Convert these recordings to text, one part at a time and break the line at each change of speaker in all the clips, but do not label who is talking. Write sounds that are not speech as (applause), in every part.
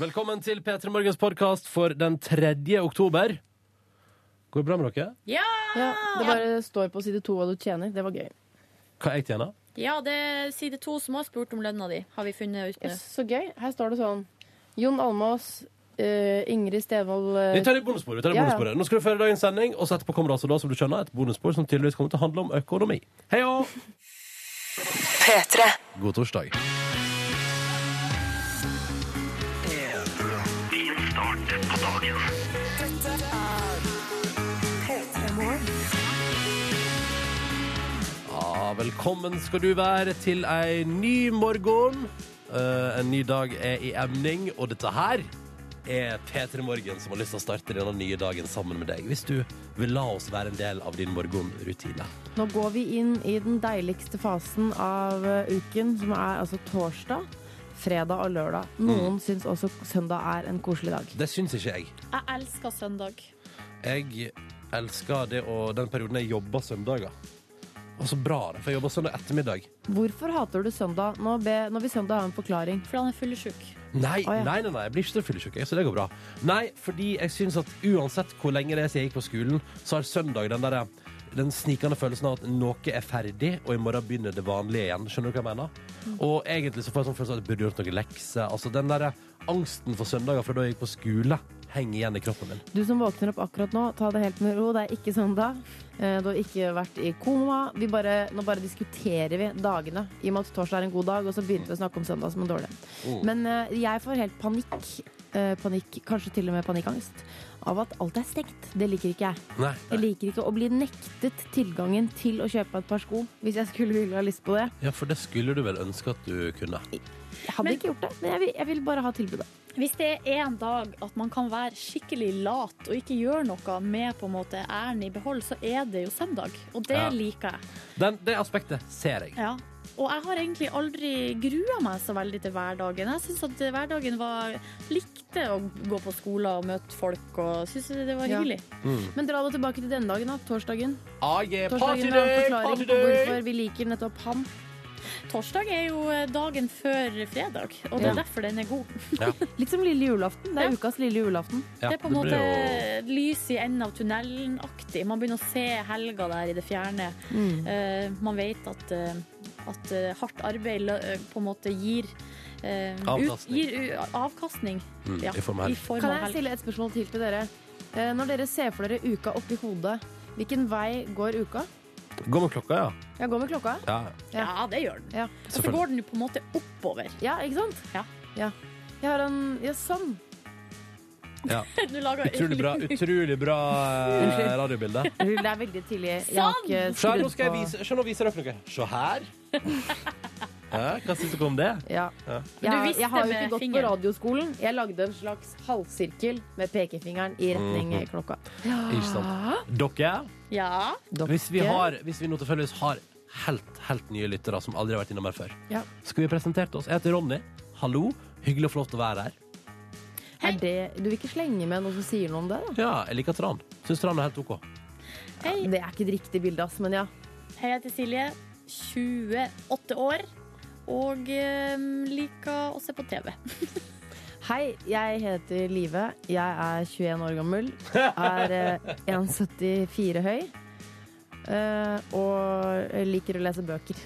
Velkommen til P3 Morgens podkast for den 3. oktober. Går det bra med dere?
Ja!
Ja, det bare står på side to hva du tjener. Det var gøy.
Hva jeg tjener?
Ja, det er side to som har spurt om lønna di, har vi funnet ut nå.
Yes, så gøy. Her står det sånn. Jon Almås, eh, Ingrid Stenvold eh,
Vi tar det i bonussporet. vi tar det i
Ja, ja.
bonussporet. Nå skal du føre dagens sending, og så etterpå kommer det altså da, som du skjønner, et bonusspor som tydeligvis kommer til å handle om økonomi. Hei og God torsdag. Ja, velkommen skal du være til ei ny morgen. Eh, en ny dag er i emning, og dette her er P3 Morgen som har lyst til å starte denne nye dagen sammen med deg. Hvis du vil la oss være en del av din morgenrutine.
Nå går vi inn i den deiligste fasen av eh, uken, som er altså torsdag, fredag og lørdag.
Mm.
Noen syns også søndag er en koselig dag.
Det syns ikke jeg.
Jeg elsker søndag.
Jeg elsker det og den perioden jeg jobber søndager. Og så bra det, for jeg jobber søndag ettermiddag.
Hvorfor hater du søndag? Nå, be, nå vil søndag ha en forklaring.
Fordi han er fullsjuk.
Nei,
Å, ja.
nei, nei, nei, jeg blir ikke så fyllesyk, jeg, så det går bra. Nei, fordi jeg syns at uansett hvor lenge det er siden jeg gikk på skolen, så har søndag den derre den snikende følelsen av at noe er ferdig, og i morgen begynner det vanlige igjen. Skjønner du hva jeg mener?
Mm.
Og egentlig så får jeg sånn følelse av at jeg burde gjort noen lekser. Altså den derre angsten for søndager fra da jeg gikk på skole, henger igjen i kroppen min.
Du som våkner opp akkurat nå, ta det helt med ro. Det er ikke søndag. Eh, Du har ikke vært i koma. Vi bare, nå bare diskuterer vi dagene. I og med at torsdag er en god dag, og så begynte vi å snakke om søndag som en dårlig. Men eh, jeg får helt panikk. eh, Panikk, kanskje til og med panikkangst. Av at alt er stengt. Det liker ikke jeg.
Nei,
Jeg
nei.
liker ikke å bli nektet tilgangen til å kjøpe et par sko. Hvis jeg skulle ville ha lyst på det.
Ja, for det skulle du vel ønske at du kunne.
Jeg hadde
Men-
ikke gjort det, men jeg vil, jeg vil bare ha tilbudet.
Hvis det er en dag at man kan være skikkelig lat og ikke gjøre noe med på en måte æren i behold, så er det jo søndag. Og det
Ja.
liker jeg.
Den, det aspektet ser jeg.
Ja. Og jeg har egentlig aldri grua meg så veldig til hverdagen. Jeg syns at hverdagen var Likte å gå på skolen og møte folk og syns det var
Ja.
hyggelig.
Men dra da tilbake til denne dagen, da. Torsdagen.
Mm. Ah, yeah, party
Torsdagen har en
day,
forklaring
party
på
day!
hvorfor vi liker nettopp han.
Torsdag er jo dagen før fredag, og det er derfor den er god.
Litt som lille julaften. Det er ukas lille julaften.
Ja,
det er på en måte
blir jo-
lys i enden av tunnelen-aktig. Man begynner å se helga der i det fjerne.
Mm.
Eh, man vet at, eh, at eh, hardt arbeid lø- eh, på en måte gir eh, ut-
Avkastning.
Gir, u- avkastning.
Mm,
Ja,
i form av helg.
Kan
av
jeg
helg.
stille et spørsmål til til dere? Eh, Når dere ser for dere uka oppi hodet, hvilken vei går uka?
Gå med klokka, ja.
Jeg går med klokka.
ja.
Ja.
Ja, det gjør den.
Ja,
Og så går den jo på en måte oppover. (laughs)
ja ikke sant?
Ja.
ja. Jeg har en Ja, sånn.
Du lager
Utrolig bra, utrolig bra eh, radiobilde.
Unnskyld, det er veldig tidlig. Jeg har
Sånn!
ikke
Se,
skrudd
nå skal jeg
på-
vise, se, nå viser jeg dere noe. Se her. Ja, hva syns dere om det?
Ja.
Ja.
Jeg,
Du visste
jeg har jo ikke
med
gått på
fingeren.
radioskolen. Jeg lagde en slags halvsirkel med pekefingeren i retning eh, klokka.
Mhm. Ikke sant? Dere,
Ja.
Dere-
hvis vi, har, hvis vi nå tilfeldigvis har helt, helt nye lyttere som aldri har vært innom her før,
Ja.
skal vi presentert oss? Jeg heter Ronny. Hallo. Hyggelig og flott å være her.
Er det, du vil ikke slenge med noe som sier noe om det? da?
Ja, jeg liker Tran. Syns Tran er helt OK.
Hei,
Det er ikke et riktig bilde, ass, men ja.
hei jeg heter Silje. 28 år. Og eh, liker å se på TV.
Hei, jeg heter Live. Jeg er 21 år gammel. Er eh, 1,74 høy. eh, Og liker å lese bøker.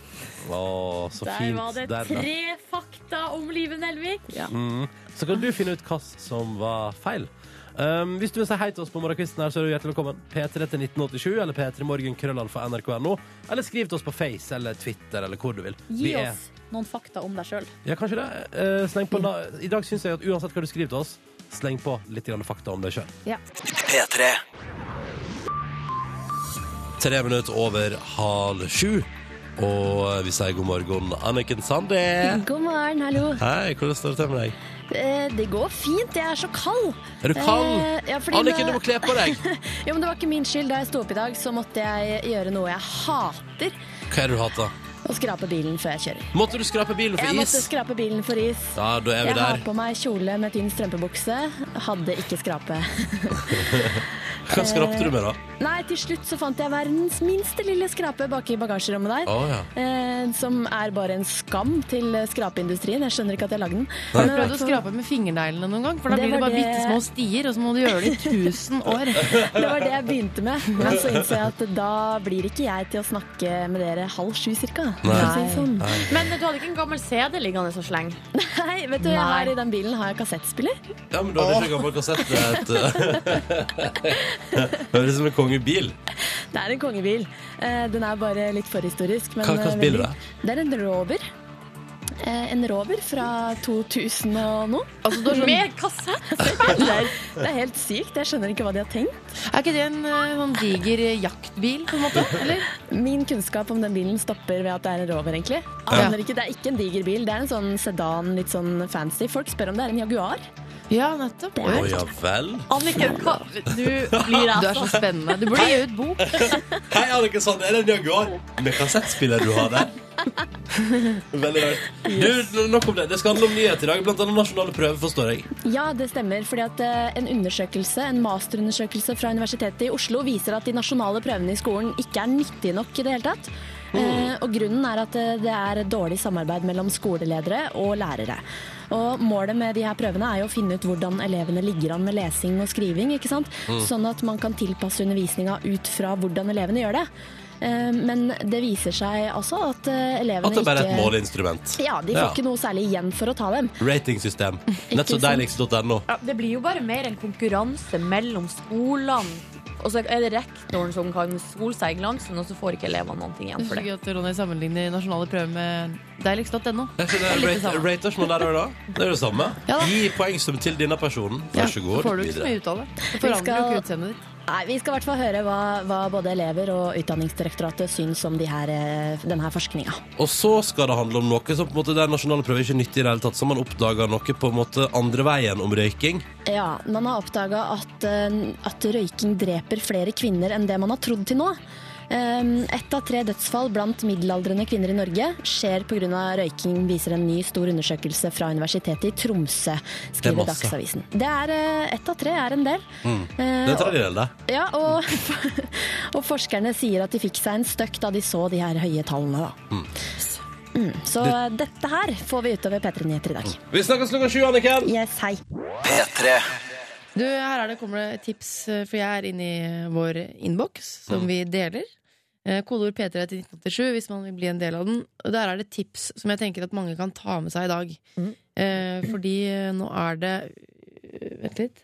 Å, så
Der
fint.
var det
Der, da.
tre fakta om livet Nelvik.
Mm. Så kan du finne ut hva som var feil. Um, hvis du vil si hei til oss på morgenkvisten, her, så er du hjertelig velkommen. P3 til 1987 eller p3morgenkrøllalfa.nrk.no. Eller skriv til oss på Face eller Twitter eller hvor du vil.
Gi
Vi er-
oss noen fakta om deg sjøl.
Ja, kanskje det. Eh, sleng på na I dag syns jeg at uansett hva du skriver til oss, sleng på litt grann fakta om deg sjøl.
Ja.
Tre minutter over halv sju, og vi sier god morgen, Anniken Sande.
God morgen, hallo.
Hei, hvordan står det til med deg?
Eh, det går fint, jeg er så kald.
Er du kald?
Eh, ja, fordi
Anniken,
nå-
du må kle på deg.
(laughs) Ja, men det var ikke min skyld. Da jeg sto opp i dag, så måtte jeg gjøre noe jeg hater.
Hva er det du hater?
Å skrape bilen før jeg kjører.
Måtte du skrape bilen for
Jeg måtte
is?
skrape bilen for is.
Ja, da er vi
Jeg har
der.
på meg kjole med tynn strømpebukse. Hadde ikke skrape.
Hva skrapte du med, da?
(laughs) Nei, til slutt så fant jeg verdens minste lille skrape bak i bagasjerommet der.
Å ja.
Eh, som er bare en skam til eh, skrapeindustrien. Jeg skjønner ikke at jeg lagde den.
Har du
Men
prøvd
i
å
hvert fall-
skrape med fingerneglene noen gang? For da
Det
blir det
var
bare
det-
bitte små stier, og så må du gjøre det i 1000 år.
Det var det jeg begynte med. Men så innså jeg at da blir ikke jeg til å snakke med dere halv sju cirka.
Nei.
For å si det sånn.
Men du hadde ikke en gammel CD liggende og sleng?
Nei, vet du, jeg
Nei.
har i den bilen har jeg kassettspiller.
ja, men da hadde ikke gammel kassett et (laughs) Høres ut som en kongebil.
Det er en kongebil. Eh, Den er bare litt forhistorisk. Men
Hva- hva
eh,
slags bil er
veldig- Det er en Rover. Eh, En Rover fra 2000 og noe. (laughs)
Altså, sånn-
Med kassett?
Det er helt sykt. Jeg skjønner ikke hva de har tenkt.
Er ikke det en eh, sånn diger jaktbil, på en måte? Eller?
Min kunnskap om den bilen stopper ved at det er en Rover, egentlig. Aner ikke, Det er ikke en diger bil. Det er en sånn sedan, litt sånn fancy. Folk spør om det er en Jaguar.
Ja, nettopp.
Å ja vel.
Anniken, hva Du blir
Du er
altså
så spennende. Du burde gi ut bok.
Hei, Anniken Sande, er det en Jaguar med kassettspiller du har
(laughs)
der? Veldig rart. Du, nok om det. Det skal handle om nyhet i dag, blant annet nasjonale prøver, forstår jeg.
Ja, det stemmer. fordi at eh, En undersøkelse, en masterundersøkelse fra Universitetet i Oslo viser at de nasjonale prøvene i skolen ikke er nyttige nok i det hele tatt.
Mm.
Eh, og Grunnen er at eh, det er dårlig samarbeid mellom skoleledere og lærere. Og Målet med de her prøvene er jo å finne ut hvordan elevene ligger an med lesing og skriving. ikke sant?
Mm.
Sånn at man kan tilpasse undervisninga ut fra hvordan elevene gjør det. Eh, men det viser seg altså at eh, elevene
At det bare er et
ikke-
måleinstrument.
Ja, De får
Ja.
ikke noe særlig igjen for å ta dem.
Ratingsystem. Nett så
sant.
deiligst.no.
Ja, Det blir jo bare mer en konkurranse mellom skolene. Og så er det rektoren som kan skole seg i glansen, og så får ikke elevene noen ting igjen
Det
for
er så
det.
gøy at Ronny sammenligner nasjonale prøver med deiligst.no.
Er ikke det
litt det
rate-
samme.
Raters man lærer da? Det er jo det samme.
Ja da.
Gi poengsum til denne personen.
Ja,
Vær så god.
så får du ikke så
videre.
mye ut av det. Det
Vi
forandrer jo
skal-
ikke utseendet ditt.
Nei, Vi skal i hvert fall høre hva, hva både elever og Utdanningsdirektoratet syns om de her, eh, denne forskninga.
Og så skal det handle om noe som på en måte der nasjonale prøver ikke er nyttig i det hele tatt. Som man oppdager noe på en måte andre veien om røyking.
Ja, man har oppdaga at, eh, at røyking dreper flere kvinner enn det man har trodd til nå. Eh, Ett av tre dødsfall blant middelaldrende kvinner i Norge skjer pga. røyking, viser en ny stor undersøkelse fra Universitetet i Tromsø,
Det er
skriver
masse. Mm.
Dagsavisen. Det er eh, Ett av tre er en del. Eh,
Det er en tredjedel, det.
Ja, og, (laughs) og forskerne sier at de fikk seg en støkk da de så de her høye tallene. Da. Mm, så dette her får vi utover P3 Nyheter i dag.
Vi snakkes klokka sju, Anniken.
Yes, hei.
Du, her er det, kommer det et tips, eh, for jeg er inne i vår innboks, som vi deler. Eh, Kodeord P3 til 1987 hvis man vil bli en del av den. Og Der er det tips som jeg tenker at mange kan ta med seg i dag. Eh, fordi eh, nå er det eh, Vent litt.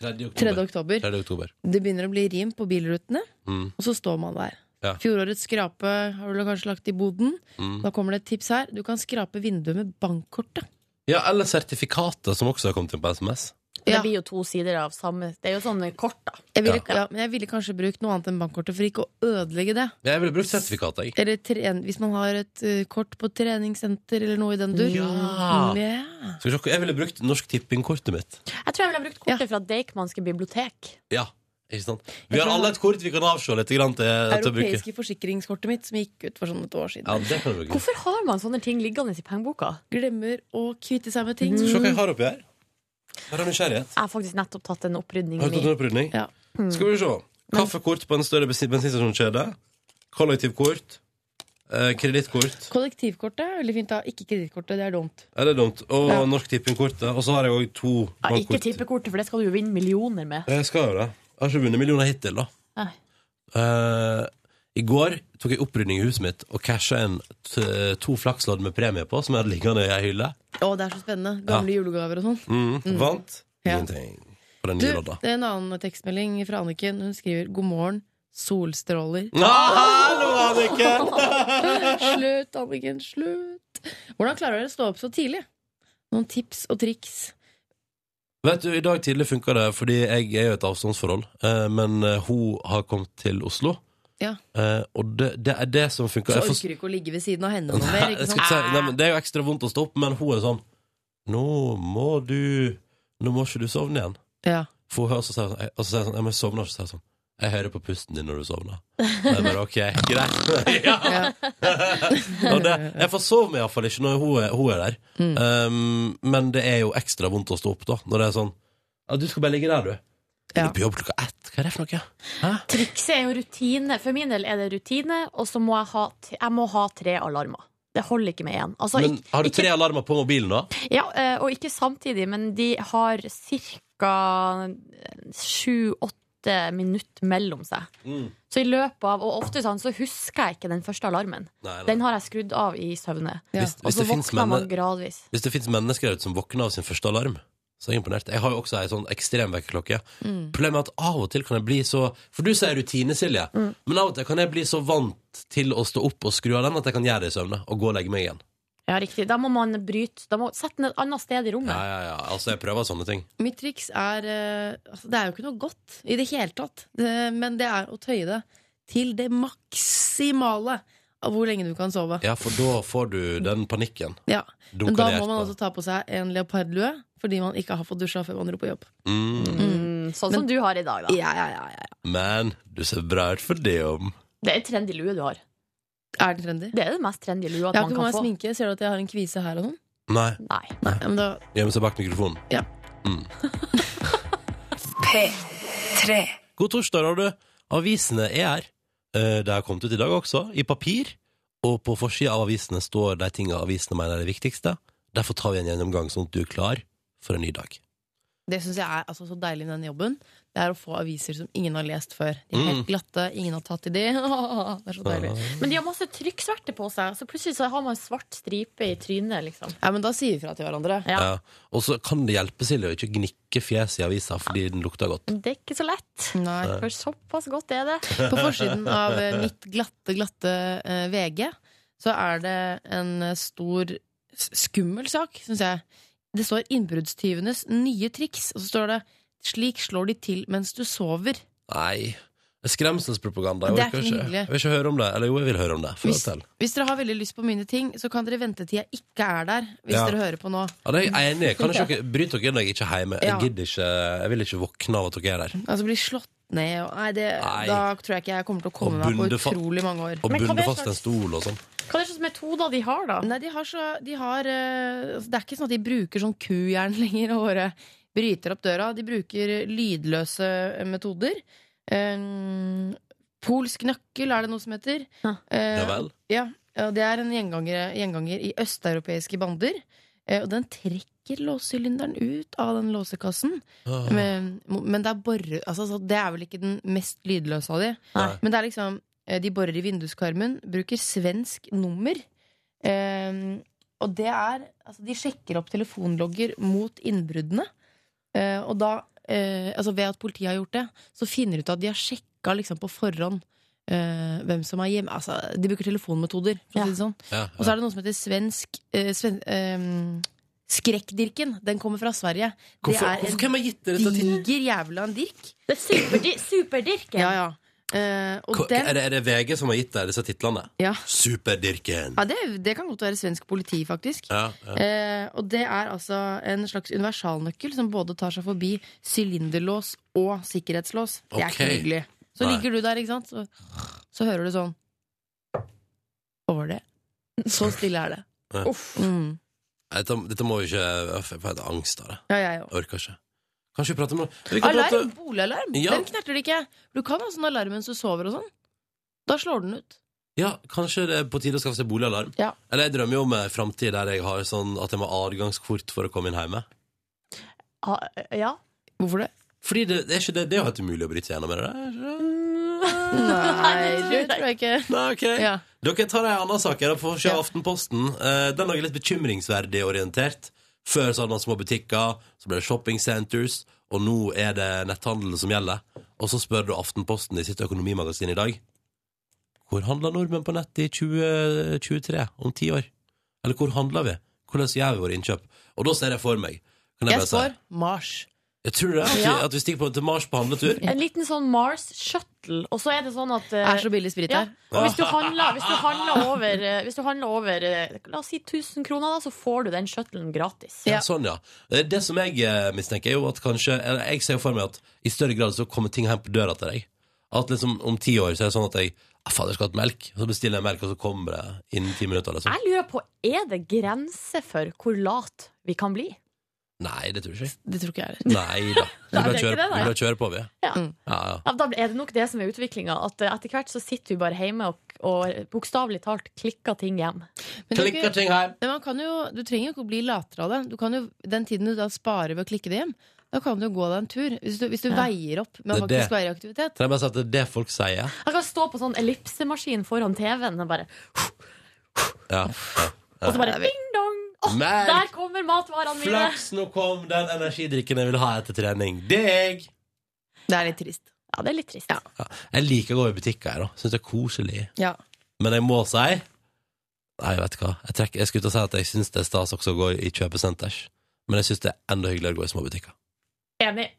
3. oktober.
3. oktober.
Det begynner å bli rim på bilrutene,
Mm.
og så står man der.
Ja.
Fjorårets skrape har du kanskje lagt i boden.
Mm.
Da kommer det et tips her. Du kan skrape vinduet med bankkortet.
Ja, eller sertifikatet, som også har kommet inn på SMS.
Det
Ja.
blir jo to sider av samme Det er jo sånn kort, da.
Jeg ville, ja. men jeg ville kanskje brukt noe annet enn bankkortet for ikke å ødelegge det.
Ja, Jeg ville brukt sertifikatet, jeg.
Eller tren, hvis man har et eh, kort på treningssenter eller noe i den dur. Mm,
Ja.
Ja.
Skal vi se, Jeg ville brukt Norsk Tipping-kortet mitt.
Jeg tror jeg ville ha brukt kortet fra Deichmanske bibliotek.
Ja, ikke sant? Vi har alle et kort vi kan avse litt grann til, til å bruke.
Europeiske forsikringskortet mitt som gikk ut for sånn et år siden.
Ja, det kan du bruke.
Hvorfor har man sånne ting liggende i pengeboka?
Glemmer å kvitte seg med ting.
Skal vi se hva jeg har oppi her. Her er nysgjerrighet.
Jeg har faktisk nettopp tatt en opprydning. i
Har du tatt
min.
en opprydning?
Ja.
Mm. Skal vi se. Kaffekort på en større bensin- bensinstasjonskjede. Kollektivkort. Eh, Kredittkort.
Kollektivkortet er veldig fint. da Ikke kredittkortet, det er dumt.
Er det dumt? Og Norsk Tipping-kortet. Og så har jeg òg to
Ja, ikke
bankkort.
tippekortet, for det skal du jo vinne millioner med.
Jeg skal jo det. Jeg har ikke vunnet millioner hittil, da.
Nei.
Eh, I går tok jeg opprydning i huset mitt og casha inn t to flakslodd med premie på, som jeg hadde liggende i ei hylle.
Å, det er så spennende. Gamle julegaver og sånn.
Mm. Vant
Ja.
ingenting på den
Du,
nye lodda.
det er en annen tekstmelding fra Anniken. Hun skriver 'God morgen,
(laughs)
solstråler'.
Ah, hallo, Anniken!
Slutt, Anniken, slutt! Hvordan klarer dere å stå opp så tidlig? Noen tips og triks?
Vet du, I dag tidlig funka det, fordi jeg er jo i et avstandsforhold. eh, men eh, hun har kommet til Oslo,
Ja.
eh, og det, det er det som funka.
Så
Jeg får-
orker du ikke å ligge ved siden av henne noe
Nei,
mer.
jeg
Ikke
skal
sant?
ikke si, nei, men det er jo ekstra vondt å stå opp, men hun er sånn Nå må du Nå må ikke du sovne igjen.
Ja.
For hun hører så sier hun sånn, jeg- og så sier hun sånn, «Ja, men jeg sovner ikke, så sier hun sånn. Jeg hører på pusten din når du sovner. Og jeg bare, ok, (laughs) greit. ja. og det, jeg forsover meg iallfall ikke når hun er, hun er der. Ehm, Um, men det er jo ekstra vondt å stå opp da, når det er sånn, ja, du skal bare ligge der du.
Ja.
Er du på jobb klokka ett? Hva er det for noe? Hæ?
Trikset er jo rutine. For min del er det rutine, og så må jeg ha, t- jeg må ha tre alarmer. Det holder ikke med én. Altså,
Men
ikk-
har du tre alarmer på mobilen, da?
ja, eh, og ikke samtidig, men de har ca. sju-åtte minutter mellom seg.
Mm.
Så i løpet av, Og ofte sånn, så husker jeg ikke den første alarmen.
Nei, nei.
Den har jeg skrudd av i søvne.
Ja.
Hvis,
Og
hvis
så
det finnes
våkner man
menne,
gradvis.
hvis det finnes mennesker der ute som våkner av sin første alarm, så er jeg imponert. Jeg har jo også ei sånn ekstrem vekkerklokke.
Mm.
Problemet er at av og til kan jeg bli så For du sier rutine, Silje,
Mm.
men av og til kan jeg bli så vant til å stå opp og skru av den at jeg kan gjøre det i søvne og gå og legge meg igjen.
Ja, riktig. Da må man bryte. Da må Sette den et annet sted i
Ja,
rommet.
ja, ja. Altså, jeg prøver sånne ting.
Mitt triks er eh, altså, Det er jo ikke noe godt i det hele tatt. Det, men det er å tøye det til det maksimale av hvor lenge du kan sove.
Ja, for da får du den panikken.
Ja.
Dunker
Men da
det
må man
hjertet.
altså-
også ta på seg en leopardlue fordi man ikke har fått dusja før man dro på jobb.
mm.
Mm, sånn som du har i dag, da.
Ja, ja, ja, ja.
Men du ser bra ut for det om.
Det er en trendy lue du har.
Er den trendy?
Det er det mest trendy lua
Jeg
man
har ikke
kan
på meg
få.
sminke. Ser du at jeg har en kvise her og sånn?
Nei.
Nei.
Nei, men da
Gjemme seg bak mikrofonen.
Ja. (laughs)
Mm. God torsdag, har du. Avisene er her. Eh, Det har kommet ut i dag også, i papir. Og på forsida av avisene står de tinga avisene mener er det viktigste. Derfor tar vi en gjennomgang, sånn at du er klar for en ny dag.
Det syns jeg er altså, så deilig med den jobben. Det er å få aviser som ingen har lest før. De er helt glatte, ingen har tatt i de. Det (laughs) er så deilig.
Men de har masse trykksverte på seg, så plutselig så har man svart stripe i trynet, liksom.
Ja, men da sier vi fra til hverandre.
Ja.
Ja. Og så kan det hjelpe Silje å ikke gnikke fjeset i avisa fordi den lukter godt.
Det er ikke så lett.
Nei.
For såpass godt er det.
På forsiden av eh, mitt glatte, glatte eh, VG så er det en eh, stor s- skummel sak, syns jeg. Det står 'Innbruddstyvenes nye triks', og så står det 'Slik slår de til mens du sover'.
Nei. Det er Skremselspropaganda.
Det er
Jeg, orker
ikke
ikke,
hyggelig.
jeg vil ikke høre om det. Eller jo, jeg vil høre om det.
Hvis,
Fortell.
hvis dere har veldig lyst på mine ting, så kan dere vente til jeg ikke er der. Hvis
Ja.
dere hører på nå.
Ja, det er jeg enig i. Kan
(laughs)
ikke dere bryte dere når jeg ikke er hjemme? Jeg,
Ja.
gidder ikke, jeg vil ikke våkne av at dere er der.
Altså bli slått ned og Nei, det,
Nei.
da tror jeg ikke jeg kommer til å komme
Og
meg på
bunde fa-
utrolig mange år.
Og
Men hva
bunde
er
fast
slags-
en stol og sånn.
Hva er det slags metoder de har, da?
Nei, de har så de har, eh, altså, Det er ikke sånn at de bruker sånn kujern (laughs) lenger og bare bryter opp døra. De bruker lydløse metoder. Eh, polsk nøkkel er det noe som heter.
Ja.
Eh,
Ja vel.
ja, og det er en gjenganger, gjenganger i østeuropeiske bander. Eh, og den trekker låssylinderen ut av den låsekassen.
Ah.
Men, men det er borre altså, så Det er vel ikke den mest lydløse av de.
Nei.
Men det er liksom eh, De borer i vinduskarmen, bruker svensk nummer. Ehm, og det er altså, De sjekker opp telefonlogger mot innbruddene. Eh, og da, eh, altså ved at politiet har gjort det, så finner de ut at de har sjekka liksom, på forhånd eh, hvem som er hjemme. Altså, de bruker telefonmetoder, for å si det sånn.
Ja,
Og så er det noe som heter svensk eh, sven, ehm, Skrekkdirken. Den kommer fra Sverige.
Hvorfor,
det er
hvorfor
en
hvem har gitt dere dette til?
diger jævla en dirk.
Det er superdi superdirken.
Ja, ja. Eh, og
Hva-
den,
Er det, er det VG som har gitt deg disse titlene?
ja.
Superdirken.
ja det, det kan godt være svensk politi, faktisk.
Ja, ja.
Eh, og det er altså en slags universalnøkkel som både tar seg forbi sylinderlås og sikkerhetslås. Det er ikke
Ok.
hyggelig. Så
Nei.
ligger du der, ikke sant, så, så hører du sånn Over det. Så stille er det.
Ja.
Uff. Mm.
Dette, dette må vi ikke Jeg får helt angst av det.
Ja, jeg òg.
Jeg orker ikke. Kanskje vi prater med vi kan prate,
Alarm! Boligalarm!
Ja.
Den knerter det ikke. Du kan ha sånn alarm mens du sover og sånn. Da slår den ut.
Ja, Kanskje det er på tide å skaffe seg boligalarm?
Ja.
Eller jeg drømmer jo om en framtid der jeg har sånn at jeg må ha adgangskort for å komme inn hjemme.
Ah, ja.
Hvorfor det?
Fordi det, det er ikke det, det er jo helt umulig å bryte seg gjennom. Er det det?
Nei, det tror jeg ikke. (laughs)
Nei, ok
Ja.
Dere tar ei anna sak her da, på forsida av
Ja.
Aftenposten. Eh, Den er litt bekymringsverdig orientert. Før så hadde man små butikker, så ble det shopping centers, og nå er det netthandel som gjelder. Og så spør du Aftenposten i sitt økonomimagasin i dag Hvor handler nordmenn på nett i 2023, om ti år? Eller hvor handler vi? Hvordan gjør vi våre innkjøp? Og da ser jeg for meg kan jeg,
Jeg
bare
spår Mars.
si, jeg tror det, at, vi,
Ja.
at vi stikker på, til Mars på handletur.
En liten sånn Mars Shuttle, og så er det sånn at
Det
eh,
er så billig sprit
ja.
her.
Og hvis du handler, hvis du handler over, eh, hvis du handler over eh, La oss si 1000 kroner, da, så får du den shuttlen gratis.
Ja. Sånn, ja. Eh, Det som jeg eh, mistenker, er jo at kanskje eller Jeg ser jo for meg at i større grad så kommer ting hjem på døra til deg. At liksom om ti år så er det sånn at jeg ah, Fader, jeg skal ha et melk. Så bestiller jeg melk, og så kommer det innen ti minutter. Liksom.
Jeg lurer på, er det grenser for hvor lat vi kan bli?
Nei, det tror jeg ikke.
Det tror ikke jeg heller.
Nei da. Vi
(laughs) Nei,
bare
det er ikke
kjører,
det, nei.
vi bare kjører på, vi.
Ja.
Ja, ja.
Ja, Da er det nok det som er utviklinga. At eh, etter hvert så sitter vi bare hjemme og, og bokstavelig talt klikker ting hjem.
Men det er
Klikk
ikke-
og ting her.
Men man kan jo, du trenger jo ikke å bli latere av det. Du kan jo, den tiden du da sparer ved å klikke det hjem, da kan du jo gå deg en tur. Hvis du, hvis du veier opp med å
Det er
faktisk være i aktivitet.
Kan jeg bare si at det er det folk sier?
Jeg kan stå på sånn ellipsemaskin foran TV-en og bare
Ja.
Og så bare ding-dong! Åh,
Merk.
der kommer matvarene mine!
Flaks, nå kom den energidrikken jeg vil ha etter trening. Deg!
Det er litt trist.
Ja, det er litt trist.
Ja, jeg liker å gå i butikker her, da. Syns det er koselig.
Ja.
Men jeg må si Nei, vet du hva. Jeg, trekker, jeg skulle til å si at jeg syns det er stas også å gå i kjøpesenters. Men jeg syns det er enda hyggeligere å gå i små butikker.
Enig.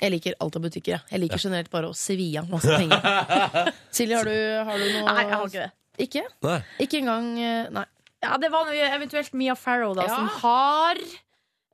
Jeg liker alt av butikker. Jeg, jeg liker generelt bare å svi av masse
(laughs)
penger. Silje, har du, har du noe
Nei, jeg har ikke det.
Ikke?
Nei.
Ikke engang eh, Nei.
Ja, det var noe, eventuelt Mia Farrow, da,
Ja.
som har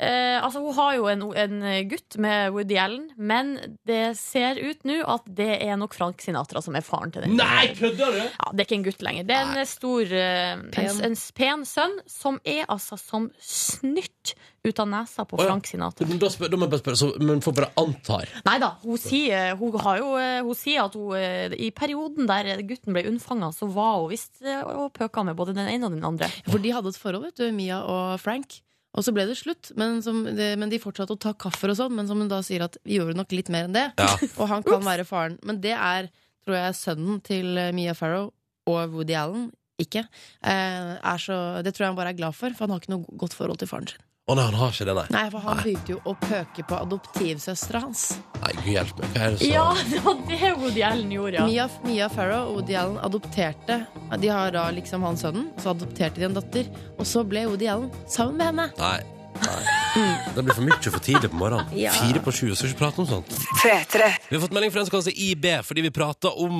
eh, Altså, hun har jo en, en gutt med Woody Allen, men det ser ut nå at det er nok Frank Sinatra som er faren til den.
Nei, kødder du?!
Ja, det er ikke en gutt lenger. Det er en stor, eh, en,
Pen.
en pen sønn, som er altså som snytt ut av nesa på
Å, ja.
Frank Sinatra.
Men Da, spør, da må jeg bare spørre, så, men folk bare antar.
Nei da, hun sier, hun har jo, eh, hun sier at hun eh, i perioden der gutten ble unnfanga, så var hun visst eh, og pøka med både den ene og den andre.
For de hadde et forhold, vet du, Mia og Frank. Og så ble det slutt, men, som, det, men de fortsatte å ta kaffer og sånn. Men som hun da sier at vi gjorde nok litt mer enn det.
Ja.
Og han kan være faren. Men det er, tror jeg, sønnen til eh, Mia Farrow og Woody Allen. Ikke. Eh, er så, det tror jeg han bare er glad for, for han har ikke noe godt forhold til faren sin.
Å nei, han har ikke det, nei.
Nei, for han begynte jo å pøke på adoptivsøstera hans.
Nei, Gud hjelpe meg. Hva er det som
Ja, (laughs) det var det Woody Allen gjorde, ja.
Mia, Mia Farrow og Woody Allen adopterte De har da liksom han sønnen, så adopterte de en datter. Og så ble Woody Allen sammen med henne.
Nei. nei. Det blir for mye for tidlig på morgenen.
Mm. Ja.
Fire på sju, skal ikke prate om sånt. Vi har fått melding fra en som kaller seg IB, fordi vi prata om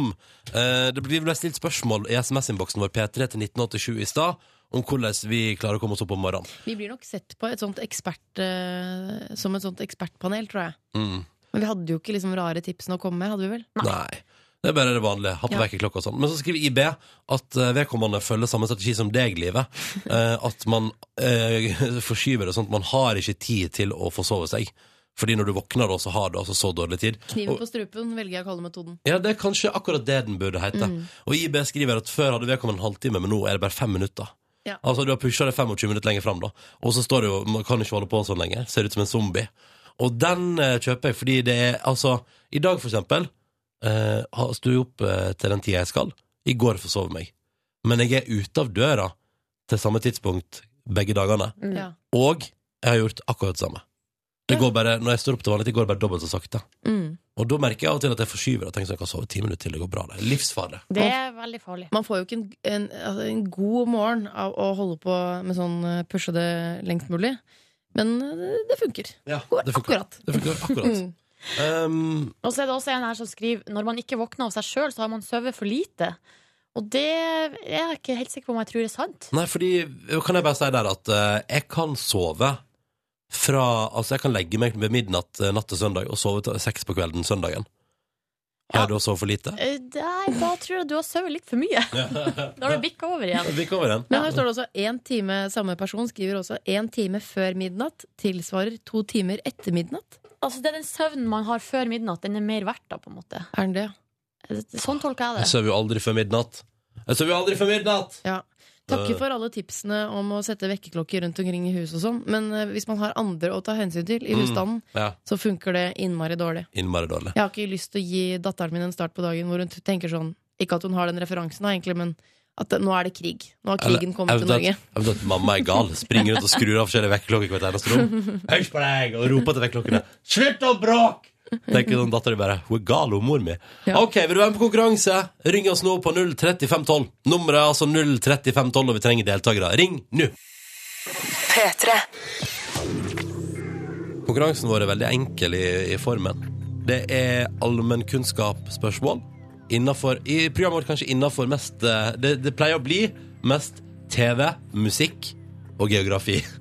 eh, Det ble ble stilt spørsmål i SMS-innboksen vår P3 til 1987 i stad om hvordan vi klarer å komme oss opp om morgenen.
Vi blir nok sett på et sånt ekspert, eh, som et sånt ekspertpanel, tror jeg.
Mm.
Men vi hadde jo ikke liksom rare tipsene å komme med, hadde vi vel?
Nei. Det er bare det vanlige. Ha på
Ja.
vekkerklokka og sånn. Men så skriver IB at eh, vedkommende følger samme strategi som deg,
(laughs)
livet. Eh, at man eh, forskyver det sånn at man har ikke tid til å forsove seg. Fordi når du våkner da, så har du altså så dårlig tid.
Kniven
Og-
på strupen velger jeg å kalle metoden.
Ja, det er kanskje akkurat det den burde hete.
Mm.
Og IB skriver at før hadde vedkommende en halvtime, men nå er det bare fem minutter.
Ja.
Altså, du har pusha det 25 minutter lenger fram, da. Og så står det jo Man kan ikke holde på sånn lenger. Ser ut som en zombie. Og den eh, kjøper jeg fordi det er Altså, i dag, for eksempel, eh, har- sto jeg opp eh, til den tida jeg skal. I går forsov jeg meg. Men jeg er ute av døra til samme tidspunkt begge dagene.
Mm.
Ja.
Og jeg har gjort akkurat det samme. Det
Ja.
går bare, når jeg står opp til vanlig, det går bare dobbelt så sakte.
Mm.
Og da merker jeg av og til at jeg forskyver og tenker sånn, jeg kan sove ti minutter til, det går bra. Det er livsfarlig.
Det er veldig farlig.
Man får jo ikke en, en, altså en god morgen av å holde på med sånn eh, pushe det lengst mulig. Men eh, det, det funker. Går
det funker.
akkurat.
Det funker akkurat.
Mm.
Um,
Og så er det også en her som skriver når man ikke våkner av seg sjøl, så har man sovet for lite. Og det er jeg ikke helt sikker på om jeg tror er sant.
nei, fordi Kan jeg bare si der at eh, jeg kan sove fra Altså, jeg kan legge meg ved midnatt eh, natt til søndag og sove til seks på kvelden søndagen. Har
Ja.
du også sovet for lite?
Eh, Nei, da tror jeg du har sovet litt for mye. Da har du bikka over igjen.
Vi kommer igjen.
Men her står det også en time, samme person skriver også en time før midnatt tilsvarer to timer etter midnatt.
Altså, det er den søvnen man har før midnatt, den er mer verdt da, på en måte.
Er den det?
Sånn tolker
Jeg
jeg det.
sover jo aldri før midnatt. Jeg sover jo aldri før midnatt!
Ja. Takker for alle tipsene om å sette vekkerklokker rundt omkring i huset og sånn, men eh, hvis man har andre å ta hensyn til i
Mm.
husstanden,
Ja,
så funker det innmari dårlig.
Innmari dårlig.
Jeg har ikke lyst til å gi datteren min en start på dagen hvor hun t- tenker sånn Ikke at hun har den referansen, da, egentlig, men at det, nå er det krig. Nå har krigen kommet til Norge.
eventuelt- eventuelt mamma er gal. Springer rundt og skrur av forskjellige vekkerklokker i hvert eneste rom. Høys på deg! Og roper til vekkerklokkene. Slutt å bråke! Tenker sånn dattera bare. Hun er gal, hun mor mi.
Ja.
OK, vil du være med på konkurranse? Ring oss nå på 03512. Nummeret er altså 03512, og vi trenger deltakere. Ring nå! Konkurransen vår er veldig enkel i, i formen. Det er allmennkunnskapsspørsmål. Innenfor, I programmet vårt kanskje innafor mest eh, det, det pleier å bli mest TV, musikk og geografi. (laughs)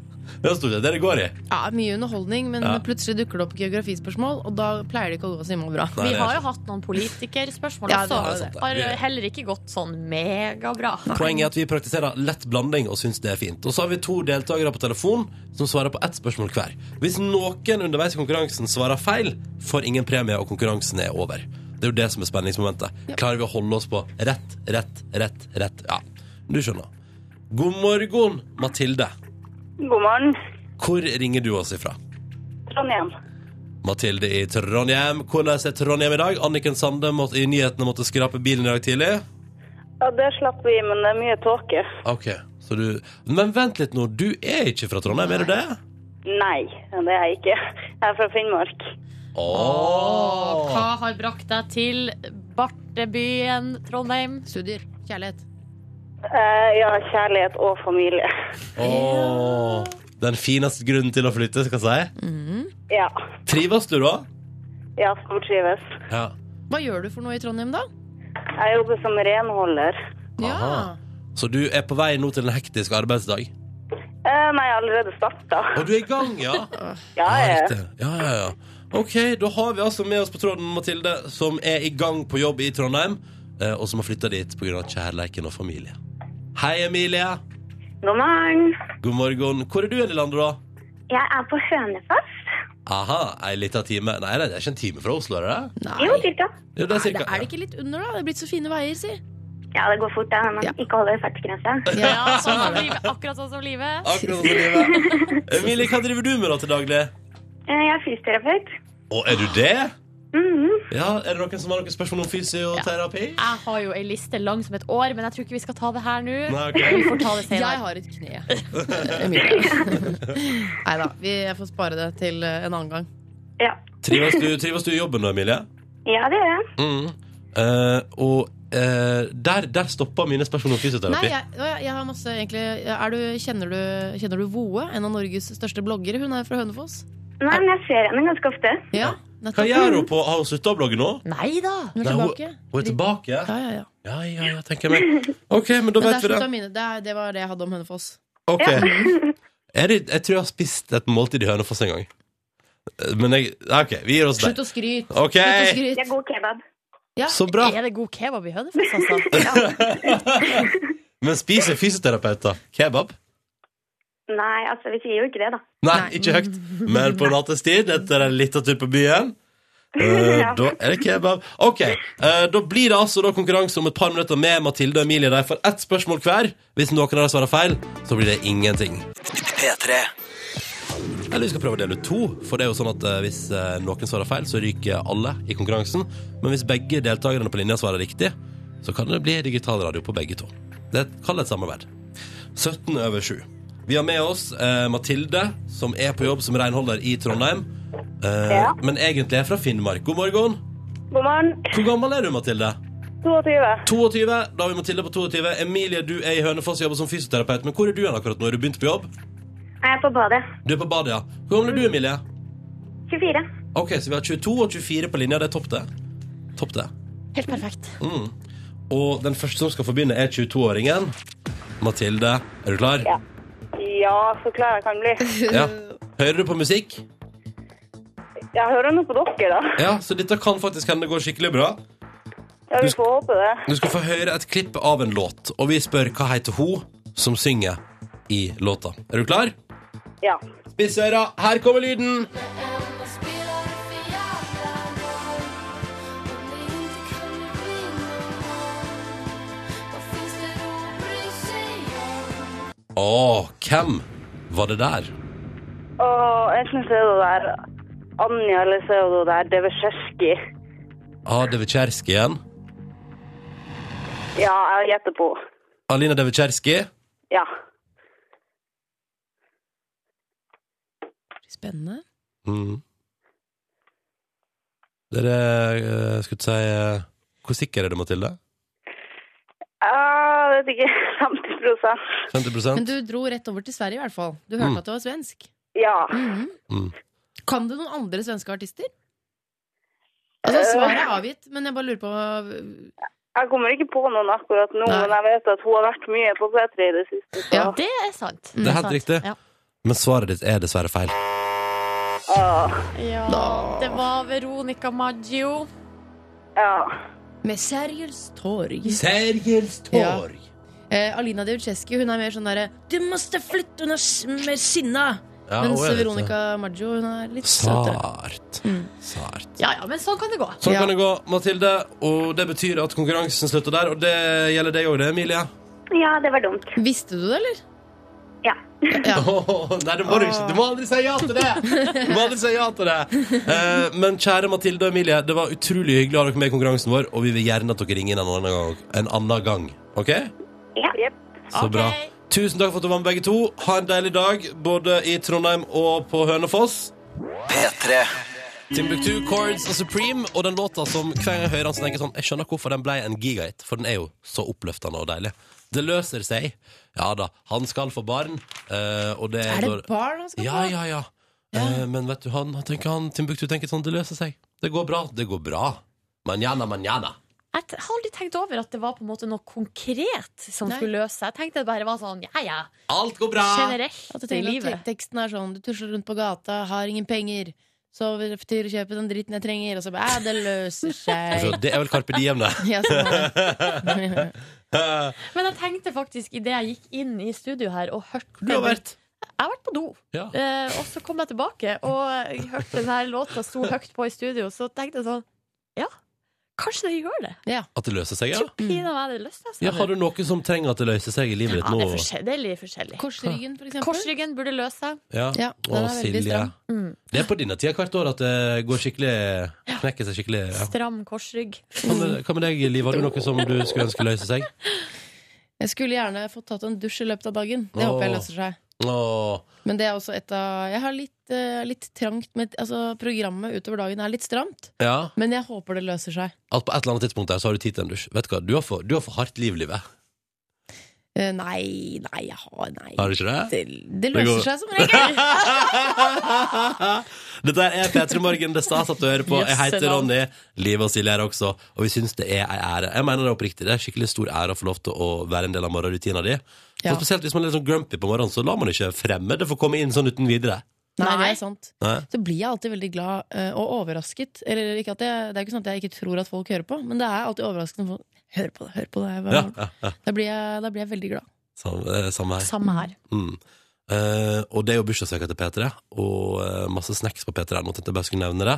Det er stort sett det det går i.
Ja, Mye underholdning, men
Ja.
plutselig dukker det opp geografispørsmål, og da pleier det ikke å gå så innmari bra.
Nei,
Vi
det er
har jo
sant.
hatt noen politikerspørsmål
Ja, det
også.
har
vi. Det er sant,
Har
det. Vi-
heller ikke gått sånn megabra.
Poenget er at vi praktiserer lett blanding og syns det er fint. Og så har vi to deltakere på telefon som svarer på ett spørsmål hver. Hvis noen underveis i konkurransen svarer feil, får ingen premie, og konkurransen er over. Det er jo det som er spenningsmomentet. Klarer vi å holde oss på rett, rett, rett, rett? Ja, du skjønner. God morgen, Mathilde.
God morgen,
Hvor ringer du oss ifra?
Trondheim.
Mathilde i Trondheim. Hvordan er Trondheim i dag? Anniken Sande måtte, i nyhetene måtte skrape bilen i dag tidlig.
Ja, det slapp vi, men det er mye tåke.
Ok, så du... Men vent litt nå, du er ikke fra Trondheim, er du det?
Nei, det er jeg ikke. Jeg er fra Finnmark.
Åh!
Hva har brakt deg til bartebyen Trondheim?
Studier. Kjærlighet.
Eh, ja, kjærlighet og familie.
Åh! Den fineste grunnen til å flytte, skal jeg si.
Ja,
Trives du da?
ja stortrives.
Ja.
Hva gjør du for noe i Trondheim, da?
Jeg jobber som renholder.
Aha. Så du er på vei nå til en hektisk arbeidsdag?
Eh, nei, jeg har allerede starta.
Og du er i gang, ja?
Ja,
Ja,
jeg,
riktig. ja, ja, ja. Ok, da har vi altså med oss på tråden Mathilde, som er i gang på jobb i Trondheim, eh, og som har flytta dit pga. kjærleiken og familie. Hei, Emilie.
God morgen.
God morgen. Hvor er du hen i landet, da?
Jeg er på Hønefoss.
Aha, ei lita time. Nei, det er ikke en time fra Oslo, er det det?
Nei.
cirka.
Jo, det er cirka.
Er det ikke litt under, da? Det er blitt så fine veier, si.
Ja, det går fort, da. Man
Ja.
ikke holder fartsgrensa.
Ja, sånn
(laughs)
som livet, akkurat sånn som livet.
Akkurat som
(laughs)
i livet. Emilie, hva driver du med da til daglig?
Eh, Jeg er fysioterapeut.
Å, er du det?
Mm-hmm.
Ja, Er det noen som har noen spørsmål om fysioterapi?
Jeg har jo ei liste lang som et år, men jeg tror ikke vi skal ta det her nå.
Nei,
Vi
ok.
får ta det
Jeg
senere.
har et kne. (laughs)
(laughs)
Emilie. Nei da, vi får spare det til eh, en annen gang.
Ja,
Trives du, trives du i jobben da, Emilie?
ja det gjør jeg.
Mm. Eh, og eh, der, der stoppa mine spørsmål om fysioterapi.
Nei, jeg, å, jeg- jeg har masse egentlig er du, kjenner, du, kjenner du Voe, en av Norges største bloggere? Hun er fra Hønefoss.
Nei, men jeg ser henne ganske ofte.
Ja,
Hva
nettopp.
gjør hun på Har hun slutta å blogge nå?
Nei da.
Hun er
Nei,
tilbake.
Hun er tilbake?
Ja, ja, ja.
Ja, ja, ja, tenker jeg meg. OK, men da
Men der
vet vi det.
slutta mine. Det, er- det var det jeg hadde om Hønefoss.
Ok. (laughs) Er det, jeg tror jeg har spist et måltid i Hønefoss en gang. Eh, Men jeg OK, vi gir oss der.
Slutt å skryte!
OK!
Slutt å skryte.
Det er god kebab.
Så bra.
Er det god kebab i Hønefoss, altså?
Men spiser fysioterapeuter kebab?
Nei, altså, vi sier jo ikke det, da.
Nei, ikke høyt. Men på nattestid, etter en liten tur på byen eh,
Ja.
Da er det kebab. Ok, eh, Da blir det altså da konkurranse om et par minutter med Mathilde og Emilie. De får ett spørsmål hver. Hvis noen av dem svarer feil, så blir det ingenting. Eller vi skal prøve å dele ut to, for det er jo sånn at eh, hvis eh, noen svarer feil, så ryker alle i konkurransen. Men hvis begge deltakerne på linja svarer riktig, så kan det bli digitalradio på begge to. Det kaller et samarbeid. 17 over 7. Vi har med oss eh, Mathilde, som er på jobb som renholder i Trondheim. Eh,
Ja.
Men egentlig er fra Finnmark. God morgen.
God morgen.
Hvor gammel er du, Mathilde?
22.
22. Da har vi Mathilde på 22. Emilie, du er i Hønefoss og jobber som fysioterapeut. Men hvor er du hen akkurat nå? Er du begynt på jobb?
Jeg er på badet.
Du er på badet, ja. Hvor gammel er du, Emilie?
24.
Ok, så vi har 22 og 24 på linja. Det er topp, det. Topp, det.
Helt perfekt.
Mm. Og den første som skal få begynne, er 22-åringen. Mathilde, er du klar?
Ja. Ja, så klar jeg kan bli.
Ja. Hører du på musikk?
Jeg hører noe på dere, da.
Ja, så dette kan faktisk hende det går skikkelig bra.
Ja, vi får håpe det.
Du skal få høre et klipp av en låt, og vi spør hva heter hun som synger i låta. Er du klar?
Ja.
Spiss øra, her kommer lyden! Å, hvem var det der?
Og enten så er det der Anja, eller så er det der Devesjerski.
Ah, Devitsjerski igjen.
Ja, jeg gjetter på.
Alina Devitsjerski.
Ja.
Spennende.
Mm. Dere eh, skulle si eh, Hvor sikker er du, Mathilde?
Ah, Jeg vet ikke. (laughs) 50
50
(laughs) Men du dro rett over til Sverige, i hvert fall. Du hørte
Mm.
at du var svensk.
Ja.
Mm.
Kan du noen andre svenske artister? Altså, svaret er avgitt, men jeg bare lurer på øh,
Jeg kommer ikke på noen akkurat nå,
Nei.
men jeg vet at hun har vært mye på P3 i det siste. Så.
Ja.
Det er sant.
Det er helt
Mm, sant.
riktig.
Ja.
Men svaret ditt er dessverre
(laughs)
feil.
Åh,
Ja, det var Veronica Maggio.
ja.
Med seriøst torg.
Sergels
torg. Eh, Alina Diucescu hun er mer sånn derre Du måste flytte, hun er s- mer sinna!
Ja,
Mens
hun er litt-
Veronica Maggio hun er litt søtere.
Sart. Sart.
Ja ja, men sånn kan det gå.
Sånn
Ja.
kan det gå, Mathilde. Og det betyr at konkurransen slutter der. Og det gjelder deg òg, det, Emilie.
Ja, det var dumt.
Visste du det, eller?
Ja.
(laughs)
Ja.
nei, det må du ikke. Du må aldri si ja til det! Du må aldri si ja til det. Eh, men kjære Mathilde og Emilie, det var utrolig hyggelig å ha dere med i konkurransen vår, og vi vil gjerne at dere ringer en annen gang. En annen gang. OK?
Ja.
Så bra.
Ok.
Tusen takk for at du var med, begge to. Ha en deilig dag, både i Trondheim og på Hønefoss.
P3
Timbuktu, Chords og Supreme, og den låta som hver gang jeg hører den, så tenker jeg sånn Jeg skjønner hvorfor den ble en gigahit, for den er jo så oppløftende og deilig. Det løser seg. Ja da, han skal få barn, eh, og det
Er det
går-
barn han skal
Ja,
få?
ja, ja. Eh, men vet du, han, han tenker han Timbuktu tenker sånn Det løser seg. Det går bra. Det går bra. Manjana, manjana.
Jeg t- har aldri tenkt over at det var på en måte noe konkret som
Nei.
skulle løse seg. Jeg tenkte det bare var sånn ja ja,
Alt går bra!
At du
generelt i
tenker
livet.
at te- teksten er sånn Du tusler rundt på gata, har ingen penger. Sover til å kjøpe den dritten jeg trenger, og så bare "Æ, Det
(laughs)
løser seg.
Altså, det er vel Carpe Diem, det.
Ja, sånn er det.
Men jeg tenkte faktisk idet jeg gikk inn i studio her og hørte
(laughs) Du har vært
Jeg har vært på do.
ja.
Eh, og så kom jeg tilbake og jeg hørte den her låta sto høyt på i studio, så tenkte jeg sånn Ja, kanskje det gjør det.
At det løser seg, ja?
Tror pinadø meg det løste seg.
ja? Har du noe som trenger at det løser seg i livet ditt
ja, det er
nå?
forskjellig. Det er litt forskjellig.
Korsryggen, for eksempel.
Korsryggen burde løse seg.
Ja,
Ja,
Å,
den er veldig
Silje.
stram.
Mm.
Det er på denne tida hvert år at det går skikkelig knekker seg skikkelig. Ja.
Stram korsrygg.
Hva
Mm.
med- Hva med deg, Liv? Har du noe som du skulle ønske løse seg?
Jeg skulle gjerne fått tatt en dusj i løpet av dagen. Det
Åh.
håper jeg løser seg.
Åh,
Men det er også et av Jeg har litt, eh, litt trangt med Altså, programmet utover dagen er litt stramt,
ja.
men jeg håper det løser seg.
At på et eller annet tidspunkt der så har du tid til en dusj. Vet du hva, du har for, du har for hardt liv, Livet.
Eh, nei, nei, jeg har Nei.
Har du ikke det?
Det, det
Det går-
løser seg
(laughs)
som regel.
Dette er P3 Morgen, det er stas at du hører på. Jeg heter Ronny. Liv og Silje er her også, og vi syns det er ei ære. Jeg mener det oppriktig. Det er skikkelig stor ære å få lov til å være en del av morgenrutina di. Og
Ja.
Spesielt hvis man er litt sånn grumpy på morgenen, så lar man ikke fremmede få komme inn sånn uten videre.
Nei, det er sant.
Nei.
Så blir jeg alltid veldig glad eh, og overrasket. Eller ikke at jeg, det er ikke sånn at jeg ikke tror at folk hører på, men det er alltid overraskende når folk Hør på det, hør på det. hva-
Ja, ja, ja.
Da, blir jeg, da blir jeg veldig glad.
Samme, eh, samme her.
Samme her.
Mm. Eh, og det er jo bursdagsveka til P3, og eh, masse snacks på P3. Nå tenkte jeg bare skulle nevne det.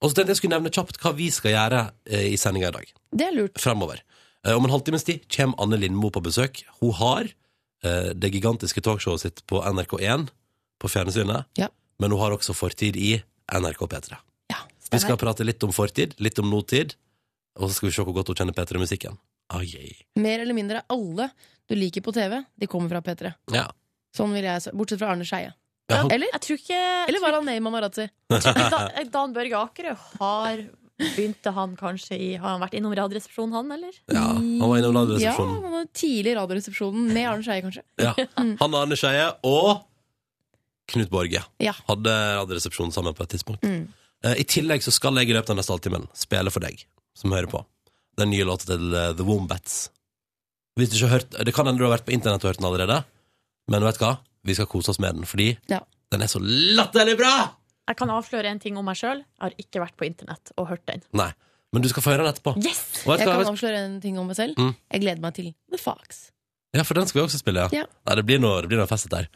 Og så tenkte jeg skulle nevne kjapt hva vi skal gjøre eh, i sendinga i dag.
Det er lurt.
Fremover. Eh, om en halvtimes tid kommer Anne Lindmo på besøk. Hun har eh, det gigantiske talkshowet sitt på NRK1 på fjernsynet,
Ja.
men hun har også fortid i NRK P3.
Ja,
Vi skal prate litt om fortid, litt om nåtid, og så skal vi se hvor godt hun kjenner P3-musikken. Ah, yeah.
Mer eller mindre alle du liker på TV, de kommer fra P3.
ja.
Sånn vil jeg, s- Bortsett fra Arne Skeie.
Ja, han-
Eller?
Jeg tror ikke
Eller var han med i Mamarazzi?
(laughs)
Da- Dan Børge Akerø har Begynte han kanskje i Har han vært innom Radioresepsjonen, han, eller?
ja, han var innom
Ja,
Radioresepsjonen.
han var tidlig i Radioresepsjonen med Arne Skeie, kanskje.
Ja. Hanne Arne Skeie og Knut Borge
Ja.
hadde Radioresepsjonen sammen på et tidspunkt.
Mm.
Eh, I tillegg så skal jeg i løpet av neste halvtimen spille for deg som hører på. Den nye låta til eh, The Wombats. Hvis du ikke har hørt, det kan hende du har vært på internett og hørt den allerede, men vet du hva? Vi skal kose oss med den, fordi
Ja.
den er så latterlig bra!
Jeg kan avsløre en ting om meg sjøl. Jeg har ikke vært på internett og hørt den.
Nei, men du skal få høre den etterpå.
Yes!
Og vet
Mm. Jeg
du hva?
kan avsløre en ting om meg selv.
Mm.
Jeg gleder meg til The Fox.
Ja, for den skal vi også spille, ja.
Ja.
Nei, det blir noe, det blir noe festet der.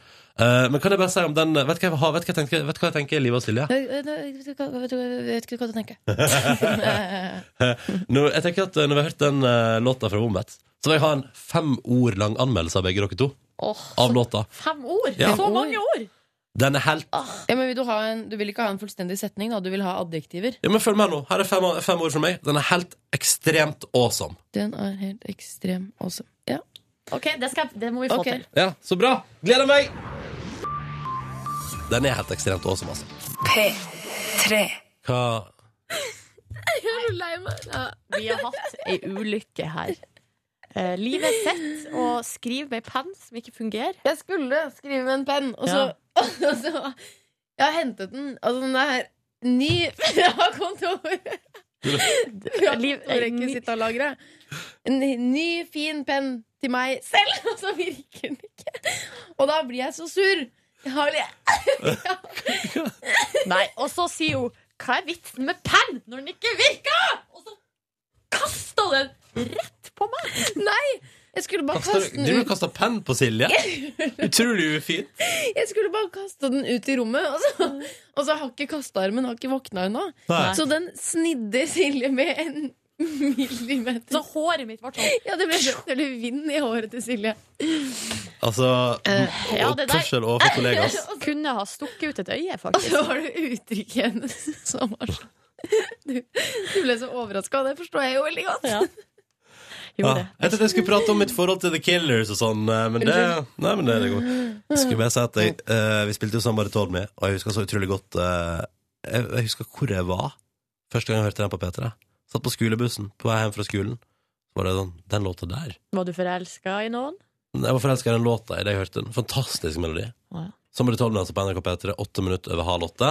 Eh, men kan jeg bare si om den, vet du hva jeg, har- vet du hva jeg tenker, vet du hva jeg tenker, Liv og Silje?
Jeg vet ikke hva du tenker. Jeg
Nå, jeg tenker at eh, Når vi har hørt den eh, låta fra Wombats, så vil jeg ha en fem ord lang anmeldelse av begge dere to.
Åh,
Av låta.
Fem ord!
Ja.
Så mange ord!
Den er helt
Ja, men vil du, ha en, du vil ikke ha en fullstendig setning, da. Du vil ha adjektiver.
Ja, men Følg med nå. Her er fem, fem ord fra meg. Den er helt ekstremt awesome.
Den er helt ekstrem også. Ja.
Ok, Det, skal, jeg- det må vi få
Ok.
til.
Ja, Så bra! Gleder meg! Den er helt ekstremt awesome, altså. Hva
Vi har hatt ei ulykke her. Eh, livet sitt og skriv med penn som ikke (laughs) fungerer.
Jeg skulle skrive med en penn, og så, (laughs) og så Jeg har hentet den. Altså, den er ny (laughs) fra kontoret. Fra
Liv- ny-
rekvisittalageret. En ny, (laughs) fin penn til meg selv, og så virker den ikke. Og da blir jeg så sur.
Harley. Nei, og så sier hun Hva er vitsen med penn når den ikke virker? Og så kasta den rett på meg!
Jeg skulle bare
Kaster,
kaste
du
den ut,
kasta penn på
(laughs)
Silje? Utrolig ufint.
jeg skulle bare kaste den ut i rommet, og så, og så har ikke kastearmen har ikke våkna ennå.
Nei.
Så den snidde Silje med en millimeter.
Så håret mitt ble sånn.
Ja, det ble sånn vind i håret til Silje.
Altså,
Eh,
ja, det der-
oppførsel overfor kollegaer.
(laughs)
Kunne ha stukket ut et øye,
Og så
faktisk.
var det uttrykket hennes som var sånn Du, (laughs) du ble så overraska, og det forstår jeg jo veldig godt.
Ja.
Ja.
Gjorde det.
Ah, Jeg trodde jeg skulle prate om mitt forhold til The Killers og sånn, eh, men det, nei, men det, det går. Jeg Skulle bare si at jeg, eh, Vi spilte jo sammen bare tolv med, og jeg husker så utrolig godt eh, jeg, jeg husker hvor jeg var første gang jeg hørte den på P3. Satt på skolebussen på vei hjem fra skolen. Så var det sånn Den låta der.
Var du forelska i noen?
Jeg var forelska i den låta idet jeg hørte den. Fantastisk melodi.
Å, ja.
Sommer i tolv altså på NRK P3, åtte minutter over halv åtte.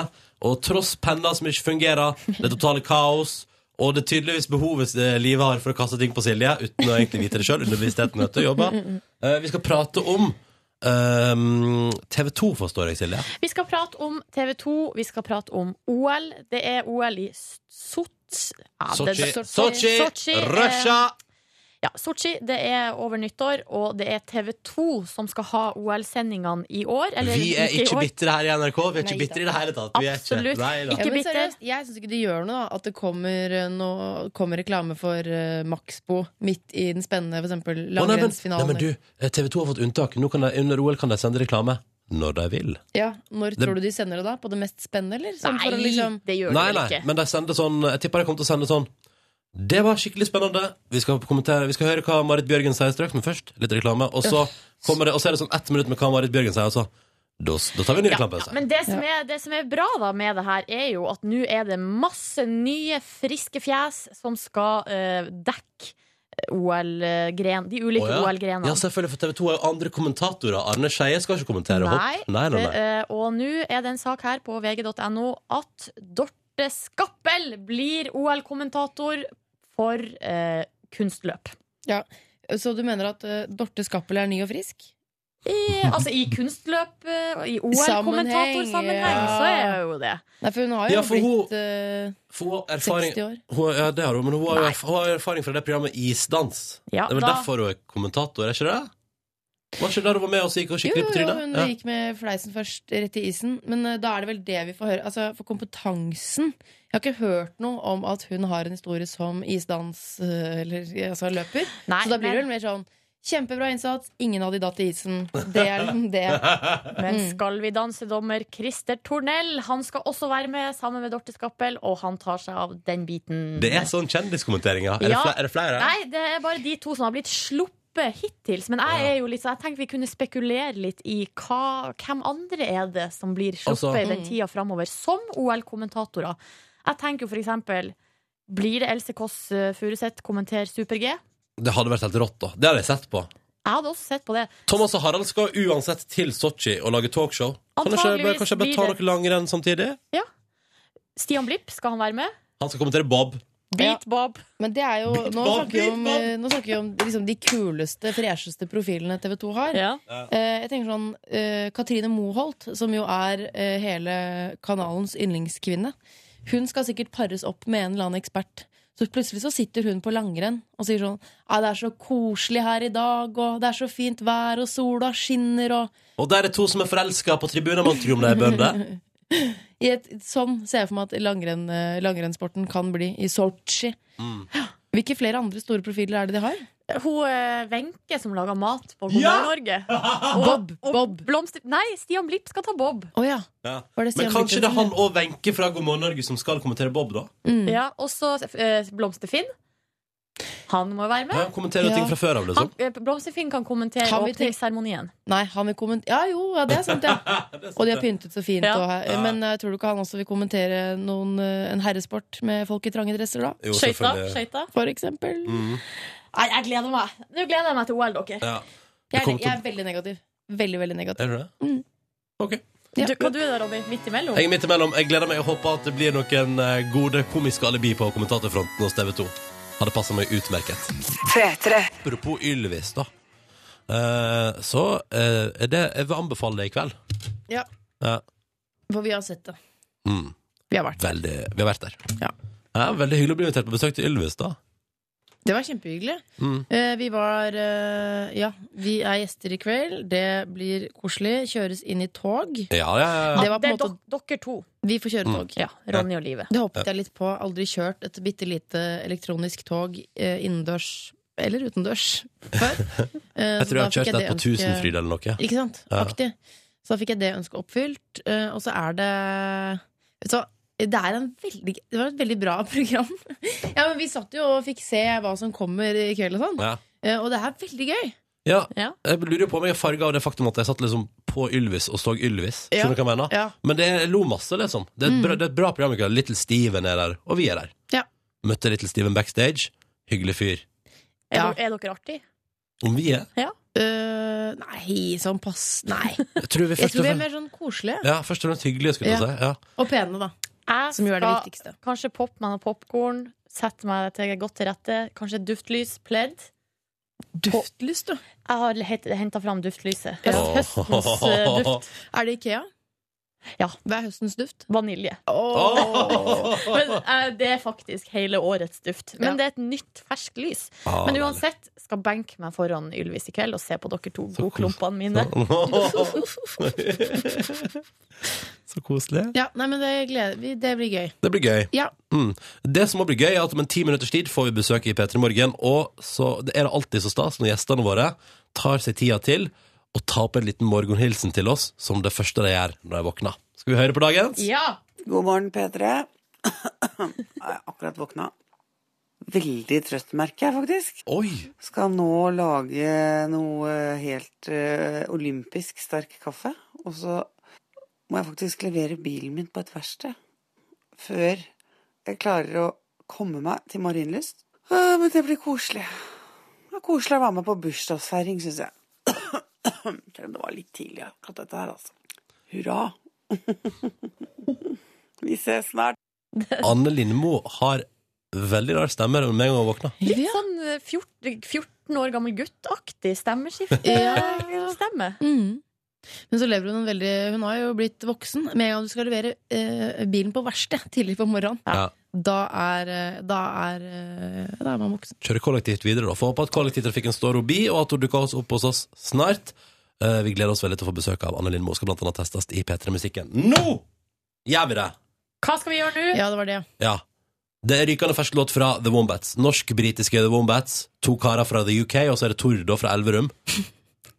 Og tross penner som ikke fungerer, det totale kaos, og det tydeligvis behovet eh, livet har for å kaste ting på Silje, uten å egentlig vite det sjøl, under bevisstheten vet du, jobber. Eh, vi skal prate om eh, TV 2, forstår jeg, Silje.
Vi skal prate om TV 2, vi skal prate om OL. Det er OL i Sotsj ja, det-
Sotsji,
Sotsji,
Sotsji,
eh,
Russia!
Ja, Sotsji, det er over nyttår, og det er TV 2 som skal ha OL-sendingene i år. eller
Vi er
i
ikke
år.
bitre her i NRK. Vi er ikke
Nei da.
bitre i det hele tatt. Vi er ikke,
Absolutt.
nei da.
Ikke
men
bitter.
seriøst, jeg syns ikke det gjør noe da, at det kommer, eh, nå- kommer reklame for eh, Maxbo midt i den spennende for eksempel,
Å, nei, men, nei,
langrennsfinalen.
men du, eh, TV 2 har fått unntak. Nå kan de, under OL kan de sende reklame når de vil.
ja, når tror du de sender det da? På det mest spennende, eller? Sånn for å
Nei,
liksom-
det gjør
Nei,
det vel
nei,
ikke.
men de sender sånn Jeg tipper de kommer til å sende sånn Det var skikkelig spennende Vi skal, kommentere- vi skal høre hva Marit Bjørgen sier straks Men først, litt reklame Og så, kommer det, og så er det sånn ett minutt med hva Marit Bjørgen sier og så, da, da tar vi en ny
Ja,
reklame altså.
ja, men det som, er, det som er bra da med det her, er jo at nå er det masse nye, friske fjes som skal eh, dekke OL-gren, de ulike
ja.
OL-grenene.
ja, selvfølgelig, for TV 2 er jo andre kommentatorer Arne Scheie skal ikke kommentere
Nei,
hopp Nei, nei, nei
Eh, og nå er det en sak her på vg.no at Dorte Skappel blir OL-kommentator for eh, kunstløp.
Så du mener at eh, Dorte Skappel er ny og frisk?
I, altså i kunstløp, eh, og i OL-kommentatorsammenheng,
Sammenheng,
så
ja.
er jo det.
Nei, for hun har jo
Ja, for hun-
blitt eh,
For hun har erfaring
60 år.
hun, Ja, det har hun, men hun har, jo erf- hun har jo erfaring fra det programmet Isdans
Ja,
Det var
da-
derfor hun er kommentator, er ikke det? Var ikke det da hun var med oss og gikk og
Jo,
skikkelig på
jo,
trynet?
hun
Ja.
gikk med fleisen først rett i isen. Men eh, da er det vel det vi får høre. Altså, For kompetansen Jeg har ikke hørt noe om at hun har en historie som isdans eh, eller ja, altså løper.
Nei,
så da blir det
men-
vel mer sånn Kjempebra innsats, ingen av de datt i isen. Det er liksom det.
Men skal vi danse-dommer Christer Tornell Han skal også være med sammen med Dorte Skappel, og han tar seg av den biten.
Det er sånn kjendiskommentering, ja. Er, det
Ja.
flere, er det flere?
Nei, det er bare de to som har blitt sluppet hittils. Men jeg er jo litt sånn- Jeg tenkte vi kunne spekulere litt i hva, hvem andre er det som blir sluppet
Altså-
i den tida framover, som OL-kommentatorer. Jeg tenker jo for eksempel Blir det Else Kåss eh, Furuseth kommentere Super-G? Jeg
Det hadde vært helt rått, da. Det hadde jeg sett på.
hadde også sett på det.
Thomas og Harald skal uansett til Sotsji og lage talkshow. Kan jeg ikke,
Antageligvis
kanskje jeg bare ta
blir det-
noe langrenn samtidig?
Stian Blipp, skal han være med?
Han skal kommentere Bob.
Beat Bob.
Men det er jo
Beat
Nå
Bob,
snakker vi om,
Beat Bob.
eh, nå snakker vi om liksom, de kuleste, fresheste profilene TV2 har. Eh, jeg tenker sånn eh, Katrine Moholt, som jo er eh, hele kanalens yndlingskvinne, hun skal sikkert pares opp med en eller annen ekspert. Så plutselig så sitter hun på langrenn og sier sånn «Nei, det er så koselig her i dag, og det er så fint vær, og sola skinner, og
Og der er to som er forelska på tribunen. Man tror om de er bønder.
(laughs)
i et, Sånn ser jeg for meg at langrenn, eh, langrennssporten kan bli i Sotsji.
Mm.
Ja. Hvilke flere andre store profiler er det de har?
Hun eh, Wenche som lager mat på God
Ja!
morgen
(laughs)
Norge.
Bob!
Og
Bob.
Blomster... Nei, Stian Blipp skal ta Bob.
Å ja.
Ja.
Var det
Men
Stian
kanskje det er
Blipp?
han og Wenche fra God morgen Norge som skal kommentere Bob, da?
Mm.
Ja, og så eh, Blomsterfinn. Han må være med.
Ja, kommentere jo ting
Ja.
fra før av,
Han,
liksom.
eh, Blomsterfinn kan kommentere
Kan vi tenke-
åpningsseremonien.
Nei, han vil kommentere Ja jo, ja, det er sant,
(laughs)
ja. Og de har pyntet så fint.
Ja.
Og, her- Men jeg tror du ikke han også vil kommentere noen, eh, en herresport med folk i trange dresser, da?
Jo,
Skøyta.
selvfølgelig.
skøyta.
For eksempel.
Nei, jeg gleder meg. Nå gleder jeg meg til OL, dere.
Ja. Det
Jeg, er-
kommer
jeg
til...
er veldig negativ. Veldig, veldig negativ.
Er du det?
Mm.
Ok.
Ja.
Du, hva du er da, Robin? Midt imellom?
Jeg er midt imellom. Jeg gleder meg og håper at det blir noen eh, gode komiske alibi på kommentatorfronten hos TV 2. Hadde passa meg utmerket. Apropos Ylvis, da. Eh, så eh, er det, jeg vil anbefale det i kveld.
Ja.
Ja.
For vi har sett det.
Mm.
Vi har vært der.
Veldig, vi har vært der.
Ja.
Ja, veldig hyggelig å bli invitert på besøk til Ylvis, da.
Det var kjempehyggelig.
Mm.
Eh, Vi var eh, Ja, vi er gjester i kveld. Det blir koselig. Kjøres inn i tog.
Ja, ja, ja. Mm.
Det var på
Det
en
er
måte
dok dere to.
Vi får kjøre tog.
Ja, Ronny og Live.
Det håpet jeg litt på. Aldri kjørt et bitte lite elektronisk tog eh, innendørs eller utendørs
(laughs)
før. Eh,
Jeg tror jeg har kjørt det på Tusenfryd eller noe.
Ikke sant?
Ja.
Aktig. Så da fikk jeg det ønsket oppfylt. eh, Og så er det Vet du hva? Det, er en veldig, det var et veldig bra (laughs) program. ja, men Vi satt jo og fikk se hva som kommer i kveld, og sånn.
Ja.
Eh, Og det er veldig gøy.
Ja.
Ja.
Jeg lurer jo på om jeg er farga av det faktum at jeg satt liksom på Ylvis og så Ylvis.
Ja.
Skjønner du hva jeg mener?
Ja. Mm.
Men det er, jeg lo masse, liksom. Det er et, bra, det er et bra program. ikke? Little Steven er der, og vi er der.
Ja.
Møtte Little Steven backstage. Hyggelig fyr.
Er,
Ja.
dere- er dere artig?
Om vi er?
Eh, nei, sånn pass Nei.
Jeg tror vi
Jeg
først
tror
og
vi er
fremst
mer sånn koselige.
ja, først og fremst hyggelige, skulle jeg si. Ja.
Og pene, da.
Jeg
Som jo er det
skal
viktigste.
Kanskje poppe meg noe popkorn, sette meg til godt til rette, kanskje et duftlys, pledd.
Duftlys, du.
Jeg har henta fram duftlyset.
Ja.
Åh.
Høstens eh, duft.
Er det Ikea?
Ja.
Hva er høstens duft?
Vanilje.
Åh.
(laughs)
Men eh, det er faktisk hele årets duft. Men
Ja.
det er et nytt, ferskt lys.
Ah,
Men uansett skal benke meg foran Ylvis i kveld og se på dere to
Så
blodklumpene mine.
Så koselig.
Ja, nei, men det, gleder, vi, det blir gøy.
Det blir gøy.
Ja.
Mm. Det som må bli gøy, er at om en ti minutters tid får vi besøk i P3 Morgen, og så det er det alltid så stas når gjestene våre tar seg tida til å ta opp en liten morgenhilsen til oss, som det første de gjør når de våkner. Skal vi høre på dagens?
Ja!
God morgen, P3. (coughs) Jeg er akkurat våkna. Veldig trøtt, merker jeg faktisk.
Oi!
Skal nå lage noe helt eh, olympisk sterk kaffe. Og så må jeg faktisk levere bilen min på et verksted før jeg klarer å komme meg til Marienlyst. Ah, Men det blir koselig. Det er koselig å være med på bursdagsfeiring, syns jeg. (clears throat) Selv om det var litt tidlig akkurat dette her, altså. Hurra. (laughs) Vi ses snart.
Anne Lindmo har veldig rar stemme med en gang hun våkner.
Litt sånn eh, 14, 14 år gammel gutt-aktig stemmeskifte.
(laughs)
eh,
Ja.
Stemme.
Mm. Men så lever hun en veldig Hun har jo blitt voksen. Med en gang du skal levere eh, bilen på verksted tidlig på morgenen,
Ja.
da er, eh, da, er, eh, da er man voksen.
Kjøre kollektivt videre, da. Får håpe at kollektivtrafikken står obi, og at hun dukker oss opp hos oss snart. Eh, Vi gleder oss veldig til å få besøk av Anne Lindmo. Skal blant annet testes i P3 Musikken. Nå gjør vi det!
Hva skal vi gjøre nå?
Ja, det var det.
Ja. Det er rykende fersk låt fra The Wombats. Norsk-britiske The Wombats. To karer fra The UK, og så er det Tordo fra Elverum.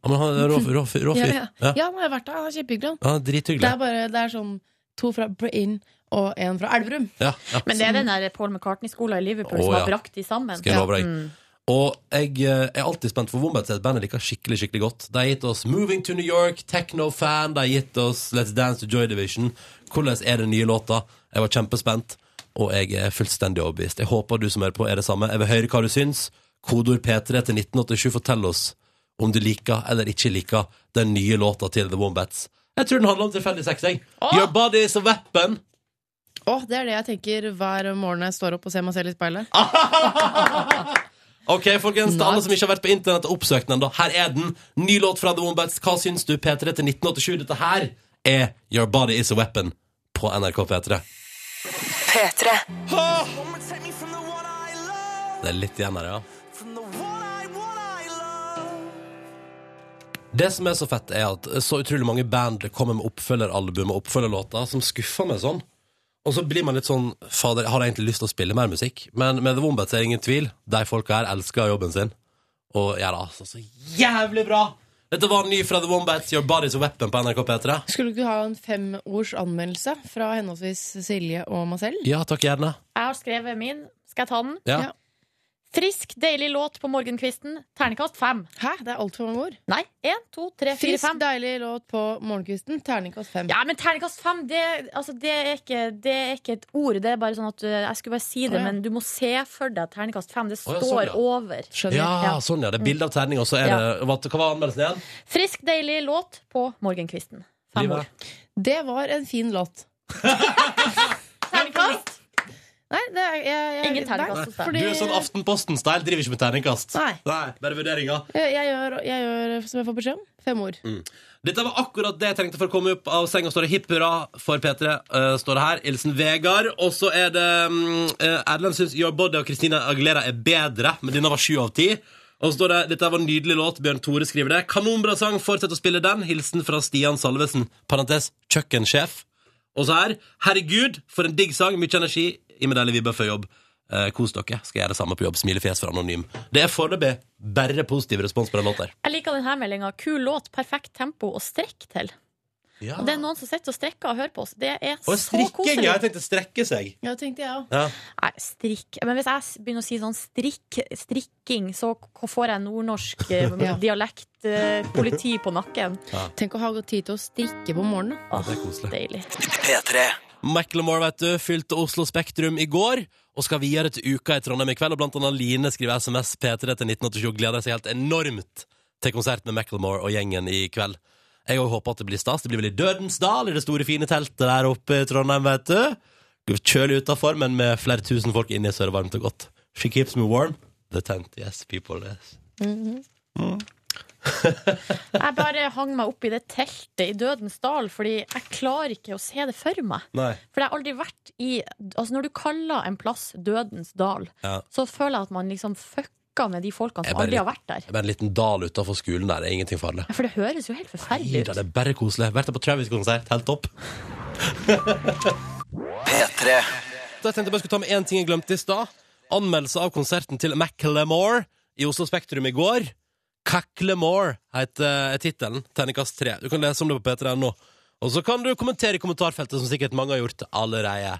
Ja, men han er rå, rå, rå
Ja,
fyr.
ja.
Ja.
ja nå har jeg vært der. Han er Kjempehyggelig. han.
Ja,
Det
drithyggelig.
er bare det er sånn to fra Brain og en fra Elverum.
Ja, ja.
Men det er den der Paul McCartney-skolen i Liverpool
Å,
som har
ja.
brakt de sammen.
Skal jeg love deg.
Mm.
Og jeg eh, er alltid spent, for Wombats er et band jeg liker skikkelig skikkelig godt. De har gitt oss Moving to New York, Techno-fan, de har gitt oss Let's Dance to Joy Division. Hvordan er den nye låta? Jeg var kjempespent, og jeg er fullstendig overbevist. Jeg håper du som hører på, er det samme. Jeg vil høre hva du syns. Kodord P3 til 1987, fortell oss om du liker eller ikke liker den nye låta til The Wombats. Jeg tror den handler om tilfeldig sex, jeg. Your body is a weapon.
Åh, det er det jeg tenker hver morgen når jeg står opp og ser meg selv i speilet.
Ok, folkens, til alle som ikke har vært på internett og oppsøkt den, da. Her er den. Ny låt fra The Wombats. Hva syns du, P3 til 1987? Dette her er Your Body Is A Weapon på NRK P3. Det er litt igjen her, ja. Det som er så fett, er at så utrolig mange band kommer med oppfølgeralbum og oppfølgerlåter som skuffer meg sånn. Og så blir man litt sånn Fader, har jeg egentlig lyst til å spille mer musikk? Men med The Wombats er det ingen tvil. De folka her elsker jobben sin. Og gjør det altså så jævlig bra! Dette var ny fra The Wombats, Your Body's a Weapon på NRK P3.
Skulle du ikke ha en femords anmeldelse fra henholdsvis Silje og meg selv?
Ja, takk, gjerne.
Jeg har skrevet min. Skal jeg ta den?
Ja.
Ja.
Frisk, deilig låt på morgenkvisten. Ternekast fem.
Hæ, det er altfor mange ord.
Nei, én, to, tre, fire,
Frisk,
fem.
deilig låt på morgenkvisten. Terningkast fem.
Ja, men ternekast fem, det, altså, det, er ikke, det er ikke et ord. Det er bare sånn at uh, Jeg skulle bare si det,
Å, ja.
men du må se for deg ternekast fem.
Å,
Det
ja,
står
sånn, ja.
over.
Skjønner.
ja, sånn, ja. Det er bilde av terning, og så er det Hva hva var anmeldelsen igjen?
Frisk, deilig låt på morgenkvisten. Fem
Livet.
ord.
Det var en fin låt.
Ternekast.
Nei, det er jeg, jeg,
Ingen terningkast hos deg.
Fordi-
Du er sånn Aftenposten-style, driver ikke med terningkast.
Nei.
Bare vurderinger.
Jeg, jeg, gjør, jeg gjør som jeg får beskjed om. Fem ord.
Mm. Dette var akkurat det jeg trengte for å komme opp av senga. Står det hipp hurra for P3, eh, står det her. Ilsen Vegard. Og så er det mm, eh, Erlend syns Your Body og Christina Aguilera er bedre, men denne var sju av ti. Og så står det dette var en nydelig låt. Bjørn Tore skriver det. Kanonbra sang, fortsett å spille den. Hilsen fra Stian Salvesen, parentes kjøkkensjef. Og så her. Herregud, for en digg sang. Mye energi. I med deilig vibber før jobb. Eh, kos dere. Skal gjøre det samme på jobb. Smilefjes fra Anonym. Det er foreløpig bare positiv respons på den låta. her.
Jeg liker denne meldinga. Kul låt, perfekt tempo og strekk til.
Ja.
Og det er noen som sitter og strekker og hører på oss. Det er
Og
så
strikking,
koselig.
jeg tenkte strekke seg.
Ja, det tenkte jeg òg.
Ja.
Nei, strikk Men hvis jeg s- begynner å si sånn strikk, strikking, så k- får jeg nordnorsk eh,
(laughs)
Ja.
dialektpoliti på nakken.
Tenk å ha godt tid til å strikke på morgenen. da.
det er koselig.
Deilig.
Macklemore, vet du, fylte Oslo Spektrum i går og skal videre til Uka i Trondheim i kveld. Og blant annet Line skriver SMS P3 til 1987 og gleder seg helt enormt til konsert med Macklemore og gjengen i kveld. Jeg òg håper at det blir stas. Det blir vel i Dødens Dal, i det store, fine teltet der oppe i Trondheim, vet du. Kjølig utafor, men med flere tusen folk inni, så er det varmt og godt. She keeps me warm. The tent, yes, people, yes.
Jeg bare hang meg opp i det teltet i Dødens dal, fordi jeg klarer ikke å se det for meg.
Nei.
For jeg har aldri vært i Altså Når du kaller en plass Dødens dal,
Ja.
så føler jeg at man liksom fucker med de folkene
Jeg
som
bare
aldri har
litt-
vært der.
Det er bare en liten dal utafor skolen der. Det er ingenting farlig.
Ja, For det høres jo helt
Nei
forferdelig
da,
ut.
det er bare koselig. Vært der på Travis-konsert. Helt topp. Da tenkte jeg bare skulle ta med én ting jeg glemte i stad. Anmeldelse av konserten til Macklemore i Oslo Spektrum i går. Cacklemore heter eh, tittelen. Terningkast tre. Du kan lese om det på p3.no. Og så kan du kommentere i kommentarfeltet, som sikkert mange har gjort allerede.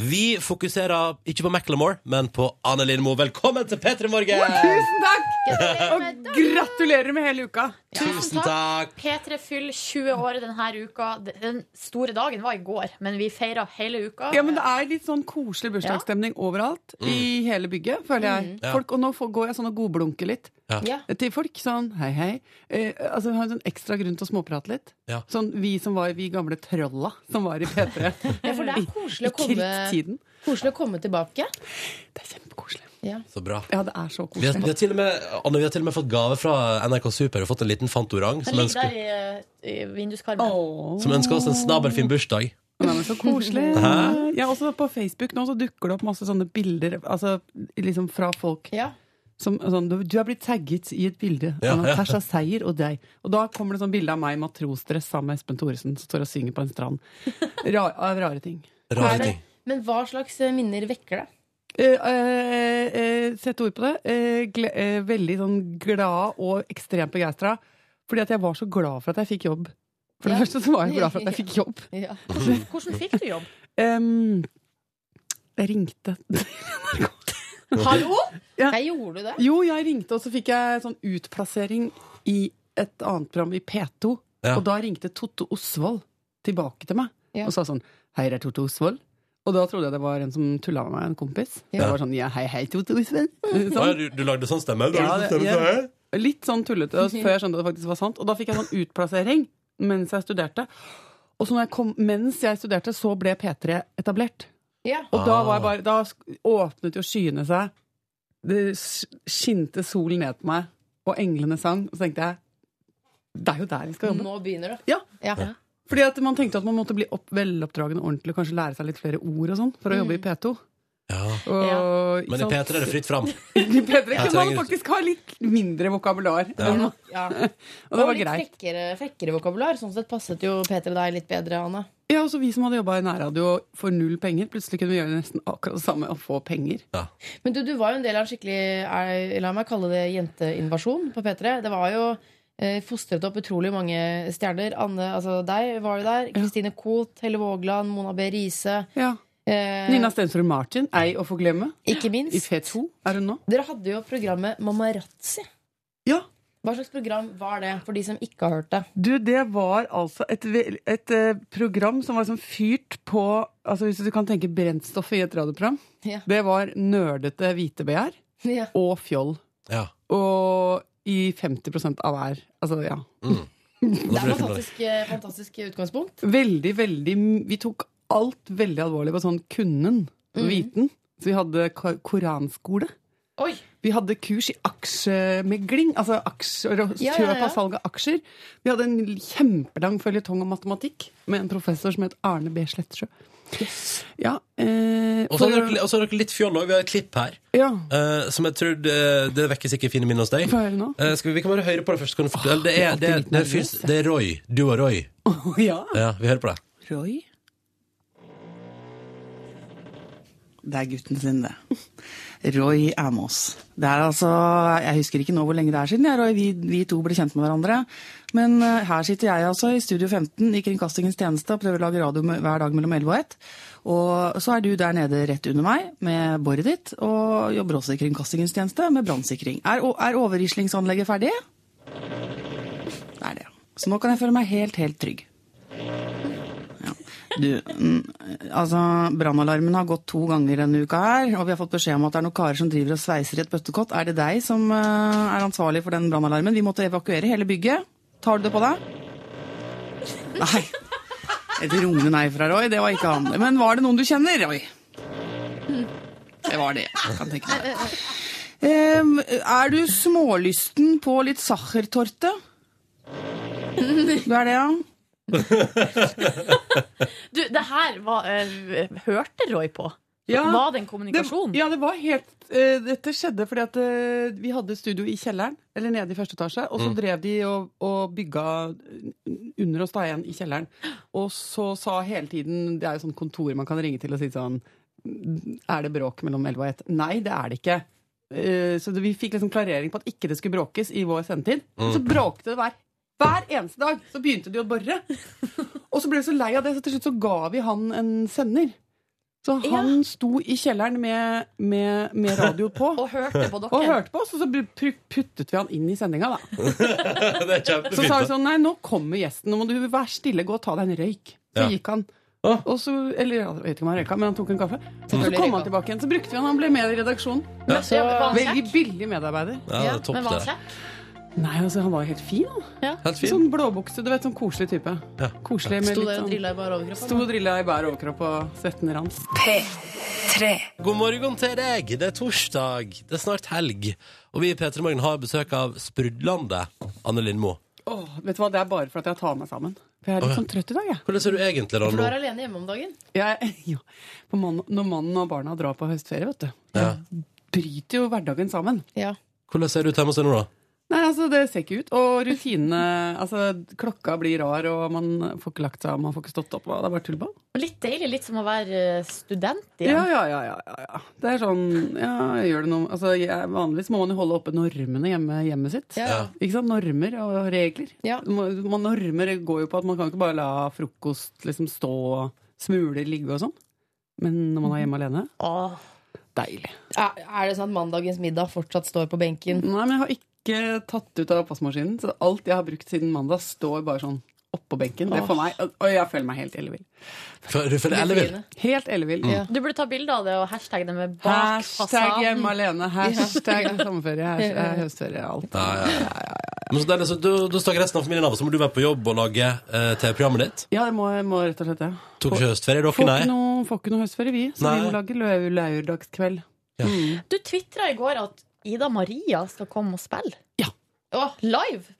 Vi fokuserer ikke på Macklemore, men på Anne Lindmo. Velkommen til P3 Morgen!
Tusen takk! Og gratulerer med hele uka.
Tusen takk!
P3 fyller 20 år denne uka. Den store dagen var i går, men vi feira hele uka.
Ja, men det er litt sånn koselig bursdagsstemning overalt
Mm.
i hele bygget, føler jeg.
Ja.
Folk, og nå får- går jeg sånn og godblunker litt
Mm. Ja.
til folk. Sånn hei, hei. Eh, altså, vi har en sånn ekstra grunn til å småprate litt.
Ja.
Sånn vi som var vi gamle trolla som var i P3
Ja, for det er
i
koselig å komme,
krigstiden.
koselig å komme tilbake.
Det er kjempekoselig.
Så bra.
Ja, det er så
Vi har, vi,
koselig.
har til og med, Anne, vi har til og med fått gave fra NRK Super. Vi har fått en liten fantorang som
Den ligger
ønsker,
der i, i vinduskarmen.
Åh.
som ønsker oss en snabelfin bursdag.
Nei, men så koselig.
Hæ?
Ja, også på Facebook nå så dukker det opp masse sånne bilder altså, liksom fra folk.
Ja.
Som, sånn, du, du er blitt tagget i et bilde
Ja,
av
ja.
Natasha Seier og deg. Og da kommer det sånn bilde av meg i matrosdress sammen med Espen Thoresen som står og synger på en strand. Ra, av rare ting.
Rare
Er det-
ting.
Men hva slags eh, minner vekker det?
Eh, eh, eh, Sett ord på det. Eh, gle, eh, veldig sånn glad og ekstremt begeistra. Fordi at jeg var så glad for at jeg fikk jobb. For det
Ja.
første så var jeg glad for
(laughs)
at jeg fikk jobb.
Ja.
Hvordan, hvordan fikk du jobb?
Em, jeg ringte.
Hallo?
Ja.
Jeg gjorde det.
Jo, jeg ringte, og så fikk jeg sånn utplassering i et annet program i P2.
Ja.
Og da ringte Totto Osvold tilbake til meg
Ja.
og sa sånn Hei, det er Totto Osvold. Og da trodde jeg det var en som tulla med meg, en kompis.
Ja.
Jeg var sånn, ja, hei, hei, Totto Osvold.
Å, ja,
Sånn.
du, du lagde sånn stemme? Du
Ja,
lagde
det-
sånn stemme
ja. Litt sånn tullete
(laughs)
og før jeg skjønte at det faktisk var sant. Og da fikk jeg sånn utplassering mens jeg studerte. Og så når jeg kom, mens jeg studerte, så ble P3 etablert.
Ja.
Og da,
Ah.
var jeg bare, da sk- åpnet jo skyene seg. Det sk- skinte solen ned på meg, og englene sang. Og så tenkte jeg det er jo der vi skal
Mm.
jobbe.
Nå begynner det.
Ja.
Ja.
Fordi at Man tenkte at man måtte bli opp, veloppdragen og ordentlig og kanskje lære seg litt flere ord og sånn for å jobbe i
Mm.
P2.
Ja.
Og, ikke
Men i
sant?
P3 er det
(laughs)
fritt fram.
I P3
Jeg
kunne man
trenger-
faktisk ha litt mindre vokabular.
Ja.
Ja.
Og det var
litt
greit.
frekkere, frekkere vokabular. Sånn sett passet jo Peter og deg litt bedre, Anne.
Ja, også Vi som hadde jobba i nærradio for null penger, plutselig kunne vi gjøre nesten akkurat det samme og få penger.
Men du, du var jo en del av en skikkelig er, La meg kalle det jenteinvasjon på P3. Det var jo eh, fostret opp utrolig mange stjerner. Anne, altså deg var jo der. Kristine Koht, Helle Vågland, Mona B. Riise.
Ja.
Eh,
Nina Stensrud Martin, ei å få glemme.
Ikke
I
minst.
P2 er hun nå.
Dere hadde jo programmet Mamarazzi.
Ja,
Hva slags program var det, for de som ikke har hørt det? (laughs)
Du, det var altså et, vel- et eh, program som var sånn fyrt på altså Hvis du kan tenke brentstoffet i et radioprogram.
Ja.
Det var nerdete hvitebegjær
Ja.
og fjoll.
Ja.
Og i 50 av hver. Altså, ja.
Da
Det er
blir det
fantastisk, eh, fantastisk utgangspunkt.
Veldig, veldig Vi tok alt veldig alvorlig på sånn kunnen. Viten. Så vi hadde ka- koranskole.
Oi!
Vi hadde kurs i aksjemegling, altså aksjer, og
Ja, ja,
kjøp
ja.
og salg av aksjer. Vi hadde en kjempelang føljetong om matematikk med en professor som het Arne B. Slettsjø. Ja, eh,
Og så
for-
har dere, og så har dere litt fjoll òg. Vi har et klipp her
ja, (laughs)
eh, som jeg tror eh, det vekker sikkert fine minner hos deg.
få høre nå.
Eh, skal vi, vi kan bare høre på det først. så Kan du fortelle. det,
jeg
er,
er
det, er,
alltid litt
det, er,
nervøs,
det er Roy. Du og Roy.
Å, ja.
Ja, Vi hører på det.
Roy? Det er gutten sin, det. Roy er med oss. Det er altså, Jeg husker ikke nå hvor lenge det er siden jeg, Roy, vi, vi to ble kjent med hverandre. Men eh, her sitter jeg altså i Studio 15 i Kringkastingens tjeneste og prøver å lage radio med- hver dag mellom 11 og 1. Og så er du der nede rett under meg med boret ditt og jobber også i Kringkastingens tjeneste med brannsikring. Er, o- er overrislingsanlegget ferdig? Det er det. Så nå kan jeg føle meg helt, helt trygg. Du, mm, altså, brannalarmen har gått to ganger denne uka her, og vi har fått beskjed om at det er noen karer som driver og sveiser i et bøttekott. Er det deg som eh, er ansvarlig for den brannalarmen? Vi måtte evakuere hele bygget. Tar du det på deg? Nei. Et rungende nei fra Roy, det var ikke han. Men var det noen du kjenner, Roy? Det var det, kan tenke meg. Em, er du smålysten på litt sachertorte? Du er det, ja?
Du, det her var, eh, hørte Roy på.
Ja.
Var det en
Det,
kommunikasjon?
ja, det var helt eh, Dette skjedde fordi at eh, vi hadde studio i kjelleren, eller nede i første etasje, og så drev de og, og bygga under oss da igjen i kjelleren. Og så sa hele tiden Det er jo sånn kontor man kan ringe til og si sånn Er det bråk mellom 11 og 1? Nei, det er det ikke. Eh, så det, vi fikk liksom klarering på at ikke det skulle bråkes i vår sendetid. Men Så bråkte det hver, hver eneste dag. Så begynte de å bore. og så ble vi så lei av det, så til slutt så ga vi han en sender. Så han sto i kjelleren med, med, med radio på.
(laughs) Og hørte på dere?
Og hørte på oss, og så pu- puttet vi han inn i sendinga, da.
det er
Så sa vi
kjempefint. da.
sånn Nei, nå kommer gjesten, nå må du være stille, gå og ta deg en røyk. Så
Ja.
gikk han.
Å.
Og så, eller jeg vet ikke om han røyka, men han tok en kaffe. Så kom han tilbake igjen, så brukte vi han, han ble med i redaksjonen.
Så, ja, var han
Veldig
kjekk?
billig medarbeider.
Ja, det er topp,
Men var han
det.
kjekk?
Nei, altså, han var jo helt fin. da.
Helt fint.
Sånn blåbukse, du vet, sånn koselig type.
Ja.
Koselig med
Sto
litt
der og
sånn
drilla i bare overkropp.
Sto og drilla i bær overkropp og svetten rant.
God morgen til deg. Det er torsdag. Det er snart helg. Og vi i P3 Morgen har besøk av Sprudlandet. Anne Lindmo.
Åh, vet du hva, det er bare for at jeg tar meg sammen. For jeg er litt sånn trøtt i dag, jeg.
Hvordan ser du egentlig da
For du
nå?
er alene hjemme om dagen.
Jeg, ja. (laughs) på mann, når mannen og barna drar på høstferie, vet du.
Ja.
Bryter jo hverdagen sammen.
Ja.
Hvordan ser du ut hjemme hos deg nå, da?
Nei, altså, det ser ikke ut. Og rutinene (laughs) Altså, klokka blir rar, og man får ikke lagt seg, man får ikke stått opp. og Det er bare tullball.
Litt deilig, litt som å være eh, student
Ja,
igjen.
ja, ja, ja, ja, ja. Det er sånn Ja, jeg gjør det noe altså, jeg, Vanligvis må man jo holde oppe normene hjemme hjemmet sitt.
Ja.
Ikke sant? Normer og regler.
Ja.
Man, man- normer går jo på at man kan ikke bare la frokost liksom stå og smuler ligge og sånn. Men når man er hjemme alene
Åh.
deilig.
Er, er det sånn at mandagens middag fortsatt står på benken?
Nei, men jeg har ikke tatt ut av oppvaskmaskinen. Så alt jeg har brukt siden mandag, står bare sånn oppå benken. Det er for meg, Og jeg føler meg helt ellevill.
For, for det er ellevill.
Helt ellevill.
Mm.
Ja.
Du burde ta bilde av det og hashtagge det med bak
Hashtag
fasaden.
hjemme alene, hashtag sommerferie, hashtag høstferie, alt.
Ja, ja, ja. Men så deilig, så da, da stakk resten av familien av, og så må du være på jobb og lage eh, TV-programmet ditt.
Ja, det må, må rett og slett det.
Tok ikke høstferie, dere,
Får
nei?
ikke noe, får ikke noe høstferie, vi. Så vi
Nei.
må lage lø- lørdagskveld.
Du tvitra i går at Ida Maria skal komme og spille.
Ja.
Åh, live!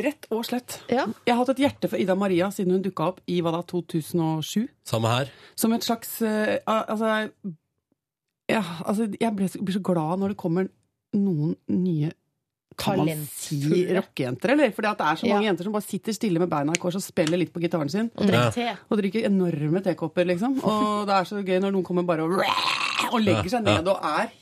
Rett og slett.
Ja.
Jeg har hatt et hjerte for Ida Maria siden hun dukka opp i hva da, 2007.
Samme her.
Som et slags eh, al- Altså, ja, altså jeg ble, så- blir så glad når det kommer noen nye kan man si
Talentfulle.
rockejenter, eller? Fordi at det er så mange
Ja.
jenter som bare sitter stille med beina i kors og spiller litt på gitaren sin.
Og drikke
Ja.
te.
Og drikker enorme tekopper, liksom.
(laughs)
Og det er så gøy når noen kommer bare og, og legger seg
Ja, ja.
ned og er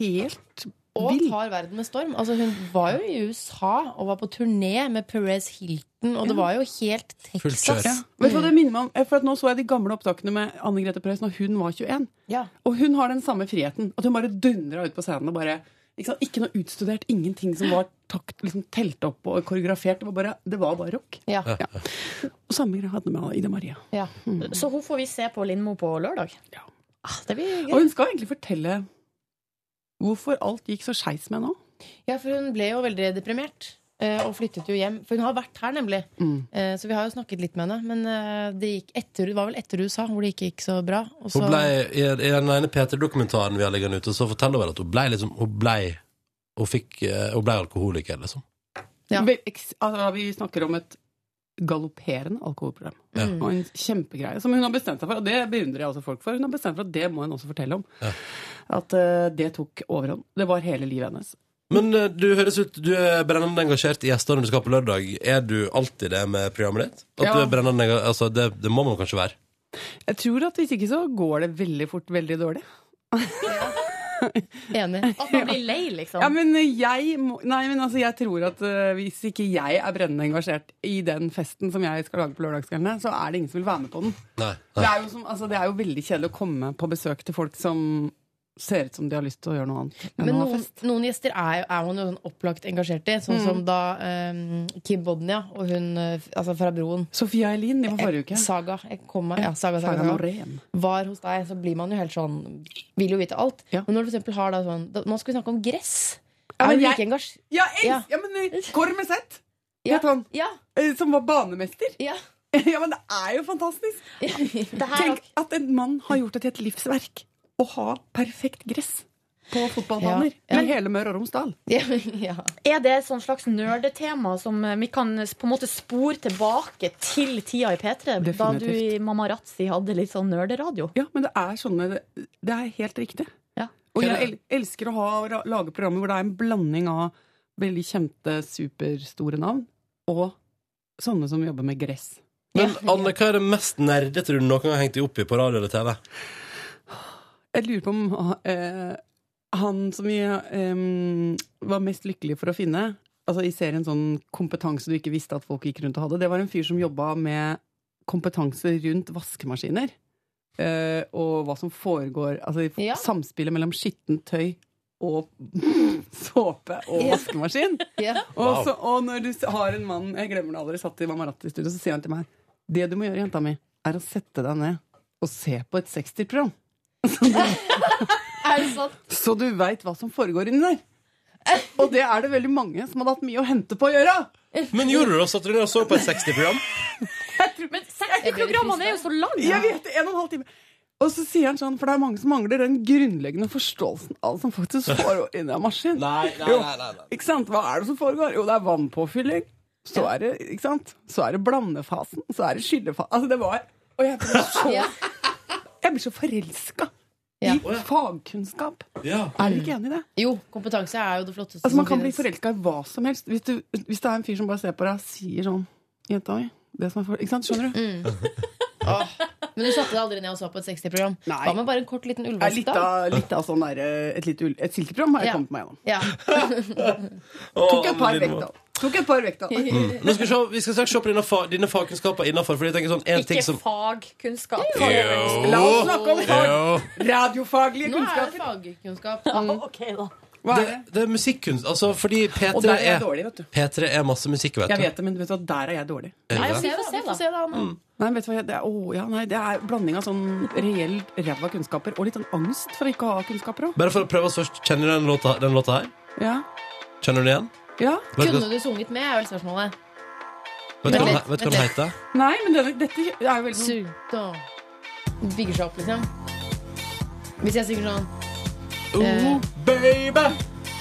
helt
Og
vill.
tar verden med storm. Altså, hun var jo i USA og var på turné med Perez Hilton, og det var jo helt
Fullt kjør.
Texas.
Vet du hva det minner meg om? For at nå så jeg de gamle opptakene med Anne Grete Preus når hun var 21.
Ja.
Og hun har den samme friheten. At hun bare dundra ut på scenen. og bare, ikke, sant? ikke noe utstudert, ingenting som var takt, liksom, telt opp og koreografert. Det var bare, det var bare rock.
Ja.
Ja. Og samme greia hadde med Ida Maria.
Ja. Mm.
Så hun får vi se på Lindmo på lørdag.
Ja.
Ah, det blir
Og
gøy.
hun skal egentlig fortelle hvorfor alt gikk så skeis med henne nå.
ja, for hun ble jo veldig deprimert. eh, eh, og flyttet jo hjem. For hun har vært her, nemlig. Eh, Så vi har jo snakket litt med henne. Men eh, det, gikk etter, det var vel etter USA, hvor det ikke gikk så bra. Og så,
Hun ble, I i den ene P3-dokumentaren vi har liggende ute, så forteller hun vel at hun ble liksom Hun ble, hun fikk, eh, hun ble alkoholiker, liksom.
Ja.
Vel, eks- Altså, vi snakker om et galopperende alkoholproblem.
Ja.
Og en kjempegreie som hun har bestemt seg for, og det beundrer jeg også folk for. Hun har bestemt for at det må hun også fortelle om.
Ja.
At eh, det tok overhånd. Det var hele livet hennes.
Men eh, du høres ut Du er brennende engasjert i gjestene du skal ha på lørdag. Er du alltid det med programmet ditt? At
Ja.
du er brennende enga- altså, det, det må man kanskje være.
Jeg tror at hvis ikke så går det veldig fort veldig dårlig.
(laughs)
(laughs)
Enig.
At man blir lei, liksom.
Ja, men jeg må, Nei, men altså, jeg tror at eh, hvis ikke jeg er brennende engasjert i den festen som jeg skal lage på lørdagskveldene, så er det ingen som vil være med på den.
Nei.
Det
nei.
er, jo som, altså, det er jo veldig kjedelig å komme på besøk til folk som ser ut som de har lyst til å gjøre noe annet enn
Men
å ha
noen,
fest. Mm.
noen gjester er, jo- er man jo sånn opplagt engasjert i. Sånn som da eh, Kim Bodnia og hun eh, altså fra Broen.
Sofia Elin, det var forrige uke.
Saga. Jeg kom meg, ja, saga, saga, saga.
Saga Norén.
var hos deg, så blir man jo helt sånn Vil jo vite alt.
Ja.
Men når du for eksempel har da sånn da, Nå skal vi snakke om gress.
Ja,
er
men
du
jeg-
like engasj...
Ja, jeg,
Ja.
ja, men eh, Kormeset!
Ja.
Vet han,
Ja.
eh, som var banemester.
Ja.
(laughs) Ja, men det er jo
(laughs)
fantastisk!
det her,
Tenk at en mann har gjort det til et livsverk å ha perfekt gress på fotballbaner.
Ja.
Med hele Møre og Romsdal.
ja. ja.
er det et sånt slags nerdetema som eh, vi kan s- på en måte spore tilbake til tida i P3? Da
Definitivt.
du i Mamma Razzi hadde litt sånn nerderadio?
Ja, men det er sånne Det er helt riktig.
Ja.
Og jeg el elsker å ha, ra- lage programmer hvor det er en blanding av veldig kjente, superstore navn og sånne som jobber med gress.
Men Anne, hva er det mest nerdete du noen gang har hengt deg opp i på radio eller TV?
Jeg lurer på om eh, han som vi eh, var mest lykkelig for å finne Altså I serien sånn kompetanse du ikke visste at folk gikk rundt og hadde, det var en fyr som jobba med kompetanse rundt vaskemaskiner. Eh, og hva som foregår Altså i
Ja.
samspillet mellom skittent tøy og (laughs) såpe og
Ja.
vaskemaskin.
ja.
Og,
Wow.
så, og når du s- har en mann Jeg glemmer det aldri, satt i Mamaratti-studio, så sier han til meg Det du må gjøre, jenta mi, er å sette deg ned og se på et 60-program. (laughs)
(laughs) Er det sant?
Så du veit hva som foregår inni der. Og det er det veldig mange som hadde hatt mye å hente på å gjøre.
Men gjorde du det? Satt du ned og så på et 60-program?
Men 60-programmene er jo så lange!
Jeg vet det, en og en halv time. Og så sier han sånn, for det er mange som mangler den grunnleggende forståelsen av det som faktisk foregår inni en maskin. Jo. Ikke sant? Hva er det som foregår? Jo, det er vannpåfylling. Så er det, ikke sant? Så er det blandefasen. Så er det skyllefasen. Altså, det var Og jeg ble så,
(laughs) Ja.
jeg ble så forelska
Ja.
i fagkunnskap.
Ja.
Er dere ikke enig i det?
Jo, kompetanse er jo det flotteste
Altså, man
som
kan bli
finnes.
forelska i hva som helst. Hvis, du, hvis det er en fyr som bare ser på deg og sier sånn Jenta mi. Det som er for... Ikke sant? Skjønner du?
Men du satte deg aldri ned og så på et 60-program?
Nei.
Hva med bare en kort liten
Det er
ulvevask,
litt
da?
av, litt av sånn der, eh, et, lite ull- et silkeprogram har jeg
Ja.
kommet meg gjennom.
Ja.
Tok et par vekta. Tok et par vekta.
Nå skal vi, se, vi skal straks se på dine, fa dine fagkunnskaper innafor. Fordi jeg tenker sånn, en ting
Ikke
som
fagkunnskap.
Jo.
La oss snakke om fag.
Jo.
(laughs) Radiofaglige
Nå er det
kunnskaper.
fagkunnskap.
Ok, da.
Hva
Det,
er det?
det er musikkunst. Altså, fordi
Og
P3
der er jeg
er,
dårlig, vet du.
P3 er masse musikk, vet du.
Jeg vet det, men vet du, hva, der er jeg dårlig.
Er det
Nei,
det?
Vi får se, da.
da, Anna.
Nei, vet du hva, jeg- det er, å, ja, nei, det er blanding av sånn reell ræva kunnskaper og litt sånn angst for å ikke ha kunnskaper òg.
Bare for å prøve oss først. Kjenner du den låta, den låta her?
Ja.
Kjenner du den igjen?
ja.
Vet du
Kunne
hva-
du sunget med, er vel spørsmålet.
vet du hva den-
litt,
vet du hva
vent
den
litt.
heter?
Nei, men denne, dette er jo veldig
Sug
sånn
og Bygger seg opp, liksom. Hvis jeg synger sånn Eh,
Oh, baby!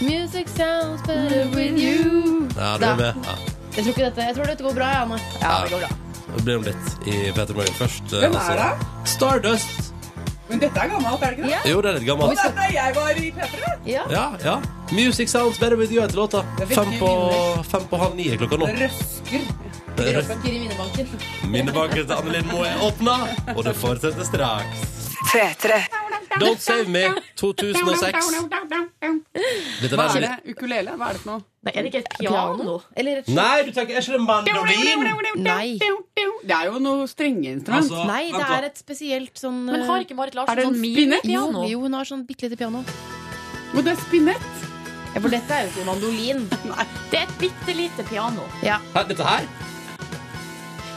Music sounds better
Mm.
with you
Ja, du er
Da.
med. Ja.
Jeg tror, ikke dette, jeg tror dette går bra, jeg, Anne. Ja, det går bra.
Det blir om litt i P3 Morgen først. eh,
Hvem er
altså. Stardust.
Men dette er gammelt, er det ikke det?
Ja.
Jo, det er litt gammelt.
Det er da jeg var i P3!
Ja, ja. Music sounds better with you heter låta.
Det er
Fem
viktige
på, fem på halv ni er klokka nå.
Røsker.
Det er
Røsker i minnebanken.
Minnebanken til Annelien Moe er åpna, og det fortsetter straks.
P3.
Don't Save Me 2006. Dette
Hva
der
er
som...
det? Ukulele? Hva er det for noe?
Nei, er det ikke et piano?
Eller rett
Nei, du tenker, er ikke det mandolin?
Nei.
Det er jo noe strengeinstrument.
Altså,
Nei, det
vent da.
er et spesielt sånn
Men har
eh,
ikke Marit
Er det
Larsen
en
sånn
spinner?
jo,
minipiano?
jo, hun har sånn bitte lite piano.
Men det er spinett.
Ja, for dette er jo ikke mandolin.
Det er et bitte lite piano.
Hæ, dette her?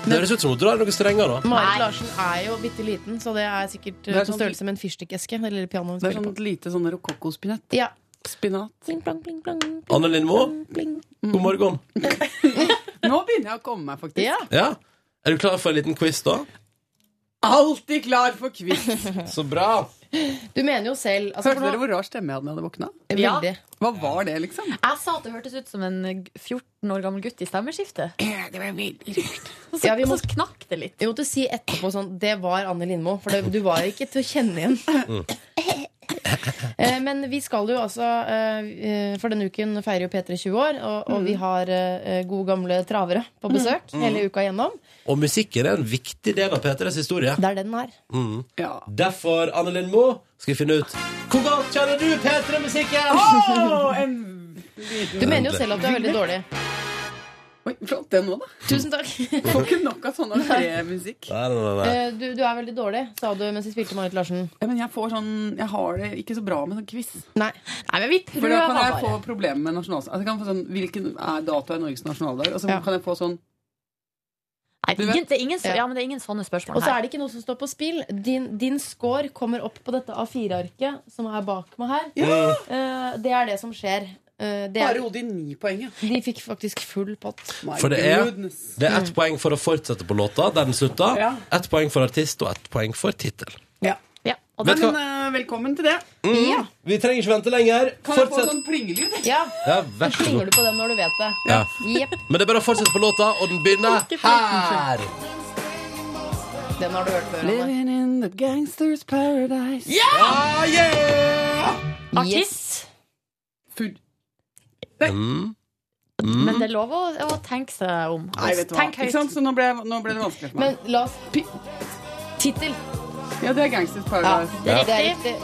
Det høres ut som hun drar noen strenger nå.
Marit Larsen er jo bitte liten, så det er sikkert
er
eh, på
sånn-
størrelse med en fyrstikkeske. Det lille pianoet hun
Det er
spiller
sånn
på.
lite sånn rokokkospinett.
Ja.
Spinat.
Pling, plong, pling, plong, pling,
Anne Lindmo,
pling.
god morgen.
Nå begynner jeg å komme meg, faktisk.
Ja.
Ja. Er du klar for en liten quiz, da?
Alltid klar for (laughs) quiz.
Så bra.
Du mener jo selv altså,
Hørte
for
dere
nå,
hvor rar stemme jeg hadde da jeg våkna?
Ja.
Veldig.
Hva var det, liksom?
Jeg sa at det hørtes ut som en 14 år gammel gutt i stemmeskiftet.
Det var veldig rart.
Og så,
Ja, vi må-
og så knakk det litt.
Vi måtte si etterpå sånn Det var Anne Lindmo, for det, du var ikke til å kjenne igjen.
Mm.
Eh, Men vi skal jo altså eh, For denne uken feirer jo P3 20 år, og,
Mm.
og vi har eh, gode gamle travere på besøk hele uka igjennom.
Og musikken er en viktig del av P3s historie. Mm.
Det er det den er.
Ja.
Derfor, Anne Lindmo, skal vi finne ut hvor godt kjenner du P3-musikken?
Å, en...
Du mener jo selv at du er veldig dårlig.
Oi, flott det nå, da.
Tusen
(laughs)
takk.
Får ikke nok av sånn entré-musikk.
Nei, nei, nei, nei.
Eh, Du, du er veldig dårlig, sa du mens vi spilte Marit Larsen.
Ja, men jeg får sånn Jeg har det ikke så bra med sånn quiz.
Nei.
Nei, men vi
For
prøver
da kan jeg få
bare.
problemer med nasjonaldag. Altså, jeg kan få sånn, hvilken er dato er Norges nasjonaldag? Og så
Ja.
kan jeg få sånn
Nei,
Du vet-
ingen, det er ingen, så-
Ja.
ja, men det er ingen sånne spørsmål
Og så
her.
er det ikke noe som står på spill. Din, din score kommer opp på dette A4-arket som er bak meg her. Eh, Det er det som skjer. Eh, Det er,
Bare hodet i ni poeng, ja.
de fikk faktisk full pott.
My
For det er-
goodness.
Det er ett poeng for å fortsette på låta der den slutta.
Ja.
Ett poeng for artist og ett poeng for tittel.
Ja.
Ja, og
Vet
det,
du
Men
hva?
eh, velkommen til det.
Ja.
Vi trenger ikke vente lenger.
Kan jeg få
Fortsett.
sånn plingelyd?
Mm. ja.
Ja, vær så
Klinger
god.
du på den når du vet det?
Ja.
Jepp.
Men det er bare å fortsette på låta, og den begynner her.
Den har du hørt før. Anne.
Living in the gangsters paradise.
Ah, yeah!
artist.
Food.
Mm.
Men det er lov å, å tenke seg om.
Nei, vet du hva.
Tenk høyt.
Ikke sant? Så nå ble, nå ble det vanskelig for meg.
Men la oss pi- Tittel.
ja, det er Gangsters
Ja,
Paradise.
det
Ja.
er riktig.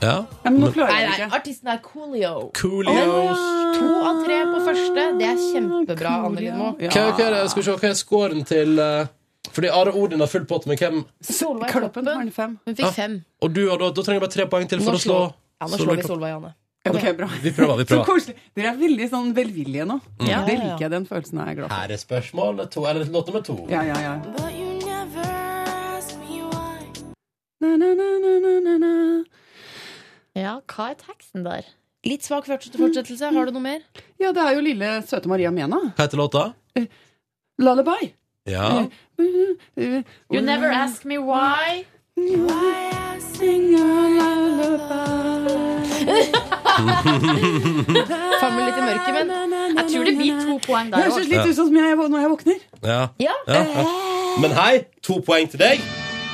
Ja.
Ja, men nå klarer
Nei,
jeg
nei,
det ikke.
artisten er Coolio.
Coolios.
To av tre på første. Det er kjempebra, Anne Lindmo.
Ja.
Hva, hva er det? Skal vi se, hva er scoren til eh, Fordi Are Odin har full pott, men hvem
Solveig
Kloppen har
Kloppen.
en fem.
Hun
Ja.
fikk fem.
Og du, Odd, da trenger jeg bare tre poeng til for
Nå
å slå.
slår- Ah, Ja, nå
slå
slår vi
Klopp.
Solveig Anne.
Ok, bra.
Vi prøver, vi
Så
prøver.
koselig. Dere er veldig sånn velvillige nå.
Ja.
Det liker jeg, den følelsen er jeg glad for.
Her er spørsmål to, eller låt nummer to.
Ja, ja, ja.
Ja, hva er teksten der?
Litt svak forts- fortsettelse. Har du noe mer?
Ja, det er jo lille søte Maria Mena.
Hva heter låta?
Lullaby.
Ja.
You never ask me why.
Famler litt i mørket, men
Jeg tror det blir to poeng
Det
der
høres
òg.
litt ut som jeg, når jeg våkner.
ja.
ja.
ja. ja. Men hei, to poeng til deg.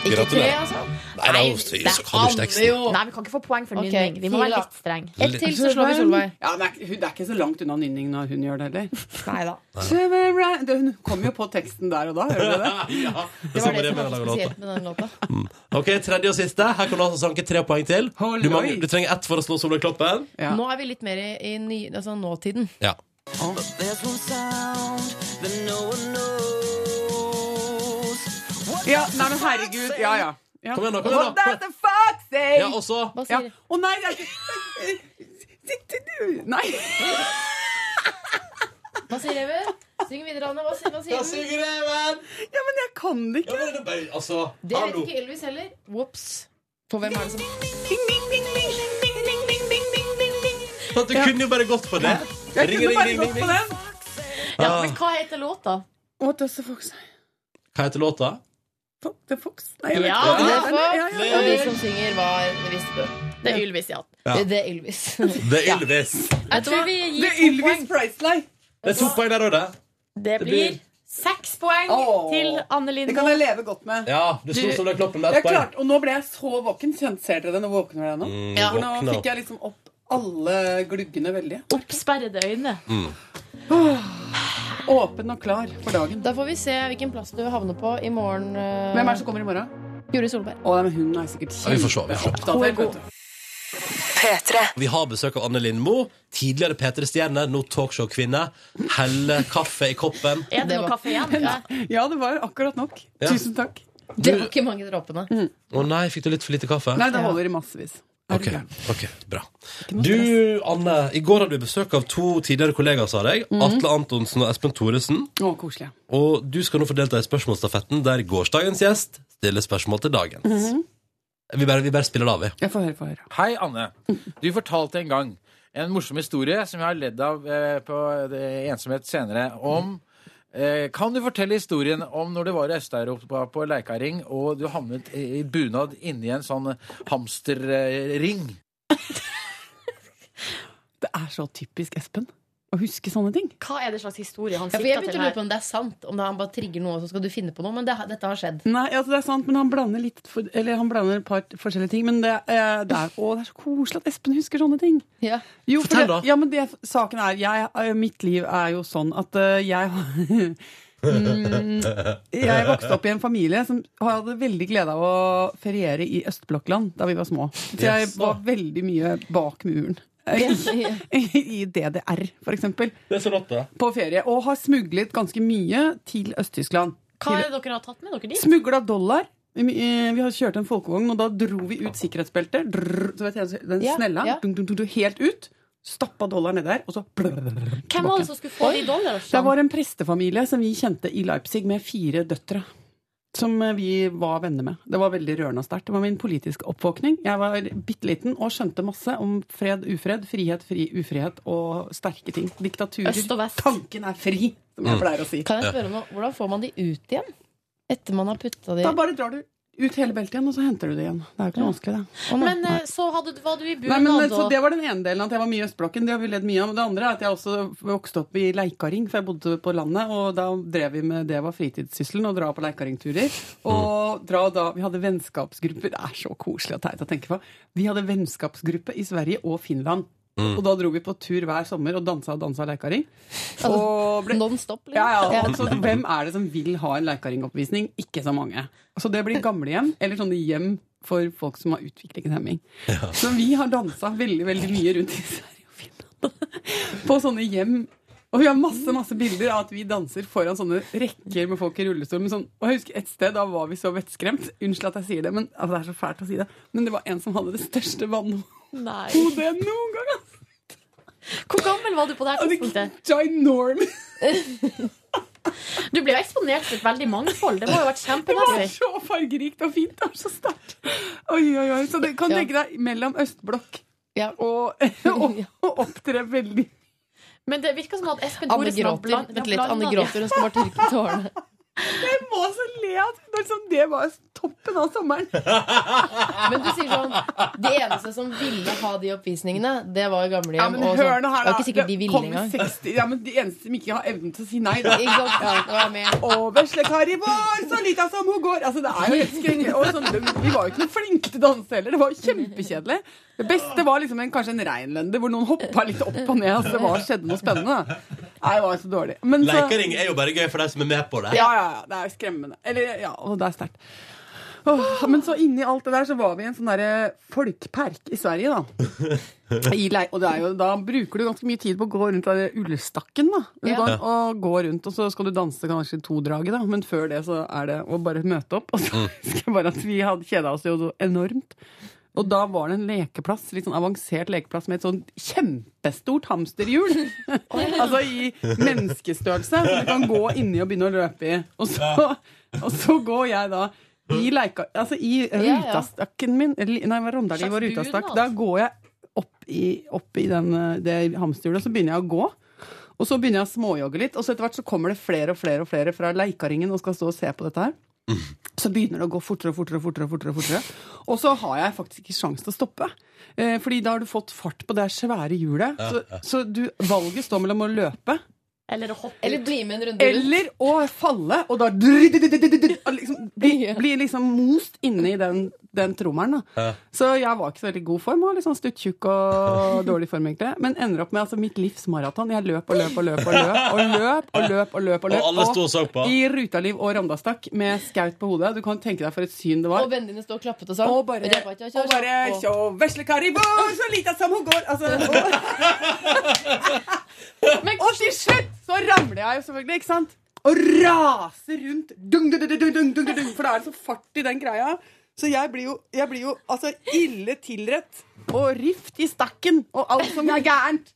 Ikke tre,
Gratulerer.
altså.
Nei, da, så kan du ikke teksten.
Nei, vi kan ikke få poeng for
Ok,
nynning. Vi må
fire, da.
være litt streng.
Ett til, så slår vi Solveig.
Ja, men det er ikke- hun- det er ikke så langt unna nynning når hun gjør det heller.
Nei da.
Severin- det- Hun kom jo på teksten der og da. Hører du
(laughs)
det?
Ja, det
Det var
samme
det
det med å
som var så
lage låta.
spesielt med den låta.
Ok, Tredje og siste. Her kan du altså sanke tre poeng til.
Hold
Du, mangler,
oi.
du trenger ett for å slå Solveig Kloppen.
Ja.
Nå er vi litt mer i, i ny, altså nåtiden. (laughs)
Ja.
Ja, nei, men herregud. Ja, ja. ja.
Kom igjen da, kom igjen da.
What does the fuck say?
ja, og så
Hva
Ja.
sier du?
Å nei, det er ikke Sitter du Nei.
Hva sier Even? Syng videre, Anne. Hva sier, hva
Ja,
sier den?
synger jeg, men.
Ja, men jeg kan det
Ja,
ikke.
men det er bare- Altså,
Det vet
hallo.
ikke Elvis heller. Ops. For hvem er det som
Sånn at Du kunne jo bare gått for det.
Jeg
Ring,
kunne
ring,
bare
ring,
gått
ring,
på
ring.
den.
Ja,
Ah.
men hva heter låta?
What does the fuck say?
Hva heter låta?
Fuck the fox? Nei, jeg vet
Ja,
ikke.
det
er
Ja,
fuck.
ja, ja, ja.
Og de som synger, var visste du.
Det er Ylvis, ja.
Ja.
Det er Elvis.
Det er Ylvis.
Jeg tror vi
Det
gir
er
to
Ylvis
poeng.
Presley.
Det er to poeng der òg, det.
Det blir seks poeng
Åh.
til Anne
Det kan
Lindmo.
jeg leve godt med.
Ja, du slo Solveig Kloppen med ett
Jeg er
poeng.
klart, og nå ble jeg så våken. Kjent, ser dere det når våkner dere nå?
Mm,
Ja,
For nå
våkna.
fikk jeg liksom opp alle gluggene veldig.
Oppsperrede øyne.
Mm.
Åpen og klar for dagen.
Da får vi se hvilken plass du havner på i morgen. eh,
Hvem er det som kommer i morgen?
Juri Solberg.
Å, nei, men hun er sikkert
Ja, vi får se, vi får se.
kjempeoppdatert. vet du.
Vi har besøk av Anne Lindmo, tidligere P3-stjerne, nå talkshow-kvinne. Helle kaffe i koppen.
Er det
Det
noe
var-
kaffe igjen? Ja.
Ja, det var akkurat nok.
Ja.
Tusen takk.
Det var ikke mange dråpene.
Å nei, fikk du litt for lite kaffe?
Nei, det holder i massevis. Er
Ok,
du gæren?
ok, bra Du, Anne, i går hadde du besøk av to tidligere kollegaer, sa jeg
Mhm.
Atle Antonsen og Espen Thoresen
Å, koselig. Mhm.
Og du skal nå få delta i spørsmålstafetten Der gårsdagens gjest stiller spørsmål til dagens Vi bare, vi bare spiller det av, vi.
Jeg får høre, får høre.
Hei, Anne. Du fortalte en gang en morsom historie som jeg har ledd av eh, på eh, Ensomhet senere, om eh, Kan du fortelle historien om når du var i Øst-Europa på Leikaring, og du havnet i i bunad inni en sånn hamsterring?
Det er så typisk Espen å huske sånne ting.
Hva er det slags historie han
Ja, for
sikter
jeg begynte
til
å lure
her?
på om det er sant. Om det er han bare trigger noe, og så skal du finne på noe. Men det, dette har skjedd.
Nei, altså det er sant, men han blander litt for, Eller han blander et par forskjellige ting. Men det, eh, det, er, å, det er så koselig at Espen husker sånne ting.
Ja.
Jo, for
Fortell
det,
da.
Ja, men det, saken er jeg, eh, Mitt liv er jo sånn at eh, jeg har (laughs) Mm, jeg vokste opp i en familie som hadde veldig glede av å feriere i Østblokkland da vi var små. Så jeg
Yes.
var veldig mye bak muren. (laughs) I DDR, for eksempel.
Det er så rått, det.
På ferie. Og har smuglet ganske mye til Øst-Tyskland.
Hva er det dere har tatt med dere dit?
Smugla dollar. Eh, Vi har kjørt en folkevogn, og da dro vi ut sikkerhetsbeltet. drrr, Så vet jeg, den
Ja,
snella.
ja.
Dun, dun, dun, dun, helt ut. Stappa dollar ned der, og så
Hvem var det som skulle få de
Det
dollarene?
var en prestefamilie som vi kjente i Leipzig, med fire døtre. Som eh, vi var venner med. Det var veldig rørende og sterkt. Det var min politiske oppvåkning. Jeg var bitte liten og skjønte masse om fred, ufred, frihet, fri, ufrihet og sterke ting. Diktaturer.
Øst og vest.
Tanken er fri, som jeg pleier å si.
Kan jeg spørre om noe? Hvordan får man de ut igjen? Etter man har putta de
Da bare drar du ut hele beltet igjen, og så henter du det igjen. Det er jo ikke noe vanskelig, det.
Å, nei.
Men eh, så hadde, du- var du i
Nei, men, eh,
bunad
så
og
Det var den ene delen, at jeg var mye i Østblokken. Det har vi ledd mye av. Men Det andre er at jeg også vokste opp i Leikaring, for jeg bodde på landet. Og da drev vi med det var fritidssysselen, å dra på leikaringturer. Og dra da, vi hadde vennskapsgrupper. Det er så koselig og teit å tenke på. Vi hadde vennskapsgruppe i Sverige og Finland. Og da dro vi på tur hver sommer og dansa og dansa leikaring. Og ble
Non stop,
ja,
liksom.
ja, altså, Hvem er det som vil ha en leikaringoppvisning? Ikke så mange. Så det blir gamlehjem, eller sånne hjem for folk som har utviklingshemming. Så vi har dansa veldig veldig mye rundt i Sverige og Finland. (laughs) På sånne hjem. Og vi har masse masse bilder av at vi danser foran sånne rekker med folk i rullestol. Men sånn, og jeg husker et sted, Da var vi så vettskremt. Unnskyld at jeg sier det, men altså, det er så fælt å si det. Men det var en som hadde det største vannhodet
Nei.
jeg noen gang har
Hvor gammel var du på det her tidspunktet?
(laughs)
sett. Ginormous!
Du ble jo eksponert for et veldig mangfold. Det må jo ha vært
Det var
kjempemessig.
så fargerikt og fint og så sterkt. Oi, oi, oi. Så det kan
Ja.
tenke deg mellom østblokk
Ja.
og, (laughs) og, og opptre veldig
Men det virker som at Espen
Anne
Thoresen har
gråter.
bland-
Vent litt,
har
Anne
blandet-
gråter. Hun skal bare tørke
(laughs)
tårene.
Jeg må så le av det. Liksom, det var toppen av sommeren.
Men du sier sånn De eneste som ville ha de oppvisningene, det var jo gamlehjem.
Ja, men
og
hør
sånn.
nå her,
det
da.
var ikke sikkert de ville
kom
engang.
60 Ja, men De eneste som ikke har evnen til å si nei, da.
(laughs) Ikke sant? Ja, nå er jeg med.
Og veslekar i vår, så lita som hun går. Altså, det er jo helt skrekkelig. Og sånn, vi var jo ikke noe flinke til å danse heller. Det var jo kjempekjedelig. Det beste var liksom en, kanskje en reinlender hvor noen hoppa litt opp og ned. Altså, det var, skjedde noe spennende. Nei, det var så dårlig. Men så,
Leikaring er jo bare gøy for de som er med på det.
ja, ja, ja, det er skremmende. Eller, ja, og det er sterkt. Åh, men så inni alt det der så var vi i en sånn derre folkpark i Sverige, da. I lei, og det er jo, da bruker du ganske mye tid på å gå rundt av det ullestakken, da. Du
Ja.
kan, og gå rundt, og så skal du danse kanskje to draget, da. Men før det så er det å bare møte opp. Og så (laughs) husker jeg bare at vi hadde kjeda oss jo så enormt. Og da var det en lekeplass, litt sånn avansert lekeplass med et sånn kjempestort hamsterhjul. altså i menneskestørrelse. Som du kan gå inni og begynne å løpe i. Og så, og så går jeg da i, leika, altså i
ja.
rutastakken min eller- Nei, hva Rondali var
Slags
rutastakk.
bunad.
Da går jeg opp i, opp i den, eh, det hamsterhjulet, og så begynner jeg å gå. Og så begynner jeg å småjogge litt, og så etter hvert så kommer det flere og flere og flere fra leikaringen og skal stå og se på dette her. Så begynner det å gå fortere og fortere og fortere. Og fortere, og fortere. Og så har jeg faktisk ikke sjans til å stoppe. Eh, fordi da har du fått fart på det svære hjulet. Så, så du, valget står mellom å løpe
Eller å hoppe
Eller bli med en runde rundt.
eller å falle, og da drr, drr, drr, drr, drr, og liksom, bli, bli liksom most inni den, den trommelen. Da. Så jeg var ikke så veldig god form, og litt sånn
(laughs)
stuttjukk og dårlig form, egentlig. Men ender opp med altså, mitt livs maraton. Jeg løp og løp og løp og løp og løp og løp. Og løp og løp
Og alle sto og så på.
I Rutaliv og Randastakk med skaut på hodet. Du kan tenke deg for et syn det
Og
var.
vennene dine står og klappet og sånn.
Og bare,
Røpa, tja, tja,
og bare
og-
«Sjå, veslekar i vår, så lita som hun går! (laughs) Altså, og, og til slutt så ramler jeg jo selvfølgelig, ikke sant? Og raser rundt. Dung, dung, dung, dung, dung, dung, dung, dung, for da er det så fart i den greia. Så jeg blir jo, jeg blir jo altså, ille tilrett. og rift i stakken og alt som er gærent.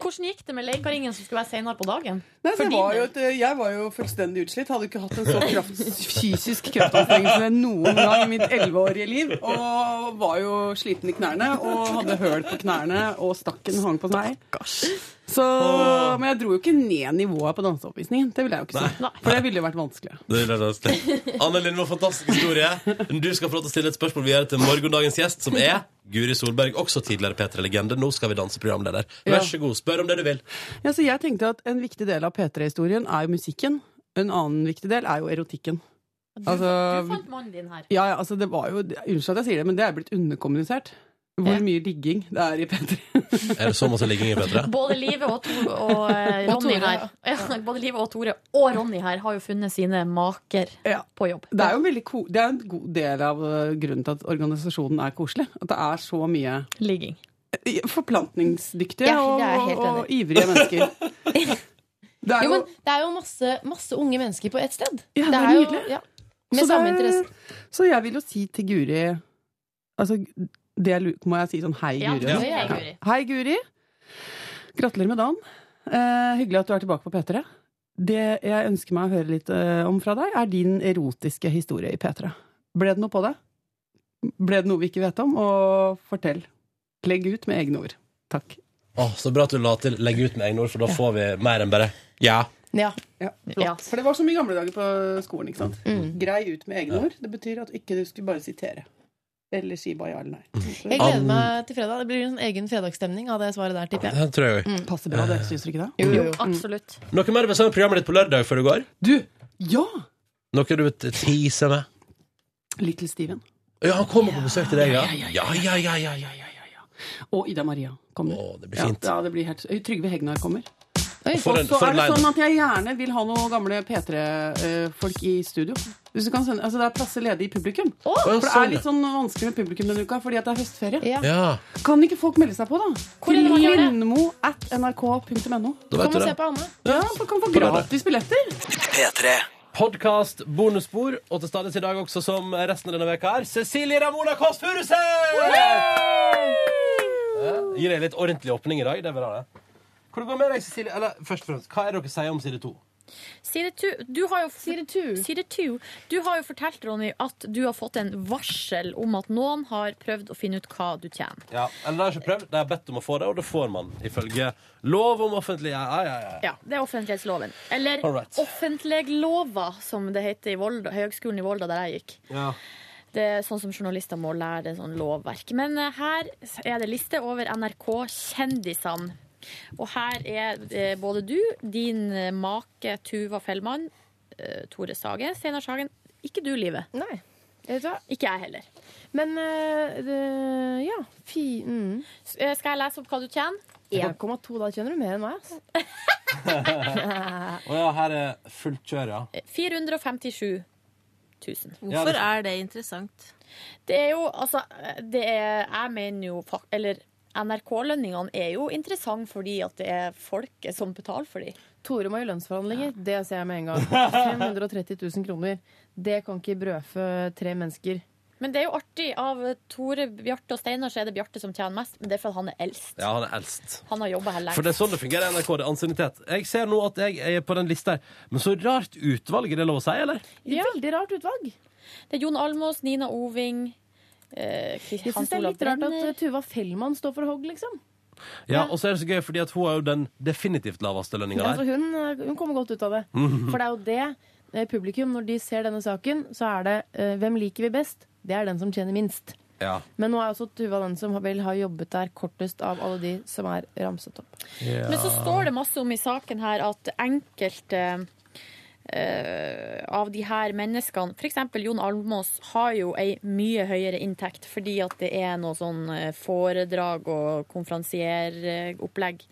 Hvordan gikk det med leikaringen som skulle være senere på dagen?
Nei, så
Fordi-
var jo et, eh, jeg var jo fullstendig utslitt. Hadde ikke hatt en så kraft, fysisk kraftanstrengelse noen gang i mitt elleveårige liv. Og var jo sliten i knærne og hadde høl på knærne, og stakken hang på meg. Så, men jeg dro jo ikke ned nivået på danseoppvisningen. Det ville jeg jo ikke si. For det ville jo vært vanskelig.
Det er løsning. Anne Lindmo, fantastisk historie. Du skal få lov til å stille et spørsmål videre til morgendagens gjest, som er Guri Solberg, også tidligere P3-legende. Nå skal vi danse programleder. Vær så god, spør om det du vil.
Ja, så jeg tenkte at en viktig del av P3-historien er jo musikken. En annen viktig del er jo erotikken. Altså,
Du fant mannen din her.
Ja, ja, altså det var jo Unnskyld at jeg sier det, men det er blitt underkommunisert. Hvor
Ja.
mye ligging det er i P3.
Er det så masse ligging i P3?
Både Live og, Tor, og eh,
(laughs) Og
Ronny
Tore,
her ja, Både Live og Tore og Ronny her har jo funnet sine maker
Ja.
på jobb.
Det er jo en, veldig ko det er en god del av øh, grunnen til at organisasjonen er koselig. At det er så mye
Ligging.
i- forplantningsdyktige
Ja, det er jeg
og,
helt
og
enig
ivrige
(laughs)
mennesker. Det er
Jo,
jo,
men det er jo masse, masse unge mennesker på ett sted.
Ja, det er
jo,
nydelig.
ja,
så
med
det
samme
er-
interesse.
Så jeg vil jo si til Guri Altså, det jeg lu- må jeg si sånn hei,
Ja,
Guri.
det
Ja.
er jeg, Guri.
Hei, Guri. Gratulerer med dagen. Eh, hyggelig at du er tilbake på P3. Det jeg ønsker meg å høre litt eh, om fra deg, er din erotiske historie i P3. Ble det noe på det? Ble det noe vi ikke vet om? Og fortell. Legg ut med egne ord. Takk.
Å, så bra at du la til 'legg ut med egne ord', for da får vi mer enn bare 'ja'.
Ja.
Ja, flott.
Ja.
For det var som i gamle dager på skolen. ikke sant? Grei ut med egne ord. Det betyr at ikke du skulle bare sitere. Eller si bare ja eller nei.
Jeg gleder meg til fredag. Det blir en sånn egen fredagsstemning av det svaret der, tipper jeg.
Det tror jeg.
Det passer bra, det. Syns du ikke det?
Jo, absolutt.
Noe mer ved sånn programmet ditt på lørdag før du går?
Du! Ja!
Noe du vil tease med?
Little Steven.
Ja, han kommer på besøk til deg, ja? Ja, ja, ja, ja, ja.
ja, ja, ja, ja. Og Ida Maria kommer.
Å, det blir fint.
Ja, ja, det blir helt... Trygve Hegnar kommer.
Og
Og
for en,
så
for
er
en
det
line.
sånn at jeg gjerne vil ha noen gamle P3-folk i studio. Hvis du kan sende, altså Det er plasser ledig i publikum.
ja,
For det
sånn,
er litt sånn vanskelig med publikum denne uka fordi at det er høstferie.
Ja.
Ja,
Kan ikke folk melde seg på, da?
Hvor er det man gjør det?
Lindmo at nrk.no.
da
Kom
vet du
og se
det.
på Anne.
Ja, man kan få
lørdag.
gratis billetter.
Podkast, bonusspor, og til stadighet i dag også som resten av denne veka her, Cecilie Ramona Kåss Furuseth! Ja, Gir deg litt ordentlig åpning i dag. Det er bra, det. Hvor det går med deg, Cecilie? Eller først og fremst, hva er det dere sier om side to?
Side two, du har jo
Sier det tu.
Side two. Du har jo fortalt, Ronny, at du har fått en varsel om at noen har prøvd å finne ut hva du tjener.
Ja, eller det har ikke prøvd, det er bedt om å få det, og det får man ifølge lov om offentlig Ja, ja, ja. ja.
Ja, Det er offentlighetsloven. Eller
All right.
offentleglova, som det heter i Volda, Høgskolen i Volda, der jeg gikk. Det er sånn som journalister må lære sånn lovverk. Men eh, her er det liste over NRK-kjendisene. Og her er eh, både du, din eh, make Tuva Fellmann, eh, Tore Sagen, Steinar Sagen. Ikke du, Live.
Nei. Vet du hva?
Ikke jeg heller.
Men eh, det- ja. Fi, mm.
S- eh, Skal jeg lese opp hva du tjener?
1,2, da tjener du mer enn meg. ass.
Og ja, her er fullt kjør, ja.
Eh, 457 000.
Ja, det-
Hvorfor er det interessant?
Det er jo, altså, det er, jeg mener jo, fak- eller NRK-lønningene er jo interessant fordi at det er folket som betaler for dem.
Tore må i lønnsforhandlinger. Det ser jeg med en gang. 530 000 kroner. Det kan ikke brødfø tre mennesker.
Men det er jo artig, av Tore, Bjarte og Steinar så er det Bjarte som tjener mest, men det er fordi han er eldst.
Ja, han er eldst.
Han har jobba her
For det
lenge.
er sånn det fungerer i NRK. det er Ansiennitet. Jeg ser nå at jeg er på den lista her. Men så rart utvalg, er det lov å si, eller?
Det er Veldig rart utvalg.
Det er Jon Almås, Nina Oving, eh,
Jeg synes
Hans
det er
Olav
litt rart at eh,
Brenner.
Tuva Fellmann står for hogg, liksom.
Ja, Og så er det så gøy, fordi at hun har jo den definitivt laveste lønninga
Altså,
der.
hun, eh, hun kommer godt ut av det.
Mhm.
For det er jo det eh, publikum, når de ser denne saken, så er det eh, hvem liker vi best? Det er den som tjener minst.
Ja.
Men nå er også Tuva den som har- vel har jobbet der kortest av alle de som er ramset opp.
Men så står det masse om i saken her at enkelte eh, av de her menneskene, f.eks. Jon Almås, har jo ei mye høyere inntekt fordi at det er noe sånn eh, foredrag og konferansieropplegg.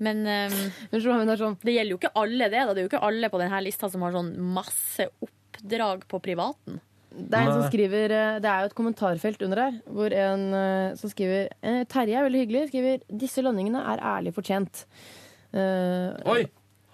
Men eh,
Men så, hun er sånn,
det gjelder jo ikke alle det, da. Det er jo ikke alle på denne lista som har sånn masse oppdrag på privaten.
det er en som
Nei.
skriver eh, Det er jo et kommentarfelt under her, hvor en eh, som skriver eh, Terje er veldig hyggelig, skriver 'Disse lønningene er ærlig fortjent'. Eh,
Oi!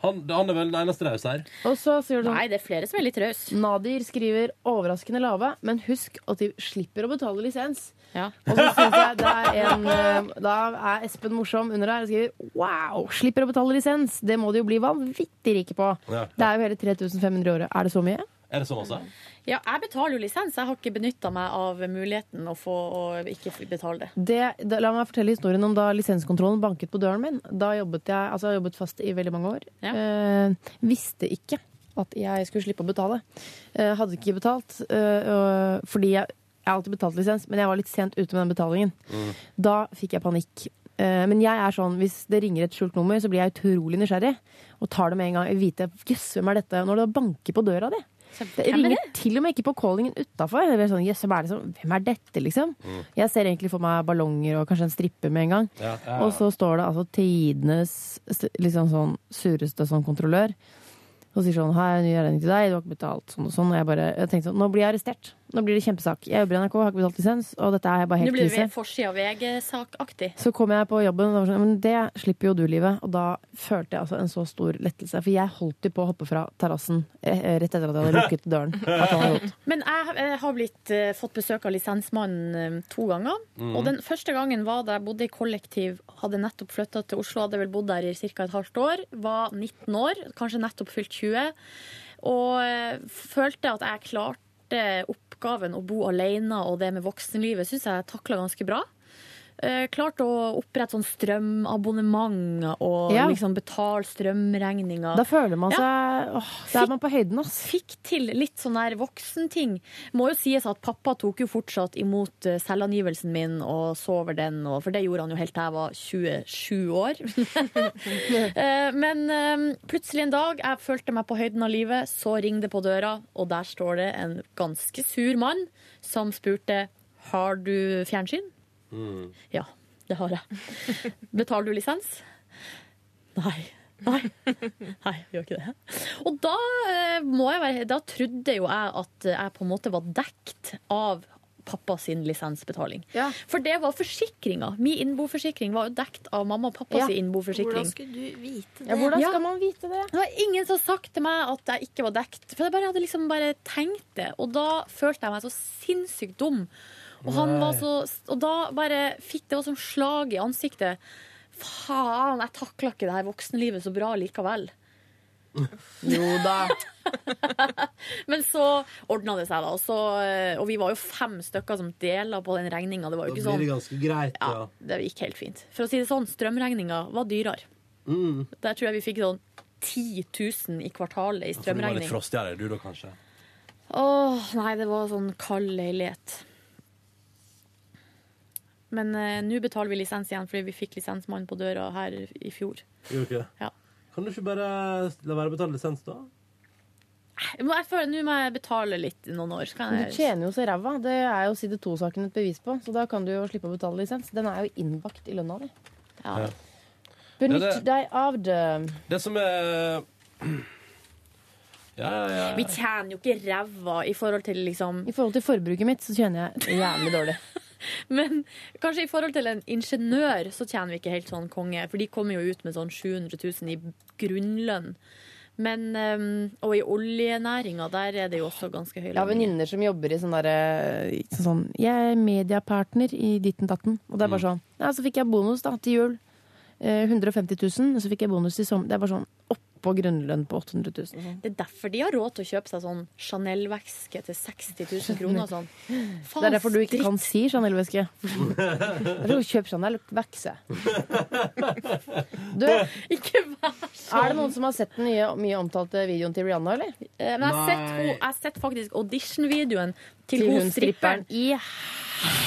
Han, han er vel den eneste rause her.
Og så sier du sånn
Nei, det er flere som er litt rause.
Nadir skriver overraskende lave, men husk at de slipper å betale lisens.
Ja.
Og så synes jeg det er en eh, Da er Espen morsom under her og skriver Wow! Slipper å betale lisens! Det må de jo bli vanvittig rike på.
Ja.
Det er jo hele 3500 i året. Er det så mye?
Er det sånn også?
Ja, jeg betaler jo lisens. Jeg har ikke benytta meg av muligheten å få å ikke betale det.
Det, da, la meg fortelle historien om da lisenskontrollen banket på døren min. Da jobbet jeg, altså jeg har jobbet fast i veldig mange år.
Ja.
Eh, visste ikke at jeg skulle slippe å betale. Eh, hadde ikke betalt eh, og- fordi jeg, jeg har alltid betalt lisens, men jeg var litt sent ute med den betalingen. Da fikk jeg panikk. Eh, men jeg er sånn, hvis det ringer et skjult nummer, så blir jeg utrolig nysgjerrig. Og tar det med en gang. Jeg vil Vite, jøss, hvem er dette? Når det banker på døra di. Det
Hvem er
ringer til og med ikke på callingen utafor. Hvem er dette, liksom? Jeg ser egentlig for meg ballonger og kanskje en strippe med en gang.
Mm. Ja, ja, ja.
Og så står det altså tidenes s- liksom sånn sureste sånn kontrollør. Og sier sånn Hei, ny regning til deg, du har ikke betalt sånn og sånn. Og jeg bare jeg tenkte sånn Nå blir jeg arrestert. Nå blir det kjempesak. Jeg jobber i NRK, har ikke betalt lisens, og dette er bare
Nå
helt
blir det
krise.
forsida av VG-sakaktig.
Så kom jeg på jobben, og da var jeg sånn, men det slipper jo du livet. Og da følte jeg altså en så stor lettelse. For jeg holdt jo på å hoppe fra terrassen eh, eh, rett etter at jeg hadde lukket døren. At han hadde gått.
Men jeg eh, har blitt, eh, fått besøk av lisensmannen eh, to ganger. Og den første gangen var da jeg bodde i kollektiv, hadde nettopp flytta til Oslo, hadde vel bodd der i ca. et halvt år. Var 19 år, kanskje nettopp fylt 20. Og eh, følte at jeg klarte oppgaven å bo alene og det med voksenlivet, syns jeg takla ganske bra. Eh, Klarte å opprette sånn strømabonnement og
Ja.
liksom betale strømregninger.
Da føler man seg åh, Da er man på høyden, ass.
fikk til litt sånn der voksenting. Må jo sies at pappa tok jo fortsatt imot eh, selvangivelsen min og så over den, og, for det gjorde han jo helt til jeg var 27 år. (laughs) Eh, Men eh, plutselig en dag, jeg følte meg på høyden av livet, så ringte det på døra, og der står det en ganske sur mann som spurte har du fjernsyn. Ja, det har jeg. Betaler du lisens? Nei. Nei. Nei, jeg gjør ikke det. Og da, eh, må jeg være, da trodde jo jeg at jeg på en måte var dekt av pappa sin lisensbetaling.
Ja.
For det var forsikringa. Min innboforsikring var jo dekt av mamma og pappa
Ja.
sin innboforsikring.
Hvordan skulle du vite det?
Ja, hvordan
Ja.
skal man vite det?
Det var ingen som sagt til meg at jeg ikke var dekt. For jeg bare hadde liksom bare tenkt det. Og da følte jeg meg så sinnssykt dum. Og, han var så, og da bare fikk det var som slag i ansiktet. Faen, jeg takla ikke det her voksenlivet så bra likevel.
Jo da.
(laughs) Men så ordna det seg, da. Og, så, eh, og vi var jo fem stykker som dela på den regninga. Det var jo ikke sånn.
ganske greit,
Ja, det gikk helt fint. For å si det sånn, strømregninga var dyrere.
Mm.
Der tror jeg vi fikk sånn 10 000 i kvartalet i
For du var litt
strømregning.
frostigere, du da, kanskje?
Åh, nei, det var sånn kald leilighet. Men eh, nå betaler vi lisens igjen, fordi vi fikk lisensmannen på døra her i fjor.
Gjorde ikke det?
Ja.
Kan du ikke bare la være å betale lisens, da?
Jeg må- jeg føler Nå må jeg betale litt i noen år. Så kan
Men
jeg...
du tjener jo så ræva. Det er jo side to-saken et bevis på. Så da kan du jo slippe å betale lisens. Den er jo innbakt i lønna di.
Ja.
Benytt
Det er det-
deg av det.
Det som er Ja, ja, ja.
Vi tjener jo ikke ræva i forhold til liksom
I forhold til forbruket mitt så tjener jeg jævlig dårlig.
(laughs) Men kanskje i forhold til en ingeniør så tjener vi ikke helt sånn konge, for de kommer jo ut med sånn 700 000 i grunnlønn. Men, eh, og i oljenæringa, der er det jo også ganske høy
Jeg har
lønninger.
venninner som jobber i sånn derre sånn, Jeg er mediepartner i ditten datten. Og det er bare
Mm.
sånn Ja, så fikk jeg bonus da til jul. Eh, 150 000. Og så fikk jeg bonus i sommer. Det er bare sånn oppå grunnlønn på 800 000. og Sånn.
Det er derfor de har råd til å kjøpe seg sånn Chanel-veske til 60 000 kroner og
(laughs)
sånn. Faen,
Det er derfor du ikke
strikk.
kan si
(laughs)
Chanel-væske. Kjøp Chanel-vekse. Du, er
Ikke vær sånn.
det noen som har sett den nye, mye omtalte videoen til Rihanna, eller?
Eh, Men jeg har sett, ho- jeg har sett faktisk audition-videoen til,
Til
hun stripperen.
I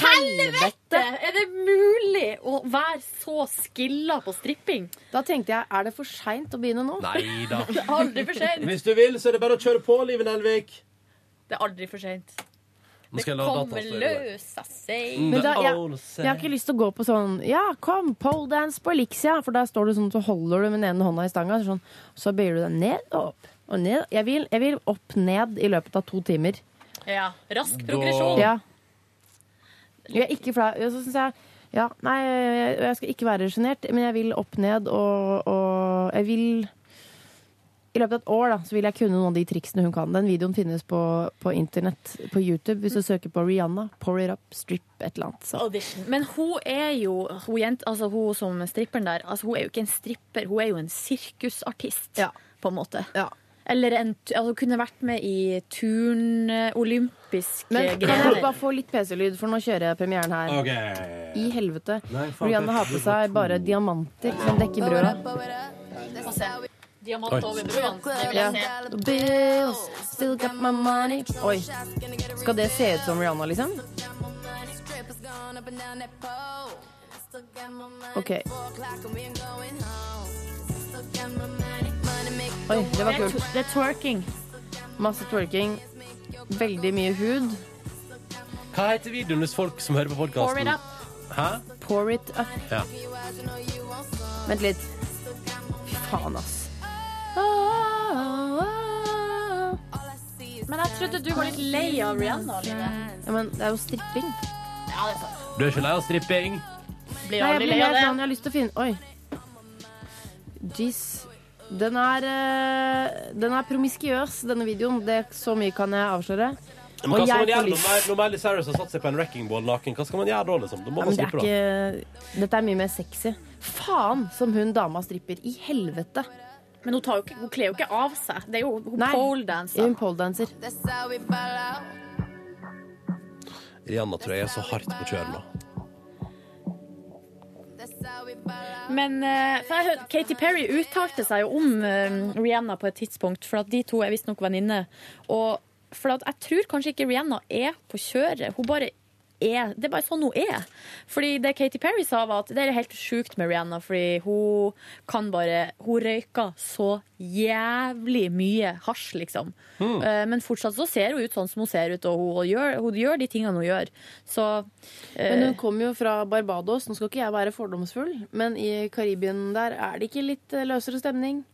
Helvete! Er det mulig å være så skilla på stripping?
Da tenkte jeg, er det for seint å begynne nå?
Nei da.
Det er aldri for sent.
Hvis du vil, så er det bare å kjøre på, Liven Elvik.
Det er aldri for sent.
Nå
Det
skal jeg la
kommer
dataen stå i ro her.
løs av seg.
Men da, jeg,
All
jeg har ikke lyst til å gå på sånn Ja, kom, pole dance på Elixia. For der står du sånn, så holder du med den ene hånda i stanga, sånn, så bøyer du deg ned og opp. Og ned. Jeg, vil, jeg vil opp ned i løpet av to timer.
Ja, Rask progresjon.
Ja. Jeg er ikke flau. Og Så synes jeg ja, Nei, jeg jeg skal ikke være sjenert, men jeg vil opp ned og, og Jeg vil i løpet av et år da, så vil jeg kunne noen av de triksene hun kan. Den videoen finnes på, på internett, på YouTube, hvis du søker på Rihanna. Pour it up, strip, et eller annet. Så.
Audition. Men hun er jo hun, jent, altså hun som stripperen der, altså hun er jo ikke en stripper, hun er jo en sirkusartist,
Ja.
på en måte.
Ja.
Eller en, tu- altså hun kunne vært med i turn-olympiske
Men kan jeg
grener.
bare få litt PC-lyd, for nå kjører jeg premieren her.
OK.
I helvete.
Ah. Nei, faen,
Rihanna
det-
har på seg bare diamanter som dekker brødet.
Oi.
Ja. Bills, still got my money. Oi. Skal det se ut som Rihanna, liksom? OK. Oi, det var kult.
Det er twerking.
Masse twerking. Veldig mye hud.
Hva heter videoen hvis folk som hører på
Pour it
podkasten
up.
Hæ?
Pour it up.
Ja.
Vent litt. Fy faen, ass.
Men jeg trodde du var litt lei av Rihanna. Live.
Ja, men det er jo stripping.
Ja, det er sant.
Du er ikke lei av stripping?
Blir
Nei, jeg
aldri
blir
lei av
helt
det.
sånn, jeg har lyst til å finne Oi. Jeez. Den er, eh, den er promiskiøs, denne videoen. Det, så mye kan jeg avsløre.
Men
Og
hva skal man
jeg får
gjøre når,
lyst.
Miley- når Miley Cyrus har satt seg på en wrecking ball naken? Hva skal man gjøre da, liksom? Da må
Ja,
man
men det er
strippe, da.
ikke, dette er mye mer sexy. Faen som hun dama stripper. I helvete.
sånn- Men hun, tar jo ikke, hun kler jo ikke av seg. Det er jo, hun
Nei.
poledanser.
Hun poledanser.
Rihanna tror jeg er så hardt på kjøret nå.
Men eh, for jeg, hørte- Katy Perry uttalte seg jo om eh, Rihanna på et tidspunkt, for at de to er visstnok venninner. Og for at jeg tror kanskje ikke Rihanna er på kjøret. Hun bare er, det er bare sånn hun er. Fordi det Katy Perry sa, var at det er helt sjukt med Rihanna, fordi hun kan bare Hun røyker så jævlig mye hasj, liksom. Eh, Men fortsatt så ser hun ut sånn som hun ser ut, og hun gjør, hun gjør de tingene hun gjør. Så eh,
Men hun kommer jo fra Barbados. Nå skal ikke jeg være fordomsfull, men i Karibien der er det ikke litt eh, løsere stemning?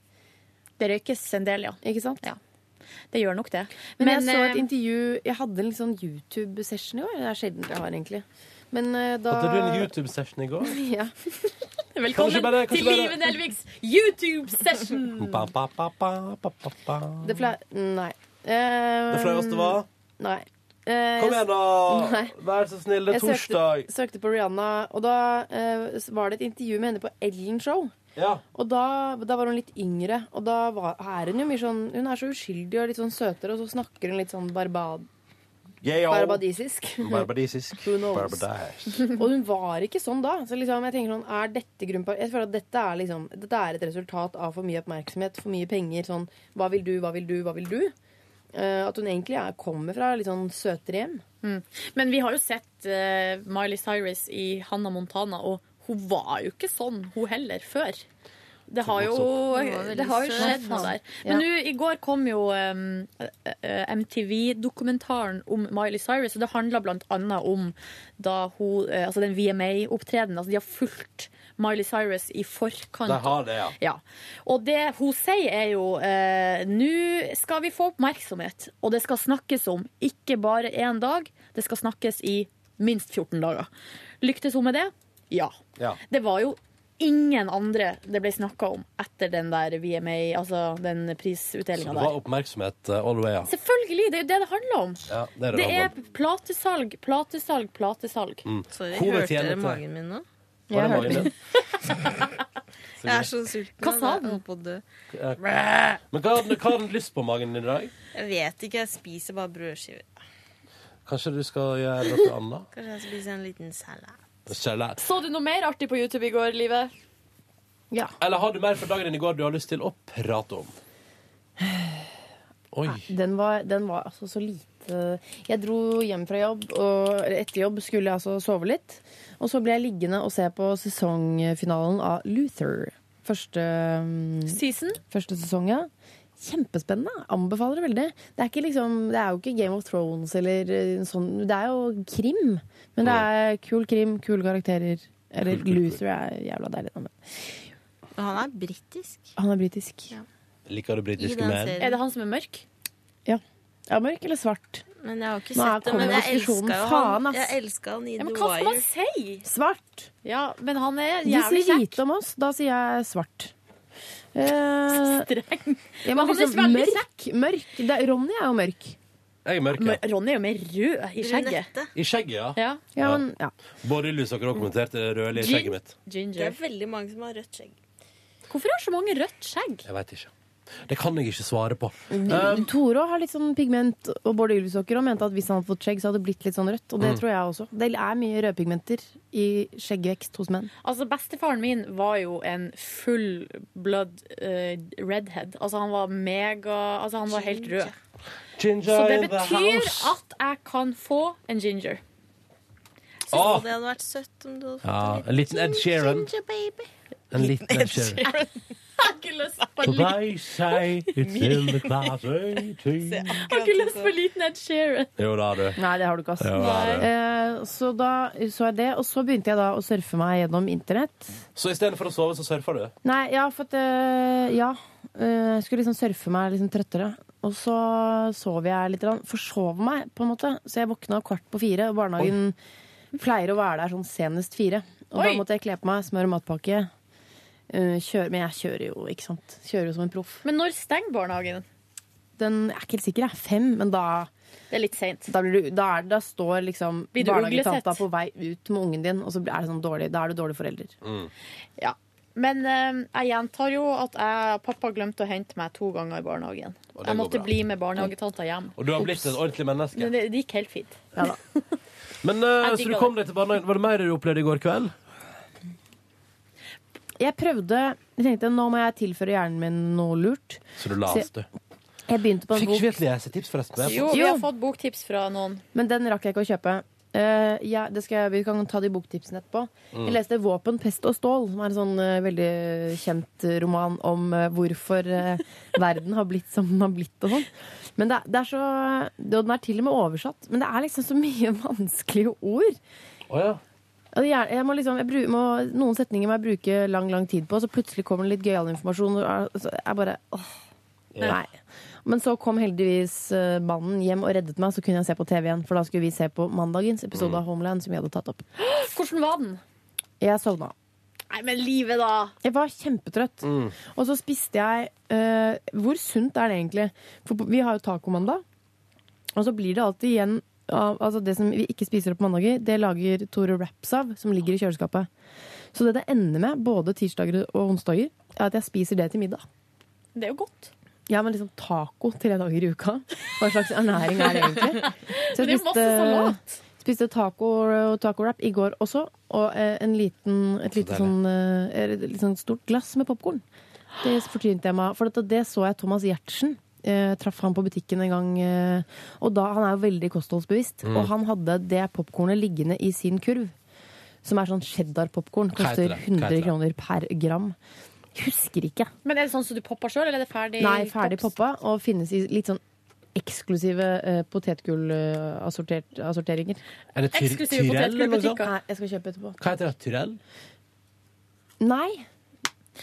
det røykes en del, ja.
Ikke sant?
Ja. Det gjør nok det.
Men, jeg så et
eh,
intervju Jeg hadde en litt sånn YouTube-session i år. Det er sjelden jeg har, egentlig. Men eh, da
Hadde du en YouTube-session i går?
(laughs) Ja.
Kanskje
(laughs) velkommen
bare- kanskje
til
bare-
Live Nelviks YouTube-session!
Ba, ba, ba, ba, ba, ba, ba.
Det fløy Nei. Eh,
Det flaueste var
Nei. Eh,
Kom igjen, da!
Nei.
Vær så snill, det er
Jeg søkte-
torsdag.
Jeg søkte på Rihanna, og da eh, var det et intervju med henne på Ellen Show.
Ja.
Og da, da var hun litt yngre, og da var, er hun jo mye sånn Hun er så uskyldig og litt sånn søtere, og så snakker hun litt sånn barbad,
Yeah, oh.
barbadisisk.
Barbadisisk.
Who knows?
Barbadise.
Og hun var ikke sånn da. Så liksom, jeg tenker sånn, er dette grunnen på Jeg føler at dette er, liksom, dette er et resultat av for mye oppmerksomhet, for mye penger. Sånn hva vil du, hva vil du, hva vil du? Eh, at hun egentlig er, kommer fra litt sånn søtere hjem.
Men vi har jo sett eh, Miley Cyrus i Hannah Montana, og hun var jo ikke sånn, hun heller, før. Det har jo, det har jo skjedd noe der. Men nå, i går kom jo em, eh, eh, MTV-dokumentaren om Miley Cyrus, og det handla bl.a. om da hun, eh, altså den VMA-opptredenen. Altså de har fulgt Miley Cyrus i forkant.
De har det, ja.
Ja. Og det hun sier er jo eh, Nå skal vi få oppmerksomhet, og det skal snakkes om ikke bare én dag, det skal snakkes i minst 14 dager. Lyktes hun med det? Ja.
ja.
Det var jo ingen andre det ble snakka om etter den der VMA, altså den
Så
prisutdelinga
det var
der.
oppmerksomhet uh, all the way, ja.
Selvfølgelig! Det er jo det det handler om.
ja det er det
Det
det
er
handler om. Mm.
platesalg, platesalg, platesalg.
Sorry,
Hodet
hørte
tjener
dere
til.
magen min nå?
Var det magen din?
Jeg er så sulten.
Hva sa
og jeg
den?
holdt på å dø.
Men hva hadde hva hadde du lyst på magen din i dag?
Jeg vet ikke, jeg spiser bare brødskiver.
Kanskje du skal gjøre noe annet?
Kanskje jeg spiser en liten salat.
Kjærlighet.
Så du noe mer artig på YouTube i går, Live?
Eller har du mer fra dagen din i går du har lyst til å prate om? Oi.
Den var, den var altså så lite Jeg dro hjem fra jobb, og eller etter jobb skulle jeg altså sove litt. Og så ble jeg liggende og se på sesongfinalen av Luther. Første, mm,
Season?
første sesong, ja. Kjempespennende. Anbefaler det veldig. Det er, ikke liksom, det er jo ikke Game of Thrones eller eh, sånn Det er jo krim. Men det er kul krim, kule karakterer. Eller Luther er jævla deilig. navn.
Og han er britisk.
Han er britisk.
Liker du
I
britiske
den
menn?
Er
serien.
det han som er mørk?
Ja, mørk eller svart?
Men jeg har ikke
Nå er-
sett det. Men
kommer
jeg
diskusjonen.
elska jo
Faen,
han.
ass.
Jeg elsket han i
Ja,
The
men hva skal man
Wire.
si?
Svart!
Ja, men han er
De
jævlig
sier
kjekk.
(laughs) hvite om oss, da sier jeg svart. Eh,
Streng.
ja, men
Men han er
liksom,
veldig
mørk. mørk. Det, er- Ronny er jo mørk.
Jeg er mørk, ja.
Men Ronny er jo mer rød i skjegget.
Brunette.
I skjegget, ja.
Ja.
Ja,
Ja.
men, ja.
Både Lys og Krog kommenterte det rødlige i skjegget mitt.
Det
Ginger.
er veldig mange som har rødt skjegg.
Hvorfor har så mange rødt skjegg?
Jeg veit ikke. Det kan jeg ikke svare på.
Toro har litt sånn pigment, og Bård Ylvisåker og mente at hvis han hadde fått skjegg, så hadde det blitt litt sånn rødt. Og det tror jeg også. Det er mye rødpigmenter i skjeggvekst hos menn.
Altså, Bestefaren min var jo en full blood eh, redhead. Altså, han var mega Altså, han var helt rød. Så det betyr at jeg kan få en ginger.
Synes
Åh!
du det hadde vært søtt om du hadde fått
Ja,
en
en liten Ed Sheeran.
Ginger baby.
En liten Ed Sheeran.
Jeg har ikke (laughs) lyst på en
For
liten-
they say it's in the closet too.
jeg har ikke lyst på en liten Ed Sheeran.
Jo da, du.
Nei, det har du ikke, ass.
Jo, da, du.
Eh, så da så jeg det, og så begynte jeg da å surfe meg gjennom internett.
Så istedenfor å sove, så surfer du?
Nei, ja, for at eh, Ja. eh, Jeg skulle liksom surfe meg liksom trøttere. Og så sov jeg litt. grann. Forsov meg, på en måte. Så jeg våkna kvart på fire, og barnehagen pleier å være der sånn senest fire. Og da
Oi!
måtte jeg kle på meg smør og matpakke. eh, kjøre, men jeg kjører jo, ikke sant. Kjører jo som en proff.
Men når stenger barnehagen?
Den jeg er ikke helt sikker, jeg. Fem. Men da,
Det er litt seint.
da, blir du, da, er, da står liksom
Blir du
barnehagetanta
uglesett?
på vei ut med ungen din, og så er det sånn dårlig, da er du dårlig forelder.
Men eh, jeg gjentar jo at jeg, pappa glemte å hente meg to ganger i barnehagen.
Og det
Jeg
går
måtte
bra.
bli med barnehagetanta hjem.
Og du har blitt et ordentlig menneske.
Men det, det gikk helt fint.
Men eh,
Jeg
Så
digger
du kom deg til barnehagen. Var det mer du opplevde i går kveld?
Jeg prøvde Jeg tenkte nå må jeg tilføre hjernen min noe lurt.
Så du las, du.
Jeg begynte på en
Fikk
bok,
ikke vi et lesetips, forresten?
Jo, vi
Jo.
har fått boktips fra noen.
men den rakk jeg ikke å kjøpe. Eh, jeg- det skal jeg, vi kan ta de boktipsene etterpå.
Mm.
Jeg leste 'Våpen, pest og stål', som er en sånn eh, veldig kjent roman om eh,
(laughs)
hvorfor eh, verden har blitt som den har blitt og sånn. Men det, er- det er så det- Og den er til og med oversatt. Men det er liksom så mye (laughs) vanskelige ord.
Å ja.
Og Jeg, jeg må liksom, jeg bru, må, noen setninger må jeg bruke lang lang tid på, så plutselig kommer det litt gøyal informasjon. Og er- så jeg bare åh, Nei. Men så kom heldigvis eh, mannen hjem og reddet meg, så kunne jeg se på TV igjen. For da skulle vi se på mandagens episode av Homeland som vi hadde tatt opp.
(gasps) Hvordan var den?
Jeg sovna.
Nei, men livet, da!
Jeg var kjempetrøtt. Og så spiste jeg eh, Hvor sunt er det egentlig? For på- vi har jo tacomandag, og så blir det alltid igjen av altså det som vi ikke spiser opp på mandager, det lager Tore Wraps av, som ligger i kjøleskapet. Så det det ender med, både tirsdager og onsdager, er at jeg spiser det til middag.
Det er jo godt.
Ja, men liksom taco tre dager i uka. Hva slags ernæring er det
(laughs)
egentlig? Så
Det er masse salat.
spiste taco og taco-wrap i går også, og eh, en liten, et lite
deilig.
sånn, eh, et litt sånn stort glass med popkorn. Det fortynte jeg meg av, for dette, det så jeg Thomas Gjertsen. Eh, traff han på butikken en gang, eh, og da, han er jo veldig kostholdsbevisst.
Mm.
Og han hadde det popkornet liggende i sin kurv, som er sånn cheddar-popkorn.
Hva heter
Koster
det? Hva
100
heter det?
kroner per gram. Husker ikke.
Men er det sånn som du popper sjøl, eller er det ferdig
Nei, ferdig
pops?
poppa og finnes i litt sånn eksklusive eh, potetgullassorteringer.
Er det Ty-
Eksklusive
Tyrell eller noe sånt?
potetgullbutikker.
Nei, jeg skal kjøpe etterpå.
Hva heter det? Tyrell?
Nei.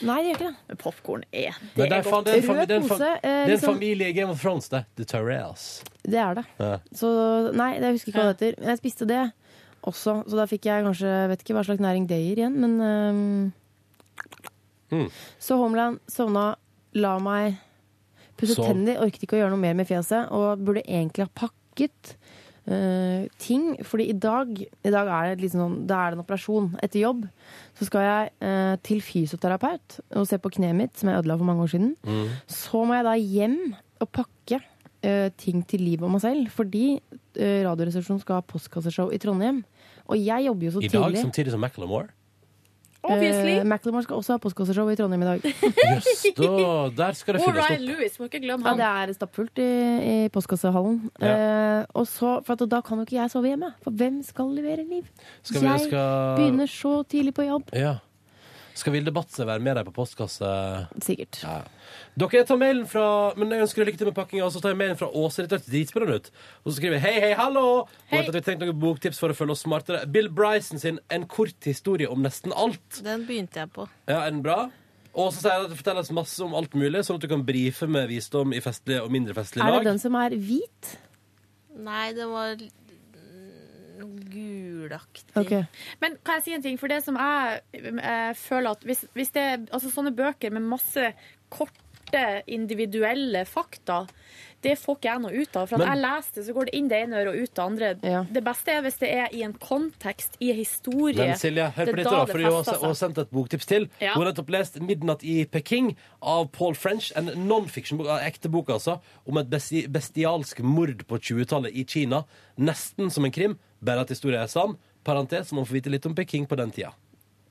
Nei, det gjør ikke det.
Popkorn er
Nei, det er faen, det er en
Rød
fam- det er en fam-
pose, eh,
Det er en
liksom-
familie i Game of Thrones, det. The Tyrells.
Det er det.
Ja.
Så nei, jeg husker ikke hva det heter. Men jeg spiste det også, så da fikk jeg kanskje jeg Vet ikke hva slags næring det gir igjen, men eh,
Mm.
Så Homeland sovna, la meg pusse
Sov.
tenner, orket ikke å gjøre noe mer med fjeset, og burde egentlig ha pakket. eh, ting, fordi i dag I dag er det, liksom, sånn- da er det en operasjon etter jobb. Så skal jeg eh, til fysioterapeut og se på kneet mitt, som jeg ødela for mange år siden.
Mm.
Så må jeg da hjem og pakke eh, ting til livet og meg selv, fordi eh, Radioresepsjonen skal ha postkasseshow i Trondheim. Og jeg jobber jo så
I dag,
tidlig.
samtidig som Macklemore.
Obviously.
Eh, Macklemore skal også ha postkasseshow i Trondheim i dag.
Jøss, da. Der skal det
Og
fylles
Ryan
opp.
Lewis, må ikke glemme
Ja,
han.
det er stappfullt i, i postkassehallen. Eh, og så, for at, da kan jo ikke jeg sove hjemme, for hvem skal levere liv?
Skal vi,
jeg
skal...
begynner så tidlig på jobb.
Ja. Skal Vilde Batse være med deg på postkasse?
Sikkert.
Ja. Dere, jeg tar mailen fra Men jeg ønsker deg lykke til med pakkinga. Og så tar jeg mailen fra Åse. Dette hørtes dritspennende ut. Og så skriver jeg hei, hei, hallo! Og at vi har tenkt noen boktips for å følge oss smartere. Bill Bryson sin En kort historie om nesten alt.
Den begynte jeg på.
Ja, er den bra? Og så sier jeg at det fortelles masse om alt mulig, sånn at du kan brife med visdom i festlige og mindre festlige
Er
lag.
det den som er hvit?
Nei, den var mm, gulaktig.
Ok.
Men kan jeg si en ting? For det som jeg eh, føler at hvis, hvis det er altså sånne bøker med masse
korte, individuelle fakta, det får ikke jeg noe ut av. For at
Men-
jeg leser det, så går det inn det ene øret og ut det andre.
Ja.
Det beste er hvis det er i en kontekst, i en historie.
Men Silje, hør
Det
på
er
dette,
da
da,
det
fordi hun har
fester
hun har sendt et boktips til.
Ja.
Hun har nettopp lest 'Midnatt i Peking' av Paul French. En non-fiction-bok, en ekte bok, altså, om et besti- bestialsk mord på 20-tallet i Kina. Nesten som en krim, bare at historien er sann. Parentes, man får vite litt om Peking på den tida.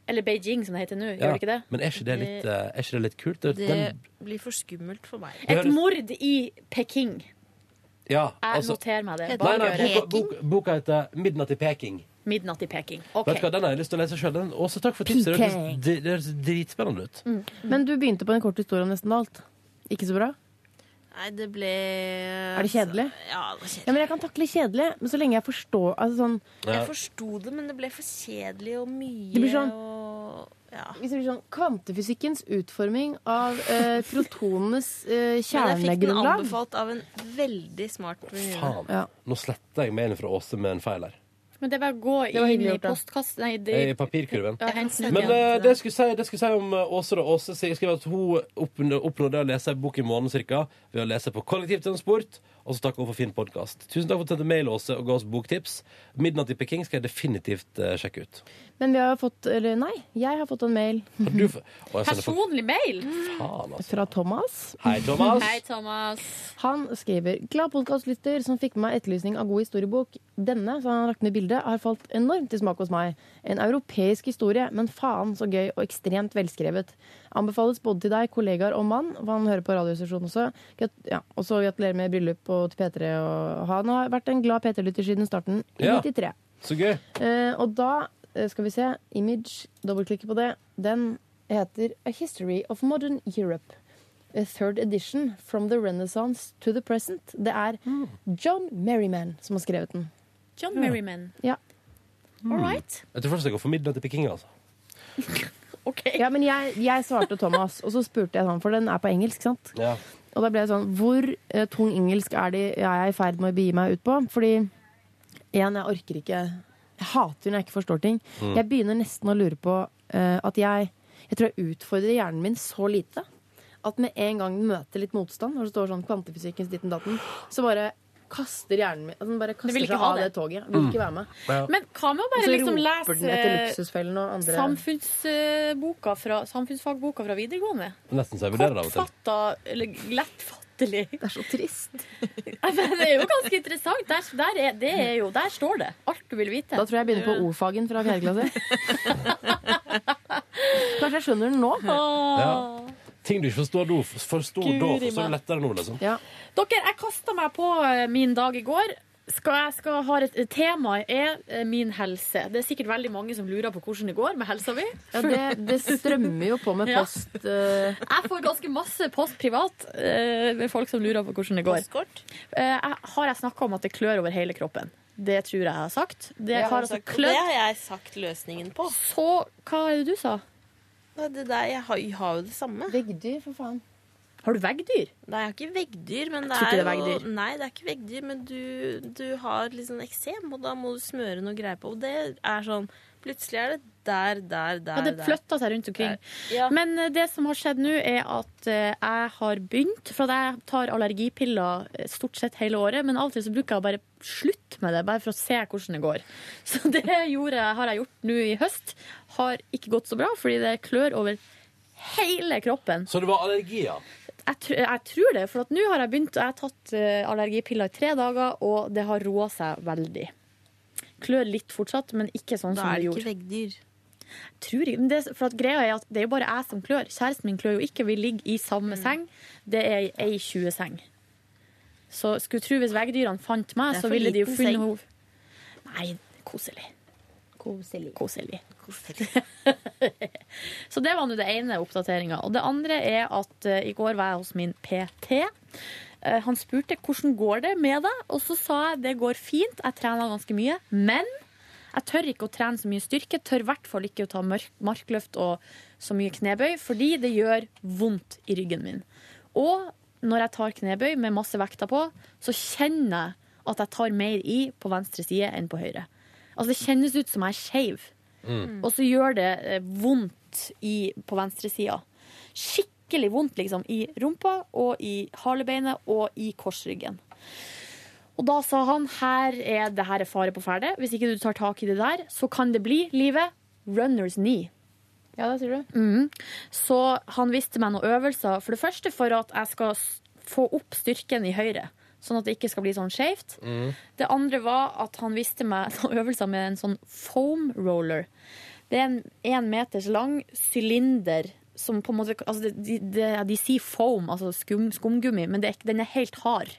Eller Beijing, som det heter nå.
Ja.
Gjør det ikke det?
Men er ikke det litt, eh, er ikke det litt kult? Det,
Det
den,
blir for skummelt for meg.
det
Et
høres-
mord i Peking.
ja,
Jeg
altså,
noterer meg det.
Heter
nei,
Bare
nei,
gjør det.
boka, bok, boka heter 'Midnatt i Peking'.
Midnatt i Peking. OK.
Vet du hva, Den har jeg lyst til å lese sjøl. Åse, takk for tipset. Det høres dri- det høres dritspennende ut.
Men du begynte på en kort historie om nesten alt. Ikke så bra?
Nei, det ble
Er det kjedelig?
Eh, Ja, det var
Ja,
kjedelig.
men Jeg kan takle kjedelig, men så lenge jeg forstår altså sånn,
Ja.
Jeg forsto det, men det ble for kjedelig og mye.
Det blir sånn-
og ja.
hvis det blir sånn Kvantefysikkens utforming av eh, protonenes eh,
(laughs) Men jeg fikk den
kjernegrunnlag.
anbefalt av en veldig smart venninne.
Faen.
Ja.
Nå sletter jeg mailen fra Åse med en feil her.
Men det er bare å gå
var
inn
hyggelig
i
gjort, da.
postkassen Nei, det,
I papirkurven.
ja, hent den
Men
igjen.
eh, det jeg skulle si, det jeg skulle si om eh, Åse da. Åse sier- skriver at hun oppnå- oppnådde å lese en bok i måneden cirka, ved å lese på kollektivtransport. Og så takker hun for fin podkast. Tusen takk for at du sendte mail, Åse, og ga oss boktips. 'Midnatt i Peking' skal jeg definitivt eh, sjekke ut.
Men vi har fått Eller nei, jeg har fått en mail
Har du f- Å, jeg sender for
Personlig mail!
Mm.
faen, altså.
fra Thomas.
Hei, Thomas.
Hei, Thomas.
Han skriver Glad podkastlytter som fikk med meg etterlysning av god historiebok. Denne så han har lagt ned bildet, har falt enormt i smak hos meg. En europeisk historie, men faen så gøy og ekstremt velskrevet. Anbefales både til deg, kollegaer og mann, for han hører på Radiostasjonen også. Grat- Ja, og så gratulerer med bryllup og til P3. Og han har vært en glad P3-lytter siden starten i
Ja.
93.
Så gøy.
Eh, og da eh, skal vi se. Image, dobbeltklikke på det. Den heter A History of Modern Europe. A third edition From the Renaissance to the Present. Det er John Merriman som har skrevet den.
John Merriman.
Ja.
All right.
Jeg tror først jeg går for 'Midnatt i Peking', altså.
OK.
Ja, men jeg, jeg svarte Thomas, og så spurte jeg han, for den er på engelsk, sant?
Ja.
Og da ble jeg sånn Hvor eh, tung engelsk er, det, er jeg i ferd med å begi meg ut på? Fordi igjen, jeg orker ikke Jeg hater når jeg ikke forstår ting. Jeg begynner nesten å lure på eh, at jeg Jeg tror jeg utfordrer hjernen min så lite at med en gang den møter litt motstand, når det står sånn kvantefysikkens ditten datten, så bare kaster hjernen min altså Den bare kaster
vil ikke
seg
ha
av det
det.
toget. Vil ikke være med.
Men hva med å
Og
bare
så
liksom
roper den etter
lese
luksusfellen og andre
samfunnsboka fra, samfunnsfagboka fra videregående?
Nesten så jeg vurderer det av og til.
Kortfatta, eller lettfattelig. (laughs)
Det er så trist.
Men det er jo ganske interessant. Der, der, er, det er jo, der står det alt du vil vite.
Da tror jeg jeg begynner på O-fagen fra
(laughs)
fjerde klasse. Kanskje jeg skjønner den nå.
Åh.
Ting du ikke forstår nå, forstår da,
Guri
forstår du
meg.
lettere nå, liksom.
Ja.
Dere, jeg kasta meg på eh, min dag i går. Skal jeg skal ha et tema er eh, min helse. Det er sikkert veldig mange som lurer på hvordan det går med helsa mi.
Ja, det, det strømmer jo på med
Ja.
post. eh,
Jeg får ganske masse post privat eh, med folk som lurer på hvordan det går.
Postkort.
Eh, jeg, har jeg snakka om at det klør over hele kroppen? Det tror jeg jeg har sagt. Det
Jeg
har
har
altså
sagt, og det
klødd.
har jeg sagt løsningen på.
Så hva er det du sa?
Nei, det der, jeg, har, jeg har jo det samme.
Veggdyr, for faen.
Har du veggdyr?
Nei, jeg har ikke veggdyr, men det
Tror ikke
er,
det er
jo
veggdyr.
Nei, det er ikke veggdyr, men du, du har litt sånn eksem, og da må du smøre noe greier på. Og det er sånn Plutselig er det der, der, der.
Ja, det
der.
flytta seg rundt omkring.
Ja.
Men eh, det som har skjedd nå, er at eh, jeg har begynt For at jeg tar allergipiller eh, stort sett hele året, men av og til så bruker jeg å bare slutte med det, bare for å se hvordan det går. (laughs) Så det gjorde, jeg- har jeg gjort nå i høst. Har ikke gått så bra, fordi det klør over hele kroppen.
Så det var allergier?
Jeg, tr jeg tror det, for at nå har jeg begynt, og jeg har tatt eh, allergipiller i tre dager, og det har roa seg veldig. Klør litt fortsatt, men ikke sånn
Da
som det
er det
gjorde
ikke veggdyr.
tror ikke men det, For at greia er at det er jo bare jeg som klør. Kjæresten min klør jo ikke. Vi ligger i samme
Mm.
seng. Det er ei 20-seng. Så skulle tro hvis veggdyrene fant meg,
Det er
så
for
ville de jo
liten
funnet
seng.
henne. Nei, koselig. Koselig. Så det var nå det ene oppdateringa. Og det andre er at eh, i går var jeg hos min PT. Eh, han spurte hvordan går det med deg, og så sa jeg det går fint, jeg trener ganske mye. Men jeg tør ikke å trene så mye styrke, tør i hvert fall ikke å ta mørk, markløft og så mye knebøy, fordi det gjør vondt i ryggen min. Og når jeg tar knebøy med masse vekter på, så kjenner jeg at jeg tar mer i på venstre side enn på høyre. Altså det kjennes ut som jeg er skeiv. Og så gjør det eh, vondt i, på venstresida. Skikkelig skikkelig vondt liksom, i rumpa og i halebeinet og i korsryggen. Og da sa han her er det her er fare på ferde. Hvis ikke du tar tak i det der, så kan det bli livet runner's knee.
Ja, det sier du.
Mm. Så han viste meg noen øvelser. For det første for at jeg skal s- få opp styrken i høyre. Sånn at det ikke skal bli sånn skjevt. Det andre var at han viste meg (laughs) noen øvelser med en sånn foam roller. Det er en én meters lang sylinder som på en måte altså det- de, de, de sier foam, altså skum, skumgummi, men det er, ikke- den er helt hard.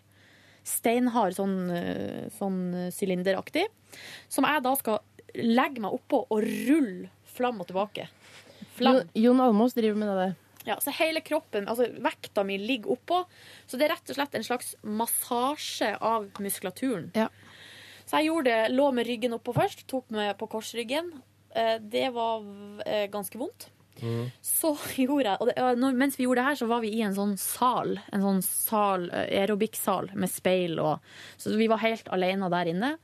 Steinhard, sånn, øh, sånn øh, sylinderaktig. Som jeg da skal legge meg oppå og rulle flam og tilbake. Flam.
Jon, Jon Almås driver med det der.
Ja, så hele kroppen, altså vekta mi ligger oppå. Så det er rett og slett en slags massasje av muskulaturen.
Ja.
Så jeg gjorde det, lå med ryggen oppå først, tok meg på korsryggen. Eh, Det var eh, ganske vondt. Så (laughs) gjorde jeg, og det, og når, mens vi gjorde det her, så var vi i en sånn sal, en sånn sal, eh, aerobikksal med speil og Så vi var helt alene der inne.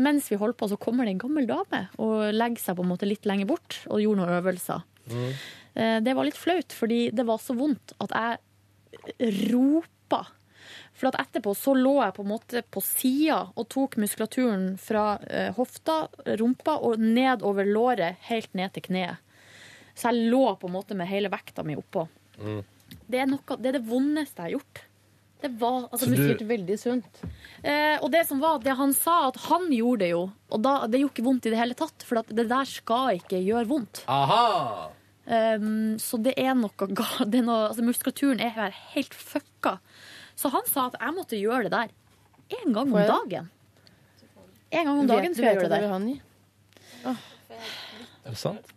Mens vi holdt på, så kommer det en gammel dame og legger seg på en måte litt lenger bort og gjorde noen øvelser. Eh, Det var litt flaut, fordi det var så vondt at jeg ropa. For at etterpå så lå jeg på en måte på sida og tok muskulaturen fra eh, hofta, rumpa og ned over låret, helt ned til kneet. Så jeg lå på en måte med hele vekta mi oppå. Det, er noe, det er det vondeste jeg har gjort. Det var, altså,
Så du-
Sikkert veldig sunt.
Eh, og det som var, det han sa, at han gjorde det jo. Og da, det gjorde ikke vondt i det hele tatt, for at det der skal ikke gjøre vondt.
Aha!
Um, så det er noe, ga- (laughs) det er noe altså Muskulaturen er her helt fucka. Så han sa at jeg måtte gjøre det der én gang om
Får jeg det?
dagen. En gang om dagen
Vet-
skal jeg
vet
gjøre
at
det
vil
der.
ha en ny?
Er det sant?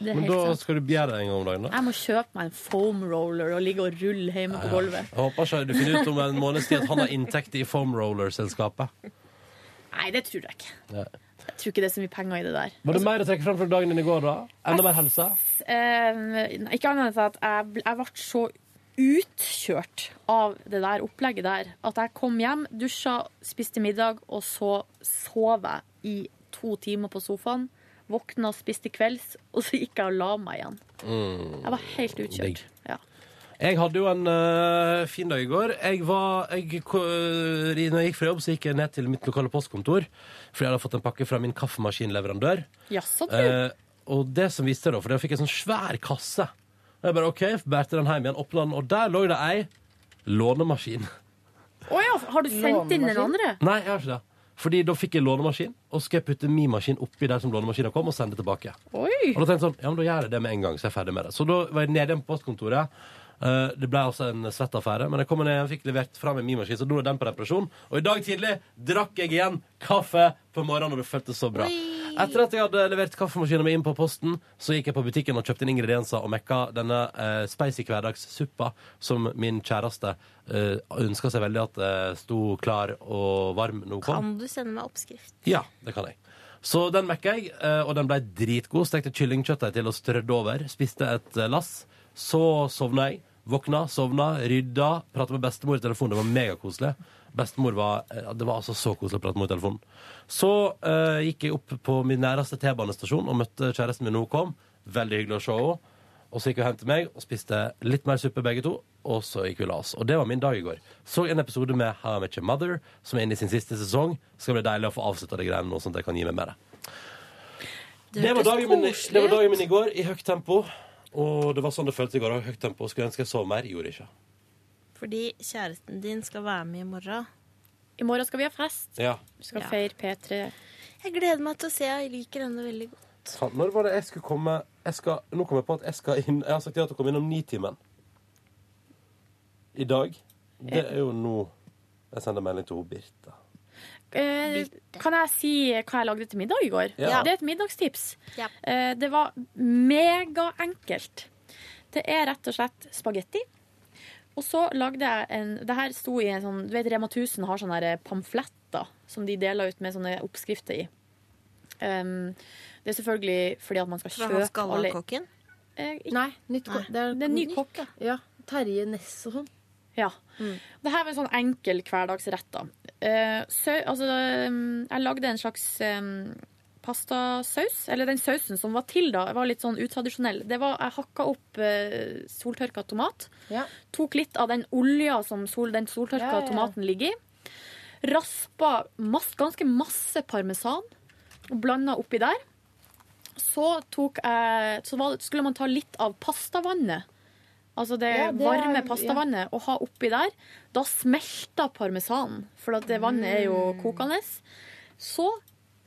Det er
Men
helt
da
sant.
skal du gjøre det en gang om dagen, da?
Jeg må kjøpe meg en foam roller og ligge og rulle hjemme på gulvet.
Jeg håper ikke du finner ut om en måneds tid at han har inntekt i Foam Roller-selskapet.
Nei, det tror jeg ikke.
Nei.
Jeg tror ikke det er så mye penger i det der.
Var det mer å trekke fram fra dagen din i går, da? Enda mer helse?
Eh, ikke annet enn at jeg, ble- jeg ble så utkjørt av det der opplegget der at jeg kom hjem, dusja, spiste middag, og så sov jeg i to timer på sofaen. Våkna, spiste kvelds, og så gikk jeg og la meg igjen. Jeg var helt
Mm. Digg.
utkjørt. Ja.
Jeg hadde jo en eh, fin dag i går. Jeg var, jeg, ko- når jeg gikk fra jobb, så gikk jeg ned til mitt lokale postkontor, fordi jeg hadde fått en pakke fra min kaffemaskinleverandør.
Jaså, du.
Eh, og det som viste det, for da fikk jeg sånn svær kasse. Og jeg bare OK, bærte den hjem igjen, åpna den, og der lå det ei lånemaskin. (laughs)
Å ja, har du sendt inn den andre?
Nei, jeg har ikke det. Fordi da fikk jeg lånemaskin, og så skal jeg putte min maskin oppi der som lånemaskinen kom, og sende det tilbake.
Oi!
Og da tenkte jeg sånn, ja, men da gjør jeg det med en gang, så jeg er ferdig med det. Så da var jeg nede igjen på postkontoret. Eh, det ble altså en svett affære, men jeg kom ned og fikk levert fra meg min maskin, så nå er den på reparasjon. Og i dag tidlig drakk jeg igjen kaffe på morgenen, og det føltes så bra. Etter at jeg hadde levert kaffemaskinen min inn på posten, så gikk jeg på butikken og kjøpte inn ingredienser og mekka denne eh, spicy hverdagssuppa som min kjæreste eh, ønska seg veldig at eh, sto klar og varm når hun kom.
Kan du sende meg oppskrift?
Ja, det kan jeg. Så den mekka jeg, eh, og den ble dritgod. Stekte kyllingkjøttdeig til og strødde over. Spiste et eh, lass. Så sovna jeg. Våkna, sovna, rydda. Prata med bestemor i telefonen. Det var megakoselig. Bestemor var eh, Det var altså så koselig å prate med henne i telefonen. Så eh, gikk jeg opp på min næreste T-banestasjon og møtte kjæresten min når hun kom. Veldig hyggelig å se henne. Og så gikk hun hjem til meg og spiste litt mer suppe begge to. Og så gikk vi og la oss. Og det var min dag i går. Så en episode med How I Met Your Mother, som er inne i sin siste sesong. Skal bli deilig å få avslutta de greiene nå, sånn at jeg kan gi meg med det. Det var dagen min, det var dagen min i går, i høyt tempo. Og det var sånn det føltes i går. Høyt tempo. Skulle ønske jeg sov mer. Gjorde ikke.
Fordi kjæresten din skal være med i morgen.
I morgen skal vi ha fest.
Ja.
Vi skal
Ja.
feire P3.
Jeg gleder meg til å se. Jeg liker henne veldig godt.
Faen, Når var det jeg skulle komme jeg skal, Nå kom jeg på at jeg skal inn Jeg har sagt ja til å komme innom Nitimen. I dag. Det er jo nå jeg sender melding til hun Birte.
Eh, kan jeg si hva jeg lagde til middag i går?
Ja.
Det er et middagstips.
Ja.
Eh, det var megaenkelt. Det er rett og slett spagetti. Og så lagde jeg en Det her sto i en sånn Du vet Rema 1000 har sånne her eh, pamfletter som de deler ut med sånne oppskrifter i. Um, det er selvfølgelig fordi at man skal
Fra
kjøpe
han gallakokken.
Eh, ikke-
Nei, nytt ko- Det er,
Det er en ny kokk.
Ja. Terje Næss og sånn.
Ja. Det her var en sånn mm, enkel hverdagsrett. da. Eh, sø, altså, um, jeg lagde en slags um, pastasaus. Eller den sausen som var til da, var litt sånn utradisjonell. Det var, Jeg hakka opp eh, soltørka tomat.
Ja.
Tok litt av den olja som sol, den soltørka
Ja, ja, ja.
tomaten ligger i. Raspa mass, ganske masse parmesan og blanda oppi der. Så, tok jeg, så var, det- skulle man ta litt av pastavannet. Altså det,
Ja, det er-
varme
ja.
pastavannet og ha oppi der. Da smelta parmesanen, for at det vannet er jo
Mm.
kokende. Så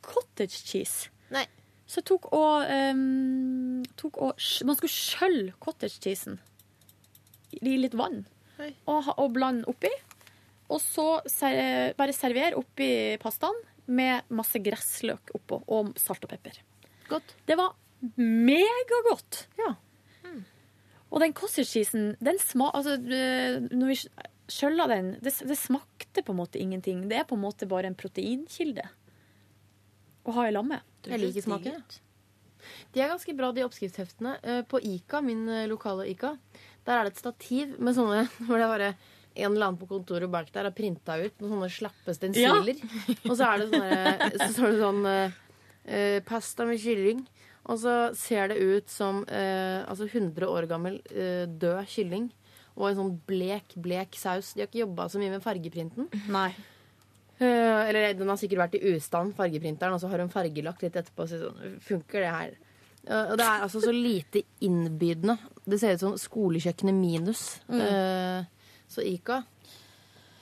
cottage cheese.
Nei.
Så jeg tok og, ehm, tok og sk- Man skulle skjølle cottage cheesen i litt vann
Oi.
og, ha- og blande oppi. Og så ser, bare server oppi pastaen med masse gressløk oppå og salt og pepper.
Godt.
Det var megagodt.
Ja.
Og den cottage cheesen, den sma... Altså, øh, når vi skjølla den, det, det smakte på en måte ingenting. Det er på en måte bare en proteinkilde å ha i lammet.
Jeg liker smaken. ja. De er ganske bra, de oppskriftsheftene. Eh, På Ica, min eh, lokale Ica, der er det et stativ med sånne (laughs) hvor det er bare en eller annen på kontoret bak der har printa ut noen sånne slappe stensiler. Og så er det sånne, så står det sånn eh, eh, pasta med kylling. Og så ser det ut som eh, altså 100 år gammel eh, død kylling. Og en sånn blek, blek saus. De har ikke jobba så mye med fargeprinten.
Nei.
Eh, Eller den har sikkert vært i ustand, fargeprinteren, og så har hun fargelagt litt etterpå. Så sånn, funker det her? Eh, Og det er altså så lite innbydende. Det ser ut som skolekjøkkenet minus. Eh, Så Ica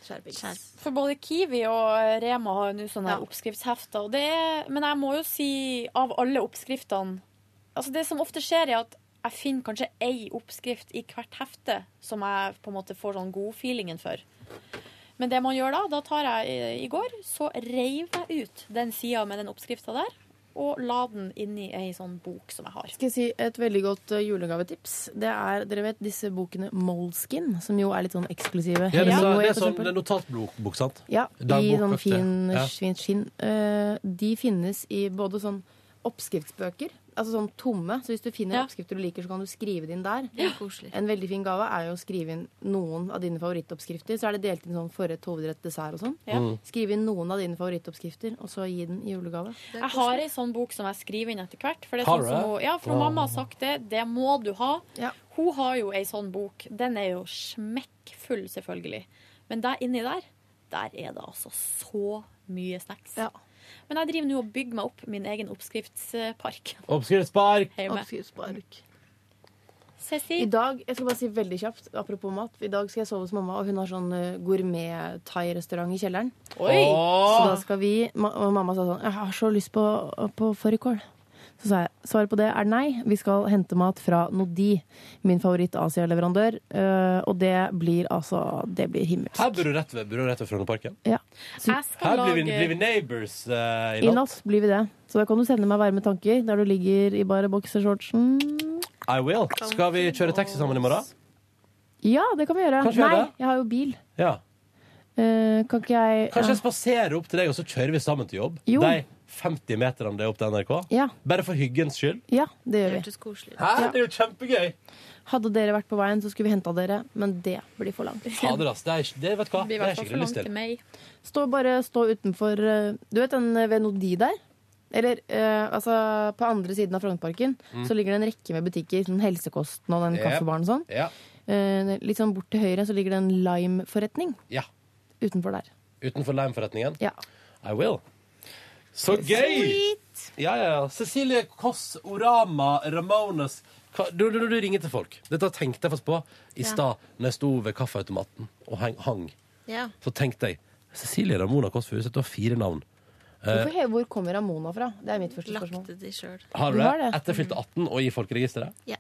Skjerpings.
For både Kiwi og Rema har jo nå sånne
Ja.
oppskriftshefter. Og det er, men jeg må jo si, av alle oppskriftene altså Det som ofte skjer, er at jeg finner kanskje ei oppskrift i hvert hefte som jeg på en måte får sånn godfeelingen for. Men det man gjør da, da tar jeg i- i går, så reiv jeg ut den sida med den oppskrifta der. Og la den inn i ei sånn bok som jeg har.
Skal jeg si et veldig godt eh, julegavetips? Det er, dere vet, disse bokene Moleskin, som jo er litt sånn eksklusive.
Ja, det, er,
Hemingway,
det er
for
sånn
eksempel.
det er notatbok, sant?
Ja, i
Dagbok,
sånn
vet du.
fin,
Ja.
fint skinn. Eh, de finnes i både sånn oppskriftsbøker, altså sånn tomme. Så hvis du finner
Ja.
oppskrifter du liker, så kan du skrive det inn der.
Det er koselig.
En veldig fin gave er jo å skrive inn noen av dine favorittoppskrifter. Så er det delt inn sånn forrett, hovedrett, dessert og sånn.
Ja. Mm.
Skriv inn noen av dine favorittoppskrifter, og så gi den i julegave.
Jeg har ei sånn bok som jeg skriver inn etter hvert. For det er
Har
sånn
du
som
det?
hun, ja, for
Wow.
mamma har sagt det. Det må du ha.
Ja.
Hun har jo ei sånn bok. Den er jo smekkfull, selvfølgelig. Men der inni der, der er det altså så mye snacks.
Ja.
Men jeg driver nå og bygger meg opp min egen oppskriftspark
Oppskriftspark!
hjemme.
Oppskriftspark.
Ceci,
I dag, jeg skal bare si veldig kjapt, apropos mat, i dag skal jeg sove hos mamma, og hun har sånn eh, gourmet-thai-restaurant i kjelleren. Så da skal vi ma- Og mamma sa sånn Jeg har så lyst på, på fårikål. Så sa jeg svaret på det er nei. Vi skal hente mat fra Nodi, min favoritt-Asia-leverandør. eh, Og det blir altså Det blir himmelsk.
Her bor du rett ved, bor du rett ved Frognerparken.
Ja.
jeg skal
Her blir vi, blir
lage
vi neighbors eh, i
I
natt.
natt blir vi det. Så da kan du sende meg varme tanker der du ligger i bare boksershortsen.
I will. Skal vi kjøre taxi sammen i morgen?
Ja, det kan vi gjøre.
Kanskje vi gjør
nei,
det?
jeg har jo bil.
Ja.
Eh, kan ikke jeg
Kanskje jeg spaserer opp til deg, og så kjører vi sammen til jobb?
Jo.
De 50 meterne det er opp til NRK?
Ja,
Bare for hyggens skyld?
ja, det
Det
gjør vi.
hørtes koselig ut.
Hæ? Det er jo kjempegøy!
Hadde dere vært på veien, så skulle vi henta dere, men det blir for langt.
Fader, ass. Det er, det, vet du hva?
blir i
det har jeg
hvert fall for
skikkelig lyst
langt
til.
til meg.
Stå bare stå utenfor eh, Du vet den ved Nodi der? Eller eh, altså på andre siden av Frognerparken
Mm.
så ligger det en rekke med butikker. Sånn helsekosten og den
Yep.
kaffebaren og sånn.
Ja.
Eh, litt sånn bort til høyre så ligger det en lime-forretning
ja.
utenfor der.
Utenfor Lime-forretningen?
Ja.
I will. Så gøy! Ja, ja, ja. Cecilie Koss Orama Ramones. Hva- Du, du, du, du ringer til folk. Dette tenkte jeg faktisk på i stad når jeg sto ved kaffeautomaten og heng, hang.
Ja.
Så tenkte jeg Cecilie Ramona Koss Furuseth, du har fire navn. Eh.
Hvorfor, he- hvor kommer Ramona fra? Det er mitt første spørsmål.
Lagte de sjøl.
Har du
Du
det?
har det.
Etter fylte 18 og i folkeregisteret?
Ja.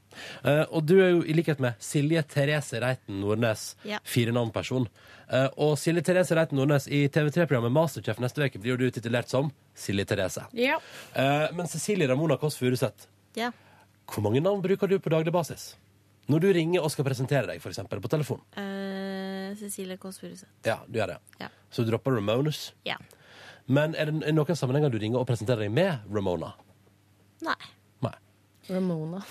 Eh, og du er jo i likhet med Silje Therese Reiten Nordnes,
Ja.
fire navn-person. Eh, og Silje Therese Reiten Nordnes i TV3-programmet Masterchef neste uke blir jo du titulert som Silje Therese.
Ja.
Eh, men Cecilie Ramona Kåss Furuseth,
Ja.
hvor mange navn bruker du på daglig basis? Når du ringer og skal presentere deg, f.eks. på telefon.
Eh, Cecilie Kåss Furuseth.
Ja, du gjør det.
Ja.
Så dropper du Ramones.
Ja.
Men er det er det noen sammenhenger du ringer og presenterer deg med Ramona?
Nei.
Nei.
Ramona.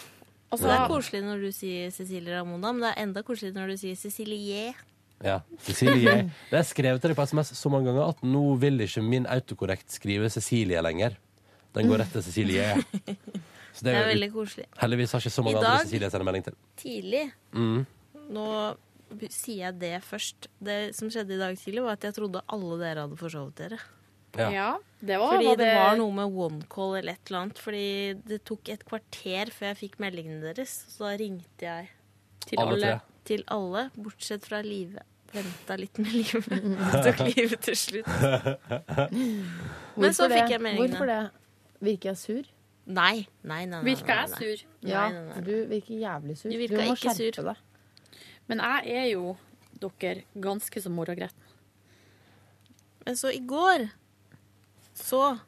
Altså,
Det er koselig når du sier Cecilie Ramona, men det er enda koseligere når du sier Cecilie J.
Ja, Cecilie. Det er skrevet til deg på SMS så mange ganger at nå vil ikke min autokorrekt skrive Cecilie lenger. Den går rett til Cecilie. Så
Det
det
er
er
veldig
jo,
koselig.
heldigvis har ikke så
I
mange andre
dag-
Cecilie sender melding til.
Tidlig
Mm.
Nå b- sier jeg det først. Det som skjedde i dag tidlig, var at jeg trodde alle dere hadde forsovet dere.
Ja.
Ja, det var,
Fordi
var
det var noe med one call eller et eller annet. Fordi det tok et kvarter før jeg fikk meldingene deres. Så da ringte jeg
til
Alle
alle.
tre.
til alle, bortsett fra Live. Venta litt med
(laughs)
livet. Det tok livet til slutt. Men
Hvorfor
så fikk
det?
jeg meldingene.
Hvorfor det? Virker jeg sur?
Nei, nei, nei. nei,
Virka
nei,
jeg
nei.
sur?
Ja,
nei, nei.
du virker jævlig sur.
Du virka
må
ikke sur.
skjerpe deg.
Men jeg er jo dere ganske så morgengretten.
Men så i går så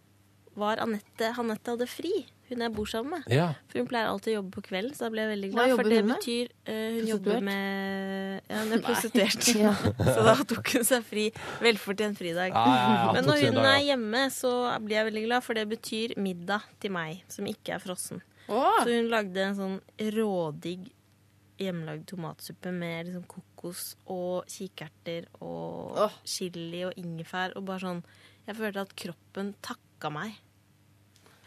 var Anette Anette hadde fri. Hun jeg bor sammen med.
Ja.
For hun pleier alltid å jobbe på kvelden, så da ble jeg veldig
Hva
glad.
jobber
for det
hun med?
betyr eh, Hun
Prostituert?
jobber med Ja, hun er prostituert.
(laughs) Ja.
(laughs) så da tok hun seg fri. Velfortjent fridag.
Ja, Ah, ja, ja.
Men
Tok
når
seg en
hun
dag, ja.
er hjemme, så blir jeg veldig glad, for det betyr middag til meg, som ikke er frossen.
Ah.
Så hun lagde en sånn rådigg hjemmelagd tomatsuppe med liksom kokos og kikerter og
Åh.
chili og ingefær og bare sånn Jeg følte at kroppen takka meg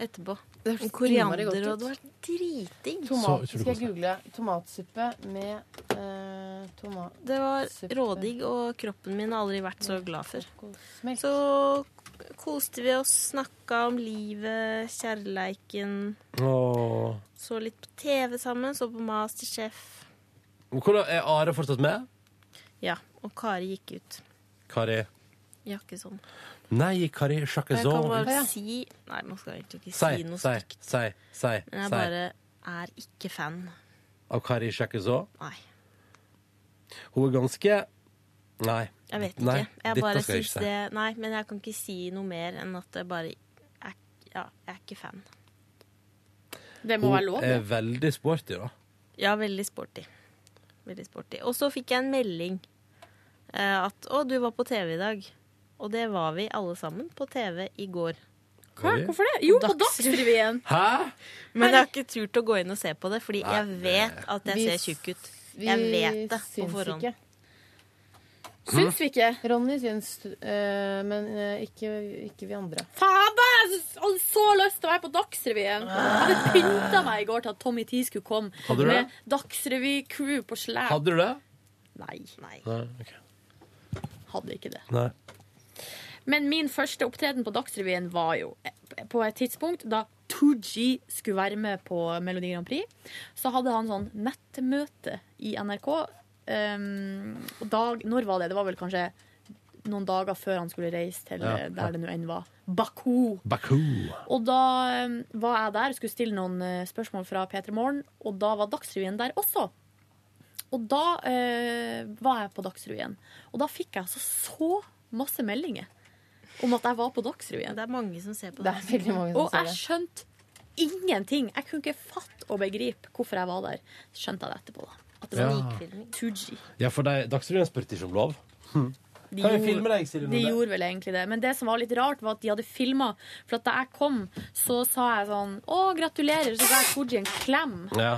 etterpå.
Det høres
En
innmari
koriander
godt
og
ut.
det var dritdigg.
Så
Tomat,
utrolig
skal jeg google tomatsuppe med eh, tomat...
Det var
Suppe.
rådigg, og kroppen min har aldri vært så glad før.
kokosmelk.
Så koste vi oss, snakka om livet, kjærleiken.
Åh.
Så litt på TV sammen, så på Masterchef.
Hvordan er Are fortsatt med?
Ja, og Kari gikk ut.
Kari
Jakkesson.
Nei, Kari
sånn. Jeg kan
Sjakkesson.
bare si Nei, man skal egentlig ikke
Si,
si noe
si,
stygt.
si, si,
Men
si.
jeg bare er ikke fan.
Av Kari Sjakkesson.
Nei,
Hun er ganske Nei.
jeg vet ikke.
Nei,
jeg
dette
bare
skal jeg
synes
ikke si.
det Nei, men jeg kan ikke si noe mer enn at jeg bare er, Ja, jeg er ikke fan.
Det må være
Hun
lov.
er veldig sporty, da.
Ja, veldig sporty. Veldig sporty. Og så fikk jeg en melding eh, at Å, du var på TV i dag. Og det var vi alle sammen på TV i går.
Hva? Hvorfor det? Jo, på Dagsrevyen.
Hæ?
Men jeg har ikke turt å gå inn og se på det, fordi jeg vet at jeg
Vi
ser tjukk ut. Jeg vet det på forhånd.
Ikke.
Syns vi ikke?
Ronny syns, eh, men eh, ikke, ikke vi andre. (laughs)
Fader, jeg hadde så lyst til å være på Dagsrevyen! Jeg hadde pynta meg i går til at Tommy Tee skulle komme
Hadde du det?
med Dagsrevy-crew på slep.
Hadde du det?
Nei, nei,
Nei. ok.
hadde ikke det.
Nei.
Men min første opptreden på Dagsrevyen var jo eh, på et tidspunkt da 2G skulle være med på Melodi Grand Prix. Så hadde han sånn nettmøte i NRK. Um, og dag, når var det? Det var vel kanskje noen dager før han skulle reise til
Ja,
eh, der det nå enn var. Baku.
Baku.
Og da um, var jeg der og skulle stille noen eh, spørsmål fra P3 Morgen, og da var Dagsrevyen der også. Og da eh, var jeg på Dagsrevyen. Og da fikk jeg altså så masse meldinger om at jeg var på Dagsrevyen.
Det er mange som ser på
Det
det.
er veldig mange som
Og
ser
jeg
det.
skjønte ingenting. Jeg kunne ikke fatte og begripe hvorfor jeg var der. Skjønte jeg det etterpå, da. At det var
Ja.
likfilming. 2G.
Ja, for de- Dagsrevyen spurte ikke om lov.
De
Kan vi
gjorde-
filme deg, Silje
De
Nordnes?
gjorde vel egentlig det. Men det som var litt rart, var at de hadde filma. For at da jeg kom, så sa jeg sånn Å, gratulerer. Så ga jeg Tooji en klem.
Ja.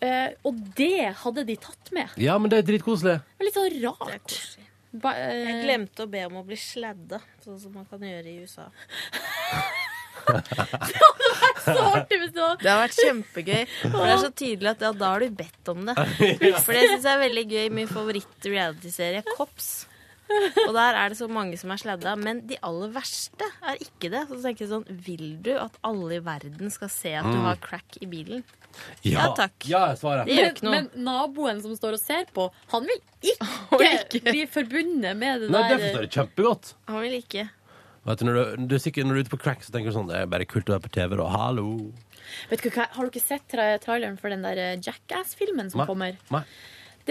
Eh, og det hadde de tatt med.
ja, men det er dritkoselig.
Det var litt sånn
Det er
rart.
koselig.
Ba, eh,
Jeg glemte å be om å bli sladda, sånn som man kan gjøre i USA.
så artig hvis (laughs) det var
Det har vært kjempegøy. For det er så tydelig at ja, da har du bedt om det. For det syns jeg er veldig gøy. Min favoritt-realityserie, Kops. Og der er det så mange som er sladda. Men de aller verste er ikke det. Så tenker jeg sånn, vil du at alle i verden skal se at du har crack i bilen? Ja, takk.
Ja, er svaret.
Det gjør ikke noe.
men naboen som står og ser på, han vil ikke,
(laughs)
bli forbundet med det
Nei, det
der.
forstår jeg kjempegodt.
Han vil ikke.
Vet du, når du, du, er sikkert, når du er ute på crack, så tenker du sånn Det er bare kult å være på TV, da. Hallo.
Vet du hva, har dere sett tra traileren for den der eh, Jackass-filmen som
Nei.
kommer?
Nei.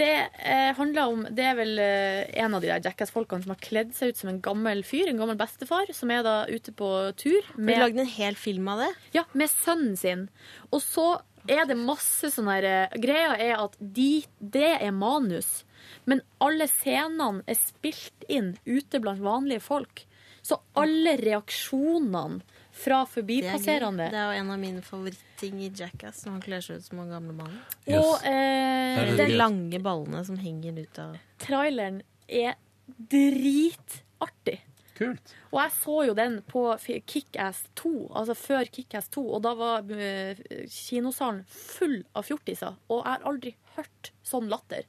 Det eh, handler om Det er vel eh, en av de der Jackass-folkene som har kledd seg ut som en gammel fyr, en gammel bestefar, som er da ute på tur
Vi
med,
lagde en hel film av det.
ja, med sønnen sin. Og så er det masse sånn her eh, Greia er at de, det er manus, men alle scenene er spilt inn ute blant vanlige folk. Så alle reaksjonene fra
Det er, gøy.
forbipasserende
det er jo en av mine favoritting i Jackass, når han kler seg ut som en gamle mann.
Yes.
Og eh,
Herregud.
De lange ballene som henger ut av
traileren er dritartig.
Kult.
Og jeg så jo den på fi- Kick-Ass 2, altså før Kick-Ass 2, og da var eh, kinosalen full av fjortiser. Og jeg har aldri hørt sånn latter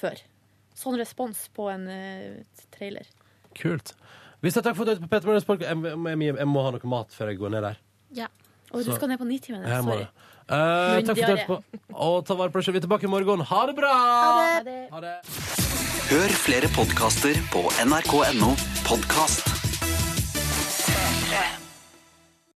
før. Sånn respons på en eh, trailer.
Kult. Vi sier takk for at du hørte på Peter Morgens podcast. Jeg, må- jeg, jeg må ha noe mat før jeg går ned der.
Og du
Så-
skal ned på Nitimen,
Jeg må
sorry.
det. Eh, takk for at du hørte på. Og ta vare på deg selv. Vi er tilbake i morgen. Ha det bra! Ha det.
Hør flere podkaster på nrk.no podkast.